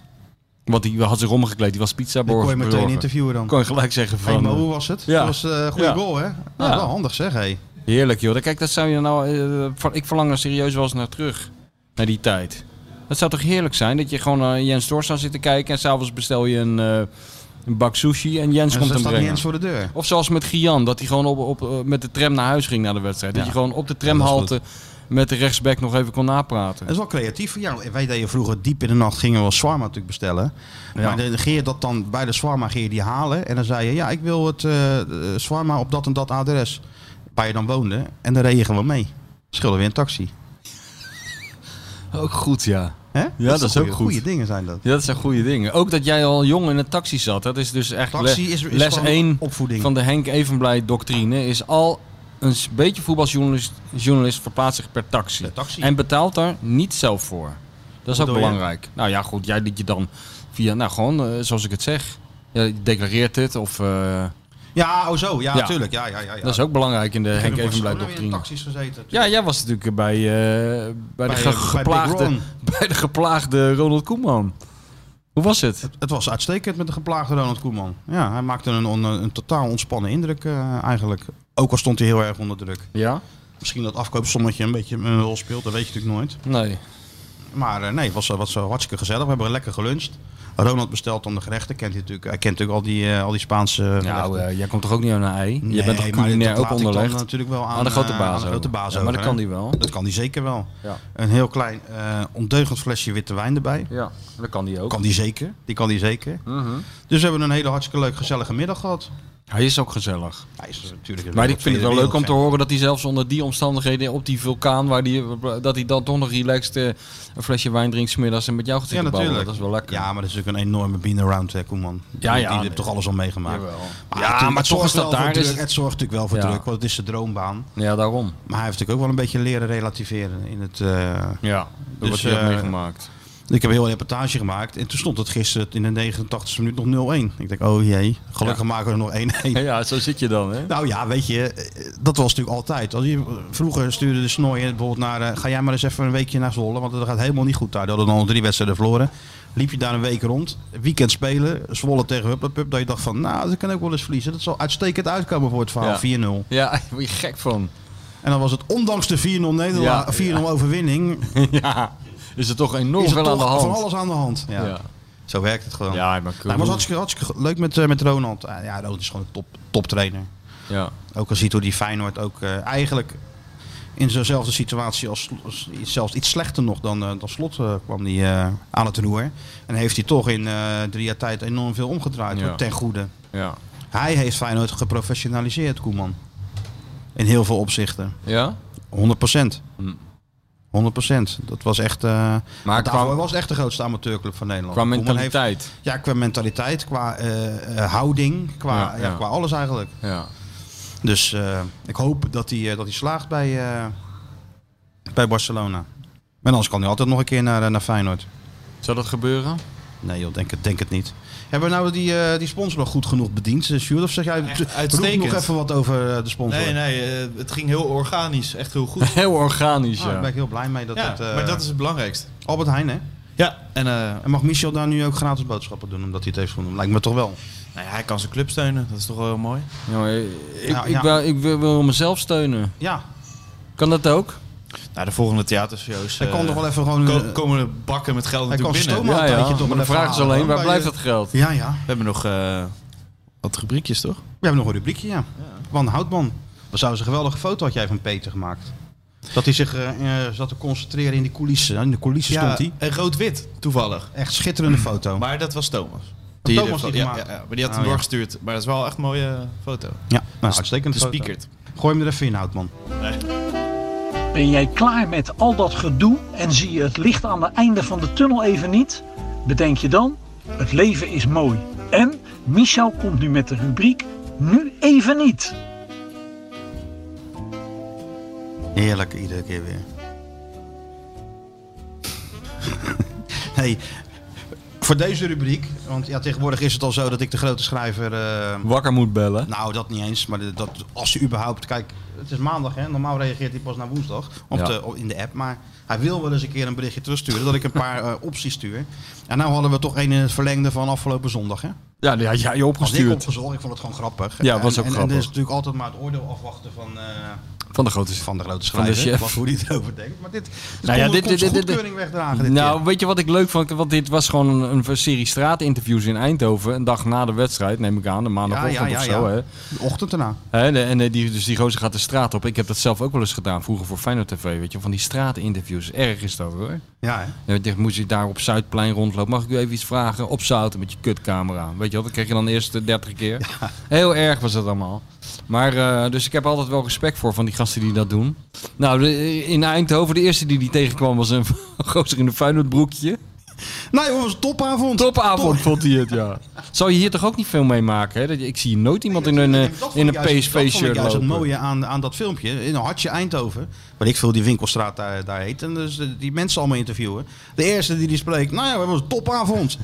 Want die had zich omgekleed. Die was pizza
Die kon je meteen
bezorger.
interviewen dan.
Kon je gelijk zeggen
Hey,
van...
maar hoe was het?
eh, Ja.
Dat was eh, een goede
Ja.
goal, hè? Nou,
Ja.
wel handig zeg, hé.
eh, heerlijk joh. Kijk, dat zou je nou... eh, van- ik verlang er serieus wel eens naar terug. Naar die tijd. Dat zou toch heerlijk zijn? Dat je gewoon naar Jens Dorst zou zitten kijken. En s'avonds bestel je een, eh, een bak sushi. En Jens
En
komt
dan
hem
staat niet
brengen.
eens voor de deur.
Of zoals met Gian, dat hij gewoon op, op, eh, met de tram naar huis ging na de wedstrijd. Dat
Ja.
je gewoon op de tramhalte met de rechtsback nog even kon napraten.
Dat is wel creatief. Ja, wij deden vroeger diep in de nacht gingen we wel shawarma natuurlijk bestellen. Maar dan ging je dat dan bij de shawarma ging je die halen en dan zei je ja, ik wil het eh eh, shawarma op dat en dat adres waar je dan woonde en dan reed je gewoon mee. Schilden weer een taxi.
Ook goed, ja.
Hè?
dat is ook
goede,
goed.
Goede dingen zijn dat.
Ja, dat zijn goede dingen. Ook dat jij al jong in een taxi zat. Dat is dus echt
Taxi
le-
is, is
les
gewoon
1
opvoeding.
van de Henk Evenblij doctrine. Is al een s- beetje voetbaljournalist journalist verplaatst zich per taxi.
Per taxi.
En betaalt daar niet zelf voor. Dat is ook
bedoel je?
belangrijk. Nou ja, goed. Jij liet je dan via, nou gewoon eh, zoals ik het zeg. Ja, je declareert dit of... eh,
Ja, oh zo, ja,
Ja.
tuurlijk. Ja, ja, ja, ja.
Dat is ook belangrijk in de
Ik heb
Henk
nog
Evenblij
eens in
doctrine.
taxis gezeten.
Ja, jij was natuurlijk bij, eh, bij, de
Bij,
ge-
eh, bij
geplaagde,
Big Ron.
bij, de geplaagde Ronald Koeman. Hoe was het?
Het was uitstekend met de geplaagde Ronald Koeman. Ja, hij maakte een, on- een totaal ontspannen indruk eh, eigenlijk. Ook al stond hij heel erg onder druk.
Ja?
Misschien dat afkoopsommetje een beetje een rol speelt, dat weet je natuurlijk nooit.
Nee.
Maar eh, nee, het was, eh, was eh, hartstikke gezellig. We hebben lekker geluncht. Ronald bestelt dan de gerechten. Kent hij, natuurlijk, hij kent natuurlijk al die, eh, al die Spaanse eh, gerechten.
Nou, eh, jij komt toch ook niet aan een ei?
Nee,
je bent toch
maar
culinair
dat
ook
laat ik dan
onderlegd?
natuurlijk wel aan,
Aan de grote
eh,
baas
aan de grote
over.
baas
Ja, maar dat
over,
kan
hè.
die wel.
Dat kan die zeker wel.
Ja.
Een heel klein, eh, ondeugend flesje witte wijn erbij.
Ja, dat kan die ook.
Kan die zeker. Die kan die zeker.
Mhm.
Dus we hebben een hele hartstikke leuk gezellige middag gehad.
Hij is ook gezellig.
Hij is natuurlijk een
Maar ik vind het wel
wereldvriend.
leuk om te horen dat hij zelfs onder die omstandigheden op die vulkaan, waar die, dat hij dan toch nog relaxed eh, een flesje wijn drinkt 's middags en met jou gaat
Ja,
zitten babbelen.
natuurlijk.
Dat is wel lekker.
Ja, maar dat is natuurlijk een enorme been-around, hè, Koeman. Die-
ja,
Die, die heeft
nee.
toch alles al meegemaakt.
Jawel.
Maar
Ja,
natuurlijk,
maar
het
toch
zorgt
is dat
wel voor
daar
druk.
is het-
Het zorgt natuurlijk wel voor
Ja.
druk, want het is de droombaan.
ja daarom.
Maar hij heeft natuurlijk ook wel een beetje leren relativeren. In het, eh,
Ja, dat
Dus,
wordt hij ook
eh,
meegemaakt.
Ik heb een hele reportage gemaakt en toen stond het gisteren in de 89 e minuut nog 0-1. Ik denk, oh jee, gelukkig maken we er nog 1-1.
Ja, zo zit je dan, hè?
Nou ja, weet je, eh, dat was natuurlijk altijd. Als je, vroeger stuurde de snooien bijvoorbeeld naar... eh, ga jij maar eens even een weekje naar Zwolle, want dat gaat helemaal niet goed daar. Die hadden dan al drie wedstrijden verloren. Liep je daar een week rond, weekend spelen, Zwolle tegen Hupplepup. Dat je dacht van, nou, dat kan ook wel eens verliezen. Dat zal uitstekend uitkomen voor het verhaal,
Ja.
4-0.
Ja, daar word je gek van.
En dan was het ondanks de 4-0 nederlaag,
Ja,
4-0 overwinning...
ja, is er toch enorm
is er
veel aan de
toch
hand.
van alles aan de hand. Ja.
Ja.
Zo werkt het gewoon.
Ja, maar cool.
Eh, Nou, het was hartstikke, hartstikke leuk met, eh, met Ronald. Ah, ja, Ronald is gewoon een top, top trainer.
Ja.
Ook al ziet hoe die Feyenoord ook eh, eigenlijk in zo'nzelfde situatie als, als- zelfs iets slechter nog dan, eh, dan slot eh, kwam die eh, aan het roer. En heeft hij toch in eh, drie jaar tijd enorm veel omgedraaid
Ja.
hoor, ten goede.
Ja.
Hij heeft Feyenoord geprofessionaliseerd, Koeman. In heel veel opzichten.
Ja?
100
Hmm.
100 Dat was echt. eh maar
qua-
was echt de grootste amateurclub van Nederland.
Qua
Koeman heeft-
mentaliteit.
ja, qua mentaliteit, qua eh, eh, houding, qua,
Ja,
ja,
ja.
qua alles eigenlijk.
Ja.
Dus eh, ik hoop dat hij, eh, dat hij slaagt bij, eh, bij Barcelona. En anders kan hij altijd nog een keer naar, eh, naar Feyenoord.
Zou dat gebeuren?
Nee joh, denk het, denk het niet. Hebben we nou die, eh, die sponsor nog goed genoeg bediend, eh, Sjoerd? Of zeg jij,
Echt
roep
uitstekend.
nog even wat over eh, de sponsor?
Nee, nee, eh, het ging heel organisch. Echt heel goed.
Heel organisch,
Ah, daar ben
ja.
ik heel blij mee. Dat
ja,
dat, eh,
maar dat is het belangrijkste.
Albert Heijn, hè?
Ja, en eh,
En mag Michel daar nu ook gratis boodschappen doen, omdat hij het heeft genoemd? Lijkt me toch wel.
nou ja, hij kan zijn club steunen. Dat is toch wel heel mooi.
Ja, maar ik,
Ja,
ik,
Nou, ja.
wou- ik wil, wil mezelf steunen.
Ja,
Kan dat ook?
Nou, de volgende theatershows.
hij kan
eh,
toch wel even gewoon...
ko-
eh,
komen de bakken met geld
hij kan
natuurlijk binnen.
stomen. Maar een tijdje toch
Maar de
wel
vraag
even
is alleen,
halen,
waar
bij
blijft
de-
dat geld?
ja, ja.
We hebben nog eh, wat rubriekjes, toch?
We hebben nog een rubriekje, ja. Van Houtman. Wat zou ze een geweldige foto had jij van Peter gemaakt? Dat hij zich eh, eh, zat te concentreren in die coulissen. Nou, In de coulissen stond hij.
en eh, rood-wit, toevallig.
Echt schitterende foto.
Maar dat was Thomas.
Thomas die
ja,
gemaakt.
ja, ja, maar die had
Oh,
hem
ja.
doorgestuurd. Maar dat is wel echt een mooie eh, foto.
ja, nou, uitstekende
De
foto.
speakert.
Gooi hem er even in, Houtman.
Ben jij klaar met al dat gedoe en zie je het licht aan het einde van de tunnel even niet? Bedenk je dan, het leven is mooi. En Michel komt nu met de rubriek Nu even niet.
Heerlijk, iedere keer weer. hey, voor deze rubriek, want ja, tegenwoordig is het al zo dat ik de grote schrijver... eh,
Wakker moet bellen.
nou, dat niet eens, maar dat, als je überhaupt... Kijk, het is maandag, hè? normaal reageert hij pas na woensdag op
Ja.
de, op- in de app. Maar hij wil wel eens een keer een berichtje terugsturen, dat ik een paar eh, opties stuur. En nou hadden we toch een in het verlengde van afgelopen zondag, hè?
Ja, die had jij opgestuurd.
Als ik opgezocht, ik vond het gewoon grappig.
Ja, was
En- en,
ook
En
grappig.
er is natuurlijk altijd maar het oordeel afwachten van... eh,
Van de grote
van de grote
Van de
schrijver.
chef.
Wat hoe hij het over denkt. Maar dit, dit
Nou ja,
kon-
dit-
kon
dit-
zijn
dit- dit-
goedkeuring wegdragen. Dit
nou,
keer.
weet je wat ik leuk vond? Want dit was gewoon een, een serie straatinterviews in Eindhoven. Een dag na de wedstrijd, neem ik aan. De maandagochtend
Ja, ja,
of
ja,
zo.
ja.
Hè.
de ochtend daarna.
Hè, de- en eh, die, dus die gozer gaat de straat op. Ik heb dat zelf ook wel eens gedaan. Vroeger voor Feyenoord TV. Weet je, van die straatinterviews. Erg is dat hoor.
Ja, hè?
Dan werd je- moest je daar op Zuidplein rondlopen. Mag ik u even iets vragen? Opzouten met je kutcamera. Weet je wat? Dat kreeg je dan de eerste 30 keer. Heel erg was dat allemaal. Maar, eh, dus ik heb altijd wel respect voor van die gasten die dat doen. Nou, de- in Eindhoven, de eerste die die tegenkwam was een gozer in een Feyenoordbroekje.
Nou joh, het was een topavond.
Topavond vond hij het, ja. Zou je hier toch ook niet veel mee maken? Hè? Dat je- Ik zie nooit iemand in een, eh,
Dat vond
in een
ik juist- Dat vond ik
PSV-shirt
juist het
lopen.
mooie aan, aan dat filmpje. In een hartje Eindhoven. Waar ik veel die winkelstraat daar, daar heet. En dus eh, die mensen allemaal interviewen. De eerste die die spreekt. Nou ja, we hebben een topavond.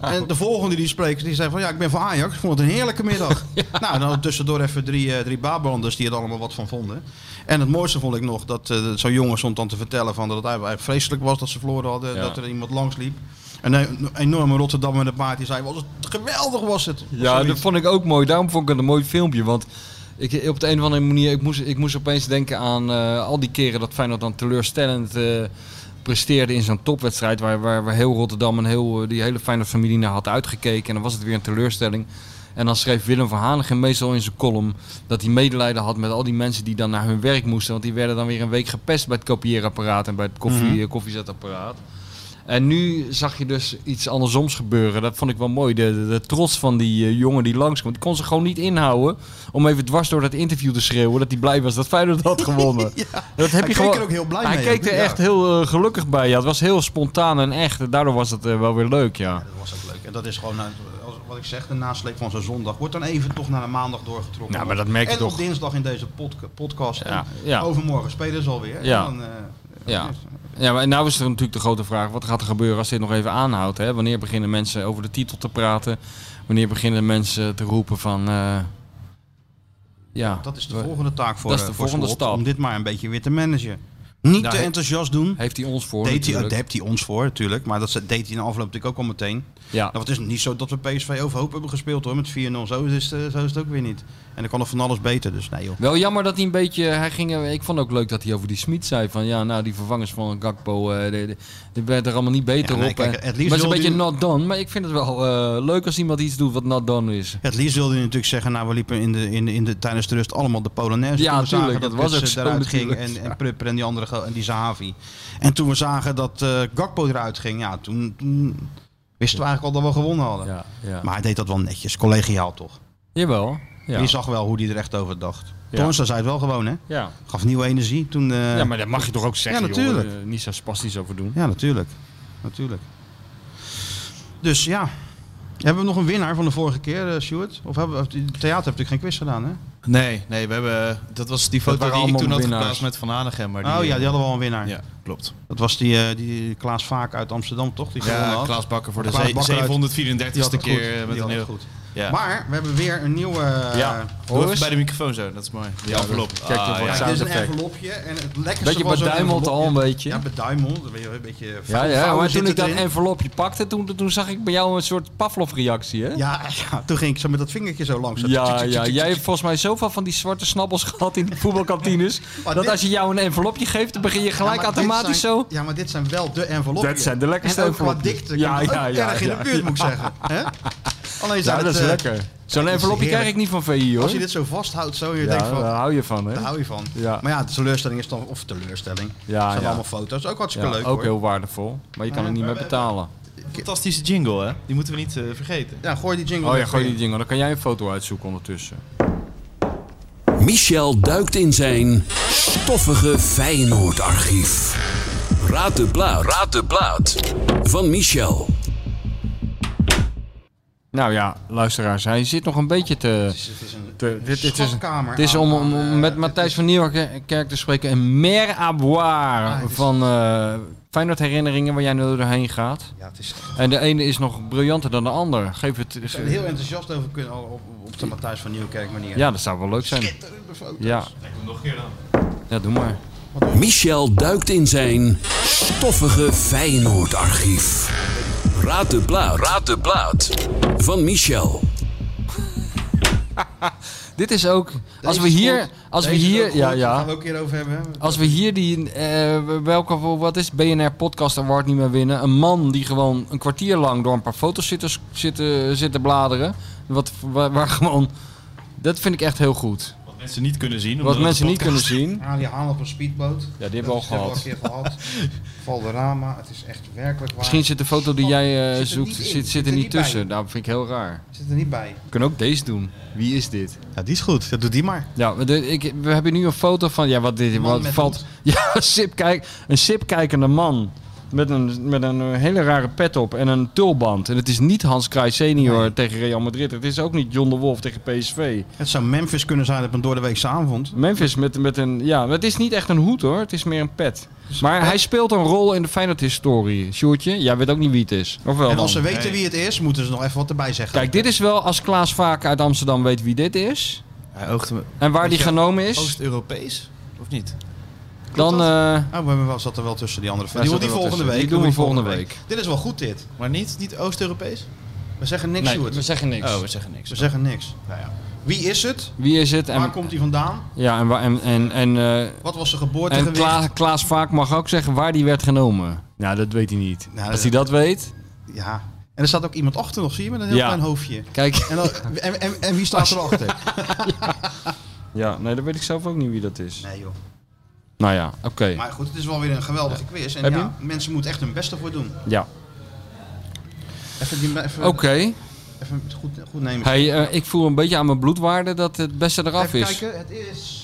En de volgende die spreekt. Die zei van ja, ik ben van Ajax. Ik vond het een heerlijke middag. Nou, dan tussendoor even drie, eh, drie Brabanders die er allemaal wat van vonden. En het mooiste vond ik nog. Dat eh, zo'n jongen stond dan te vertellen van dat het eigenlijk vreselijk was. Dat ze verloren hadden.
Ja.
Dat er iemand langs liep. En een enorme Rotterdam in het paard die zei, was het geweldig was het. Of
Ja, dat
zoiets.
vond ik ook mooi. Daarom vond ik het een mooi filmpje. Want ik, op de een of andere manier, ik moest, ik moest opeens denken aan eh, al die keren dat Feyenoord dan teleurstellend eh, presteerde in zo'n topwedstrijd. Waar, waar, waar heel Rotterdam en heel, eh, die hele Feyenoord-familie naar had uitgekeken. En dan was het weer een teleurstelling. En dan schreef Willem van Hanegem meestal in zijn column dat hij medelijden had met al die mensen die dan naar hun werk moesten. Want die werden dan weer een week gepest bij het kopieerapparaat en bij het koffie, eh, koffiezetapparaat. En nu zag je dus iets andersoms gebeuren. Dat vond ik wel mooi. De, de, de trots van die eh, jongen die langskomt. Die kon ze gewoon niet inhouden om even dwars door dat interview te schreeuwen. Dat hij blij was dat Feyenoord had gewonnen. dat heb
keek er ook heel blij
Hij
mee,
keek er
hè? Ja.
echt heel eh, gelukkig bij. Ja, het was heel spontaan en echt. En Daardoor was het eh, wel weer leuk, ja.
Dat was ook leuk. En dat is gewoon, eh, als, wat ik zeg, de nasleep van zo'n zondag. Wordt dan even toch naar een maandag doorgetrokken.
Ja, maar dat merk je
en
toch.
op dinsdag in deze podca- podcast.
Ja,
En
ja.
Overmorgen spelen ze alweer. En
Ja.
dan, eh,
Ja. Ja, maar nou is er natuurlijk de grote vraag: wat gaat er gebeuren als dit nog even aanhoudt? Hè? Wanneer beginnen mensen over de titel te praten? Wanneer beginnen mensen te roepen van. eh, ja,
dat is de
we-
volgende taak voor
Dat is de
eh, voor
volgende
Slot,
stap.
Om dit maar een beetje weer te managen. Niet te enthousiast doen.
Heeft Nou, hij ons voor
Deed hij,
natuurlijk.
daar heeft hij ons voor natuurlijk. Maar dat deed hij in de afloop natuurlijk ook al meteen.
Ja.
Nou, het is niet zo dat we PSV overhoop hebben gespeeld hoor. Met 4-0. Zo is, het, eh, zo is het ook weer niet. En dan kan nog van alles beter. Dus nee joh.
Wel jammer dat hij een beetje. Hij ging, eh, ik vond ook leuk dat hij over die Smit zei. Van ja, nou die vervangers van Gakpo. eh, die- die- die werd er allemaal niet beter
Ja, nee,
op.
kijk,
eh.
het liefst
maar het is
wil
een beetje
die-
not done. Maar ik vind het wel eh, leuk als iemand iets doet wat not done is.
Het liefst wilde hij natuurlijk zeggen, nou we liepen in de, in de, in de, tijdens de rust allemaal de Polonaise.
Ja,
toen we zagen
tuurlijk, dat was
Kutsen
ook zo
eruit ging
natuurlijk.
en, en Prupper en die andere go- en die Zahavi. En toen we zagen dat eh, Gakpo eruit ging, ja, toen, toen wisten we eigenlijk al dat we gewonnen hadden.
Ja, ja.
Maar hij deed dat wel netjes, collegiaal toch.
Jawel. Ja.
Je zag wel hoe hij er echt over dacht.
Ja.
Toen zei het wel gewoon, hè?
Ja.
Gaf nieuwe energie. Toen, eh,
ja, maar dat mag je toch ook zeggen.
Ja, natuurlijk.
joh. Eh, niet zo spastisch over doen.
Ja, natuurlijk. natuurlijk. Dus ja. Hebben we nog een winnaar van de vorige keer, eh, Stuart? Of hebben we, of- theater heeft natuurlijk geen quiz gedaan, hè?
Nee, nee, we hebben, dat was die foto
waren
die ik
allemaal
toen had
winnaars.
geplaatst met Van Hanegem. Maar die,
oh ja, die
eh,
hadden wel een winnaar.
Ja, klopt.
Dat was die, eh, die Klaas Vaak uit Amsterdam, toch? Die gewonnen
Ja,
had.
Klaas Bakker voor de
Klaas
ze-
Bakker uit-
734ste
die had het
keer eh,
goed.
met
Die
een
had
heel
het goed.
Ja.
Maar we hebben weer een nieuwe... eh,
ja,
hoor
hoor even
eens.
bij de microfoon zo, dat is mooi. Die
Ja,
envelop.
dat- kijk,
Ah,
dat wordt
ja.
Kijk, dit is een envelopje en het lekkerste
Beetje
was ook
beduimeld al een
envelopje.
beetje.
Ja, beduimeld. Dan ben je Een beetje
Ja, ja,
vouwen
maar toen
zitten
ik dat
erin.
envelopje pakte, toen, toen zag ik bij jou een soort Pavlov-reactie, hè?
Ja, ja, toen ging ik zo met dat vingertje zo langs.
Ja, ja, jij hebt volgens mij zoveel van die zwarte snabbels gehad in de voetbalkantines.
Maar
dat
Oh, dit-
als je jou een envelopje geeft, dan begin je
Ja, maar
gelijk
dit
automatisch
zijn-
zo.
Ja, maar dit zijn wel de envelopjes.
Dat zijn de lekkerste
En ook qua
envelopjes.
dikte.
Ja,
Ja, ja,
ja, ja,
erg in de
ja.
buurt, moet ik zeggen. Hè? Alleen
Ja,
zijn
dat
het,
is
eh,
lekker. Zo'n
is
envelopje krijg
heerlijk.
ik niet van VI, hoor.
Als je dit zo vasthoudt, zo je
ja,
denkt van,
daar
daar
hou je van, hè?
hou je van.
Ja.
Maar ja, de teleurstelling is dan, of teleurstelling,
Ja,
zijn
ja.
allemaal foto's. Ook hartstikke
Ja,
leuk
ook
hoor.
heel waardevol. Maar je kan
Ja,
er niet mee betalen.
Fantastische jingle, hè? Die moeten we niet eh, vergeten.
Ja, gooi die jingle
Oh ja,
even
gooi
in.
die ding. Dan kan jij een foto uitzoeken ondertussen.
Michel duikt in zijn stoffige Feyenoord-archief. Raad de plaat. Raad de plaat. Van Michel.
Nou ja, luisteraars, hij zit nog een beetje te...
Het is Ah, eh, een
te- Dit dit is,
schatkamer
het is om, om- om met Matthijs van Nieuwkerk te spreken een mer à boire
Ah,
van eh Feyenoord herinneringen waar jij nu doorheen gaat.
Ja, het is...
En de ene is nog briljanter dan de ander. Geef het.
We zijn er heel enthousiast over kunnen al op, op de Matthijs van Nieuwkerk manier.
Ja, dat zou wel leuk zijn.
Schitterende foto's.
Ja,
Nog een keer dan.
ja doe maar.
Michel duikt in zijn stoffige Feyenoord-archief. Raad de plaat. Raad de plaat. Van Michel.
Dit is ook. Als
Deze
we
is
hier.
goed.
Als we
Deze is
hier.
ook
Ja,
goed. Daar gaan we
ja.
ook hier over hebben.
Als we hier die. eh, welke. Wat is het? BNR Podcast Award niet meer winnen? Een man die gewoon een kwartier lang door een paar foto's zit, te- zit, te- zit te bladeren. Wat, waar, waar gewoon. Dat vind ik echt heel goed.
Wat mensen niet kunnen zien.
Wat mensen niet kunnen zien.
Ah, die haan op een speedboot.
Ja, die hebben we al gehad.
een keer gehad. Valderrama, het is echt werkelijk waar.
Misschien zit de foto die jij eh,
Zit er
zoekt
niet in.
zit, zit er niet tussen. Nou, vind ik heel raar.
bij. Zit er niet bij.
We kunnen ook deze doen. Wie is dit?
Ja, die is goed. Dat doet die maar.
Ja, we- de- ik, we hebben nu een foto van. Ja, wat dit
Man
wat
met
valt.
hoed.
Ja, een sipkijk, een sipkijkende man. Met een, met een eh, hele rare pet op en een tulband. En het is niet Hans Kraaij senior tegen Real Madrid. Het is ook niet John de Wolf tegen PSV.
Het zou Memphis kunnen zijn op een doordeweekse avond.
Memphis met, met een... Ja, maar het is niet echt een hoed hoor. Het is meer een pet. Maar hij speelt een rol in de Feyenoord-historie. Sjoerdje, jij weet ook niet wie het is. Of wel
en
dan?
als ze weten wie het is, moeten ze nog even wat erbij zeggen.
Kijk, dit is wel als Klaas Vaak uit Amsterdam weet wie dit is.
Hij oogt hem
En waar die
je,
genomen
Oh,
is.
Oost-Europees, of niet?
Dan... eh,
Oh, maar wel zat er wel tussen die andere. Die,
zat
doen
er
die
wel
volgende
tussen.
week.
Die doen we
die
volgende
Dit is wel goed, dit.
Maar niet, niet Oost-Europees?
We zeggen niks,
nee,
Sjoerd.
we zeggen niks.
Oh, we zeggen niks.
We zeggen niks. Wie is het?
Wie is het? En,
Waar komt hij vandaan?
ja, en, wa- en, en, en, eh,
Wat was zijn
en
geboortegewicht?
Kla- Klaas Vaak mag ook zeggen waar die werd genomen. Nou, dat weet hij niet.
Nou,
Als hij dat weet,
Ja. En er staat ook iemand achter nog, zie je, met een heel
Ja.
klein hoofdje.
kijk.
En, dan- en, en, en wie staat erachter?
Ja, nee, dat weet ik zelf ook niet wie dat is.
Nee, joh.
Nou ja, oké.
Maar goed, het is wel weer een geweldige quiz. En
Heb je
ja, mensen moeten echt hun best ervoor doen.
Ja.
Even, die, even,
Oké.
even goed, goed nemen.
Hey, eh, ik voel een beetje aan mijn bloedwaarde dat het beste eraf
even
is.
kijken, het is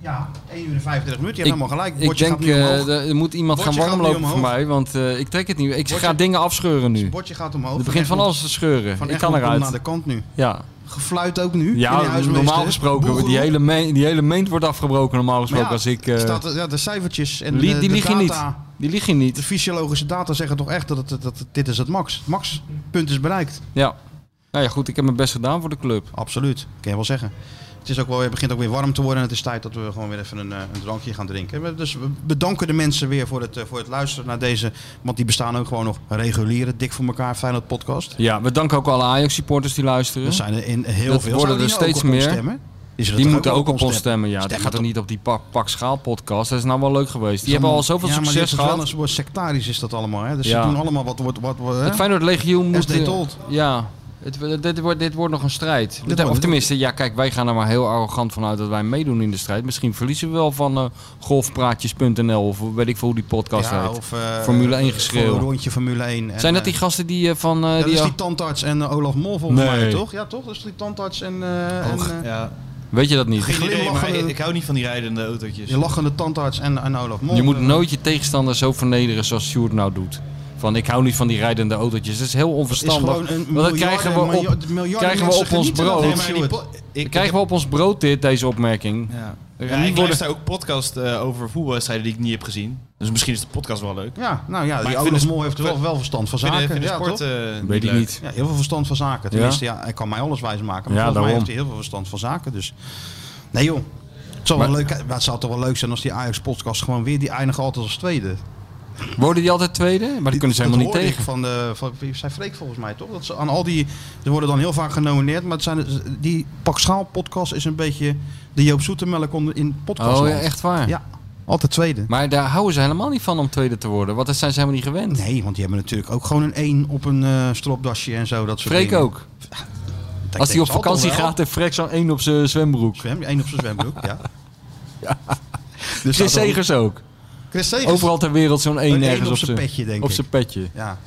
ja, 1 uur en 35 minuten. Je hebt
Ik-
helemaal gelijk.
Ik
Bordje
denk,
gaat nu
eh,
omhoog.
er er moet iemand
Bordje
gaan
gaat nu
warmlopen voor
omhoog.
mij, want eh, ik trek het niet. Ik
Bordje-
ga dingen afscheuren nu.
Bordje gaat omhoog.
Het begint van alles te scheuren.
Van
ik kan
Egmond komt
eruit.
naar de kant nu.
Ja,
Gefluit ook nu. in de
ja
huismeester.
normaal gesproken.
Boelgeroep.
Die hele, me- die hele meent wordt afgebroken normaal
Maar
gesproken
ja,
als ik... eh,
staat, er- ja, de cijfertjes en
Lie-
de,
die
de
lieg je
data.
niet. Die lieg je
De
niet.
fysiologische data zeggen toch echt dat, het, dat, dat- dit is het max. Het maxpunt is bereikt.
Ja. Nou ja, goed, ik heb mijn best gedaan voor de club.
Absoluut, kan je wel zeggen. Het, is ook wel, het begint ook weer warm te worden en het is tijd dat we gewoon weer even een, eh, een drankje gaan drinken. We- Dus we bedanken de mensen weer voor het, eh, voor het luisteren naar deze, want die bestaan ook gewoon nog reguliere Dik voor elkaar Feyenoord podcast.
Ja, we danken ook alle Ajax-supporters die luisteren.
Er zijn er in heel
dat
veel.
worden
Zouden
er
die nou
steeds
ook op
meer.
ons stemmen? Die zullen
Die
toch
moeten ook op ons
stemmen?
stemmen. Ja, die
Stem
gaat er niet op die pak, pak schaal podcast. Dat is nou wel leuk geweest. Die
Van-
hebben al zoveel
ja, maar die
succes
is het wel
gehad.
Een soort sectarisch is dat allemaal. Hè? Dus
Ja.
ze doen allemaal wat wordt. Wat, wat, hè?
Het Feyenoord Legioen moet... eh,
SD Told.
Ja, het, dit, wordt, dit wordt nog een strijd.
Dit wordt-
of tenminste, ja kijk, wij gaan er maar heel arrogant vanuit dat wij meedoen in de strijd. Misschien verliezen we wel van eh, golfpraatjes.nl of weet ik veel hoe die podcast
Ja,
heet.
of, eh,
Formule 1
voor
geschreeuw.
een rondje Formule 1. En,
Zijn dat
eh,
die gasten die eh, van... eh,
dat
die
is
al-
die tandarts en eh, Olaf Mol volgens
Nee.
mij, toch? Ja, toch? Dat is die tandarts en... eh, en eh,
Ja.
Weet je dat niet?
Geen idee, maar
Glimlachende-
ik, ik hou niet van die rijdende autootjes.
Die lachende tandarts en, en Olaf Mol.
Je moet nooit je tegenstander zo vernederen zoals Sjoerd nou doet. Van ik hou niet van die rijdende autootjes. Dat is heel onverstandig.
gewoon een
Want dan
miljarden-
krijgen we op,
miljarden- miljarden
krijgen we
mensen
op ons
genieten dat.
brood.
Nee, maar die po-
dan krijgen we op ons brood dit, deze opmerking.
Ja.
En
Ja,
die
ik
worden-
luister ook podcast eh, over voetbalwedstrijden die ik niet heb gezien. Dus misschien is de podcast wel leuk.
Ja, nou ja,
Maar
die
ik vind
Olaf
de
Mol
sp-
heeft wel, wel verstand van
ik vind de-
zaken.
vind de
ja,
sport,
toch?
eh, Weet niet ik leuk. niet.
Ja, heel veel verstand van zaken. Tenminste, ja? hij kan mij alles wijs maken. Maar volgens mij
Ja, daarom.
heeft hij heel veel verstand van zaken. Dus nee joh. Het zou, wel leuk, maar het zou toch wel leuk zijn als die Ajax-podcast gewoon weer... Die eindigen altijd als tweede.
Worden die altijd tweede? Maar die kunnen ze helemaal niet
hoorde
tegen.
Ik van de, van, wie zei Freek volgens mij toch? Dat ze aan al die, ze worden dan heel vaak genomineerd, maar het zijn, de- die Pak Schaal podcast is een beetje de Joop Zoetemelk onder- in podcast.
Oh ja, echt waar?
Ja, altijd tweede.
Maar daar houden ze helemaal niet van om tweede te worden. Want dat zijn ze helemaal niet gewend.
Nee, want die hebben natuurlijk ook gewoon een 1 op een eh, stropdasje en zo. Dat soort
Freek
dingen.
ook.
Dat
Als hij
denk ik
op vakantie
altijd wel.
gaat, heeft Freek zo'n één op zijn zwembroek.
Zwem, één op zijn zwembroek, ja.
Dus
dat
Chris
dan-
Segers ook.
Chris Segers.
Overal ter wereld zo'n
Een
één
één
ergens
op zijn petje, denk
Op
ik.
zijn petje.
Ja.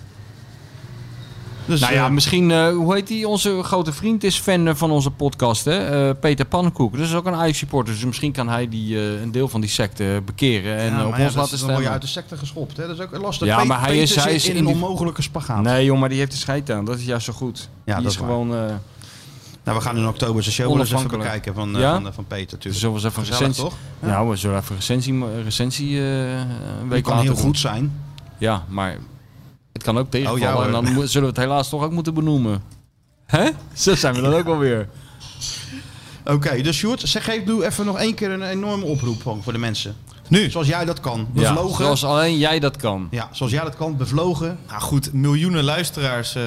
Dus,
nou ja,
eh,
misschien, eh, hoe heet die? Onze grote vriend is fan eh, van onze podcast, hè? Eh, Peter Pannenkoek. Dat is ook een Ajax-supporter, dus misschien kan hij die, eh, een deel van die secte bekeren en
nou ja,
eh, op
maar
ons
ja, dat-
laten
Dan word je
stemmen.
uit de sector geschopt. Hè? Dat is ook lastig.
Ja,
Pe-
maar hij
Peter
is- hij
zit
is
in
in
een
die-
onmogelijke spagaat.
Nee, joh, maar die heeft de scheid aan. Dat is juist zo goed.
Ja,
die
dat
is
is waar.
gewoon... eh
Nou, we gaan in oktober zijn show wel eens even
Onafhankelijk.
bekijken van, eh,
Ja?
van, eh, van Peter. Natuurlijk.
Zullen we eens even een
Gezellig,
recensie...
toch?
Ja. we zullen even een recensie, recensie eh, een
Die
week
kan
later
heel
doen.
goed zijn.
Ja, maar het kan ook tegenvallen.
Oh, ja, hoor.
en dan mo- zullen we het helaas toch ook moeten benoemen. Hè? Zo zijn we dan ook wel weer.
Oké, dus Sjoerd, zeg, geef, doe even nog één keer een enorme oproep gewoon voor de mensen. Nu? Zoals jij dat kan. Bevlogen.
Ja, zoals alleen jij dat kan.
Ja, zoals jij dat kan. Bevlogen.
Nou goed, miljoenen luisteraars eh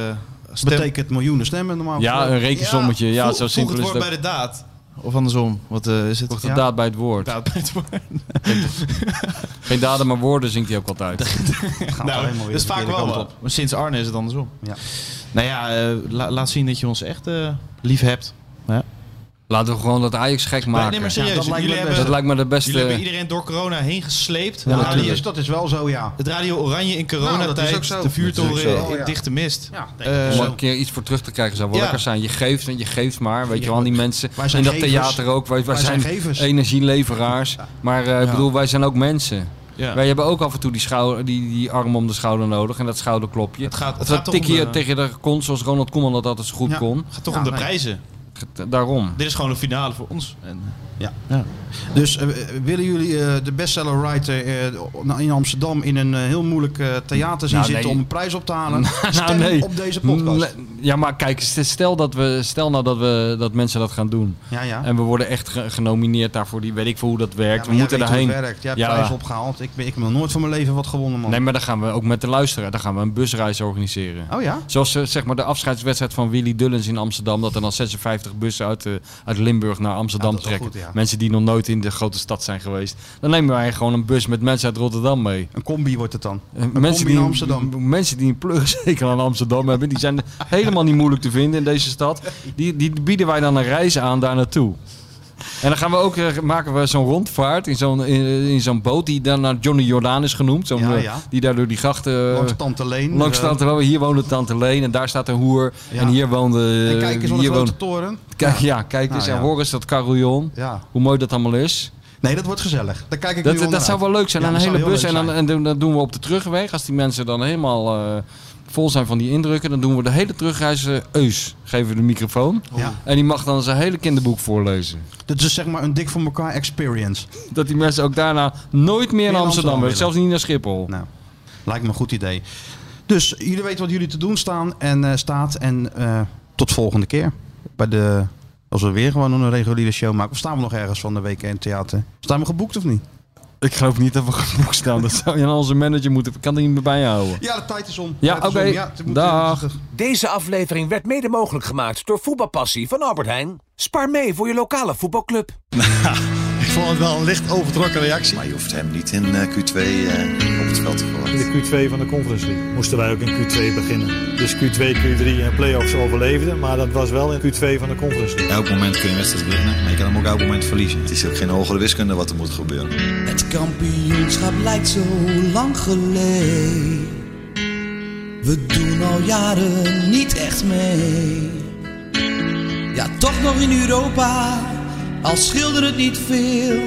stem-
Betekent miljoenen stemmen normaal.
Ja,
gesproken.
een rekensommetje. Ja,
voeg-
zo
voeg
simpel
het
is
woord
dat.
bij de daad. Of andersom, wat eh, is het?
Voegt de
Ja.
daad bij het woord.
Daad bij het woord.
Geen daden, maar woorden zingt hij ook altijd.
Gaat
Nou,
helemaal weer
dat is
de
vaak
verkeerde
wel
kant
wat. Maar sinds Arne is het andersom.
Ja.
Nou ja, eh, la- laat zien dat je ons echt eh, lief hebt. Ja.
Laten we gewoon dat Ajax gek
Maar,
maken.
nee, maar serieus,
Ja, dat lijkt me
jullie,
het
hebben,
dat lijkt me de beste...
jullie hebben iedereen door corona heen gesleept. Nou,
Ja,
Het
dat,
radio,
is, dat is wel zo, ja.
het radio Oranje in
Nou, dat is ook
coronatijd,
zo.
de vuurtoren
Dat is ook zo.
in dichte mist.
Ja, denk ik
Eh,
Om er een keer iets voor terug te krijgen zou wel
Ja.
lekker zijn. Je geeft en je geeft maar. Weet je wel, aan die mensen.
Wij zijn
in dat
gevers.
theater ook. Wij, wij
Wij zijn
zijn,
gevers.
energieleveraars. Maar eh, ik bedoel, wij zijn ook mensen.
Ja.
Wij hebben ook af en toe die, schouder, die, die arm om de schouder nodig en dat schouderklopje.
Het gaat- het
of
gaat
dat
toch
tikje
om, eh,
tegen de kont, zoals Ronald Koeman dat altijd zo goed
Ja.
kon.
Het gaat toch
Ja,
om de
nee.
prijzen.
Daarom.
Dit is gewoon een finale voor ons. En, eh,
Dus eh, willen jullie eh, de bestseller writer eh, in Amsterdam in een eh, heel moeilijk eh, theater zien
Nou,
zitten
nee.
om een prijs op te halen? Stem
Nou, nee.
op deze podcast.
Le- Ja, maar kijk, st- stel, dat we, stel nou dat, we, dat mensen dat gaan doen.
Ja, ja.
En we worden echt ge- genomineerd daarvoor. Die weet ik veel hoe dat werkt.
Ja,
we
maar
moeten
jij weet hoe
daarheen.
het werkt. Jij hebt prijs opgehaald. Ik, ben- ik heb nog nooit van mijn leven wat gewonnen, man.
Nee, maar dan gaan we ook met de luisteraar. Dan gaan we een busreis organiseren.
Oh ja?
Zoals eh, zeg maar de afscheidswedstrijd van Willy Dullens in Amsterdam. Dat er dan 56 bussen uit, eh, uit Limburg naar Amsterdam
Ja, dat is wel
trekken.
goed, ja.
Mensen die nog nooit in de grote stad zijn geweest. Dan nemen wij gewoon een bus met mensen uit Rotterdam mee.
Een combi wordt het dan.
Eh,
Een
mensen
combi in
die,
Amsterdam.
m- Mensen die een plugzeker aan Amsterdam hebben, die zijn helemaal niet moeilijk te vinden in deze stad. Die, die bieden wij dan een reis aan daar naartoe. En dan gaan we ook, eh, maken we zo'n rondvaart in zo'n, in, in zo'n boot die dan naar Johnny Jordaan is genoemd. Zo'n,
Ja,
eh,
ja.
Die daar door die grachten...
Langs Tante Leen.
eh, Langs
eh,
Tante Leen. Hier woonde Tante Leen en daar staat een hoer.
Ja.
En hier woonde...
En kijk eens
hier
op de grote
woonde-
toren.
Kijk, ja, kijk eens.
Nou, ja.
En hoor eens dat carillon.
Ja.
Hoe mooi dat allemaal is.
Nee, dat wordt gezellig. Daar kijk ik nu
Dat,
al
dat
naar
zou
uit.
wel leuk zijn.
Ja,
een
dat zou
hele
heel
bus.
leuk
En dan,
zijn.
en dan- dat doen we op de terugweg. Als die mensen dan helemaal eh, vol zijn van die indrukken, dan doen we de hele terugreis eh, Eus. Geven we de microfoon.
Ja.
En die mag dan zijn hele kinderboek voorlezen.
Dat is zeg maar een dik voor elkaar experience.
Dat die mensen ook daarna nooit meer naar
Amsterdam
Amsterdam willen.
willen.
Zelfs niet naar Schiphol.
Nou, lijkt me een goed idee. Dus jullie weten wat jullie te doen staan en eh, staat. En eh, tot volgende keer bij de Als we weer gewoon een reguliere show maken. Of staan we nog ergens van de week in het theater? Staan we geboekt of niet?
Ik geloof niet dat we geboekt staan. Dat zou je aan onze manager moeten. Ik kan die niet meer bijhouden.
Ja, de tijd is om.
Ja,
Tijd is
oké.
om. Ja, het moet-
Dag.
Deze aflevering werd mede mogelijk gemaakt door voetbalpassie van Albert Heijn. Spaar mee voor je lokale voetbalclub.
Ik vond het wel een licht overtrokken reactie. Maar je hoeft hem niet in eh, Q2 eh, op het veld te verwachten.
In de Q2 van de Conference League moesten wij ook in Q2 beginnen. Dus Q2, Q3 en playoffs overleefden, maar dat was wel in Q2 van de Conference League.
Elk moment kun je wedstrijd winnen, maar je kan hem ook elk moment verliezen. Het is ook geen hogere wiskunde wat er moet gebeuren.
Het kampioenschap lijkt zo lang geleden. We doen al jaren niet echt mee. Ja, toch nog in Europa, al schilderde het niet veel.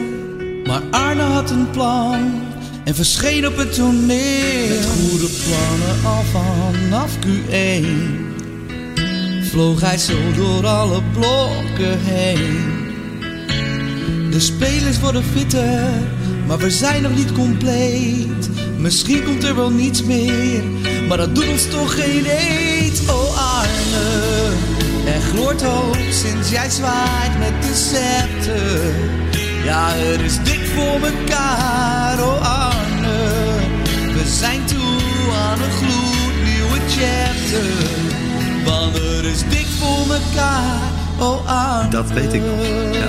Maar Arne had een plan en verscheen op het toneel. Met goede plannen al vanaf Q1 vloog hij zo door alle blokken heen. De spelers worden fitter, maar we zijn nog niet compleet. Misschien komt er wel niets meer, maar dat doet ons toch geen eet. Oh Arne, er gloort hoop sinds jij zwaait met de scepter. Ja, het is dik voor mekaar, oh Arne. We zijn toe aan een gloednieuwe chapter. Want het is dik voor mekaar, oh Arne.
Dat weet ik nog. Ja.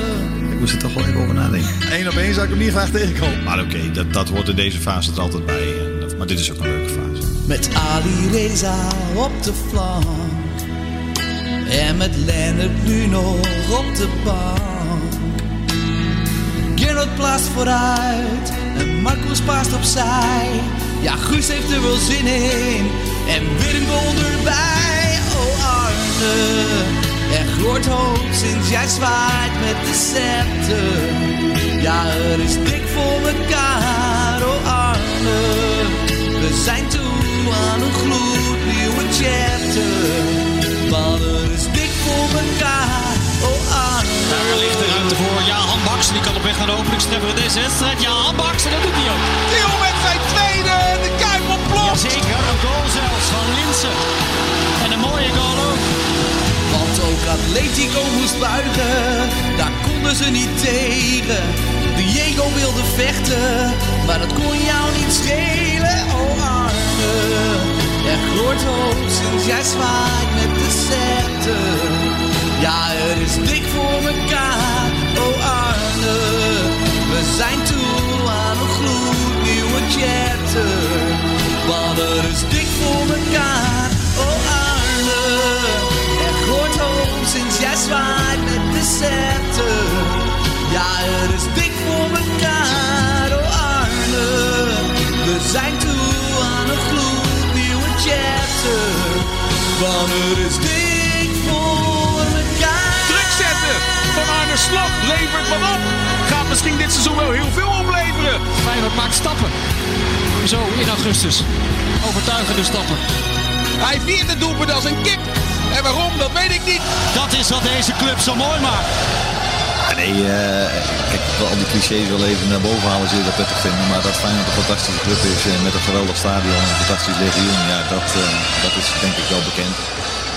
Ik moest er toch wel even over nadenken. Eén op één zou ik hem niet graag tegenkomen. Maar oké, dat, dat hoort in deze fase er altijd bij. En dat- maar dit is ook een leuke fase.
Met Ali Reza op de flank. En met Lennart nu nog op de bank. Gerard plaatst vooruit. En Marcus paast opzij. Ja, Guus heeft er wel zin in. En Willem Bol erbij. Oh Arne, er gloort hoop sinds jij zwaait met de scepter. Ja, er is dik voor elkaar. Oh Arne. We zijn toe aan een gloednieuwe chapter. Want er is dik voor elkaar, oh Arne.
Daar ligt de ruimte voor. Ja, Baks. Die kan op weg naar de openingstreffer van deze wedstrijd. Ja, Baks. En dat doet hij ook. Kiel met zijn tweede. De Kuip ontploft. Jazeker. Een goal zelfs van Linsen. En een mooie goal ook.
Want ook Atletico moest buigen, daar konden ze niet tegen. Diego wilde vechten, maar dat kon jou niet schelen, oh Arne. Er gloort hoop sinds jij zwaait met de scepter. Ja, er is dik voor mekaar, oh Arne. We zijn toe aan een gloednieuwe chapter. Want er is dik voor mekaar, oh Arne. Er gloort hoop sinds jij zwaait met de scepter. Ja, het is dik voor elkaar, oh Arne. We zijn toe aan een gloednieuwe chapter. Want het is dik voor elkaar.
Druk zetten van Arne Slot. Levert wat op. Gaat misschien dit seizoen wel heel veel opleveren. Feyenoord maakt stappen. Zo in augustus. Overtuigende stappen. Hij viert het doelpunt als een kip. En waarom, dat weet ik niet. Dat is wat deze club zo mooi maakt.
Ja, nee, eh, kijk, ik wil al die clichés wel even naar boven halen, zul je dat prettig vinden. Maar dat Feyenoord een fantastische club is eh, met een geweldig stadion en een fantastisch legioen, ja, dat, eh, dat is denk ik wel bekend.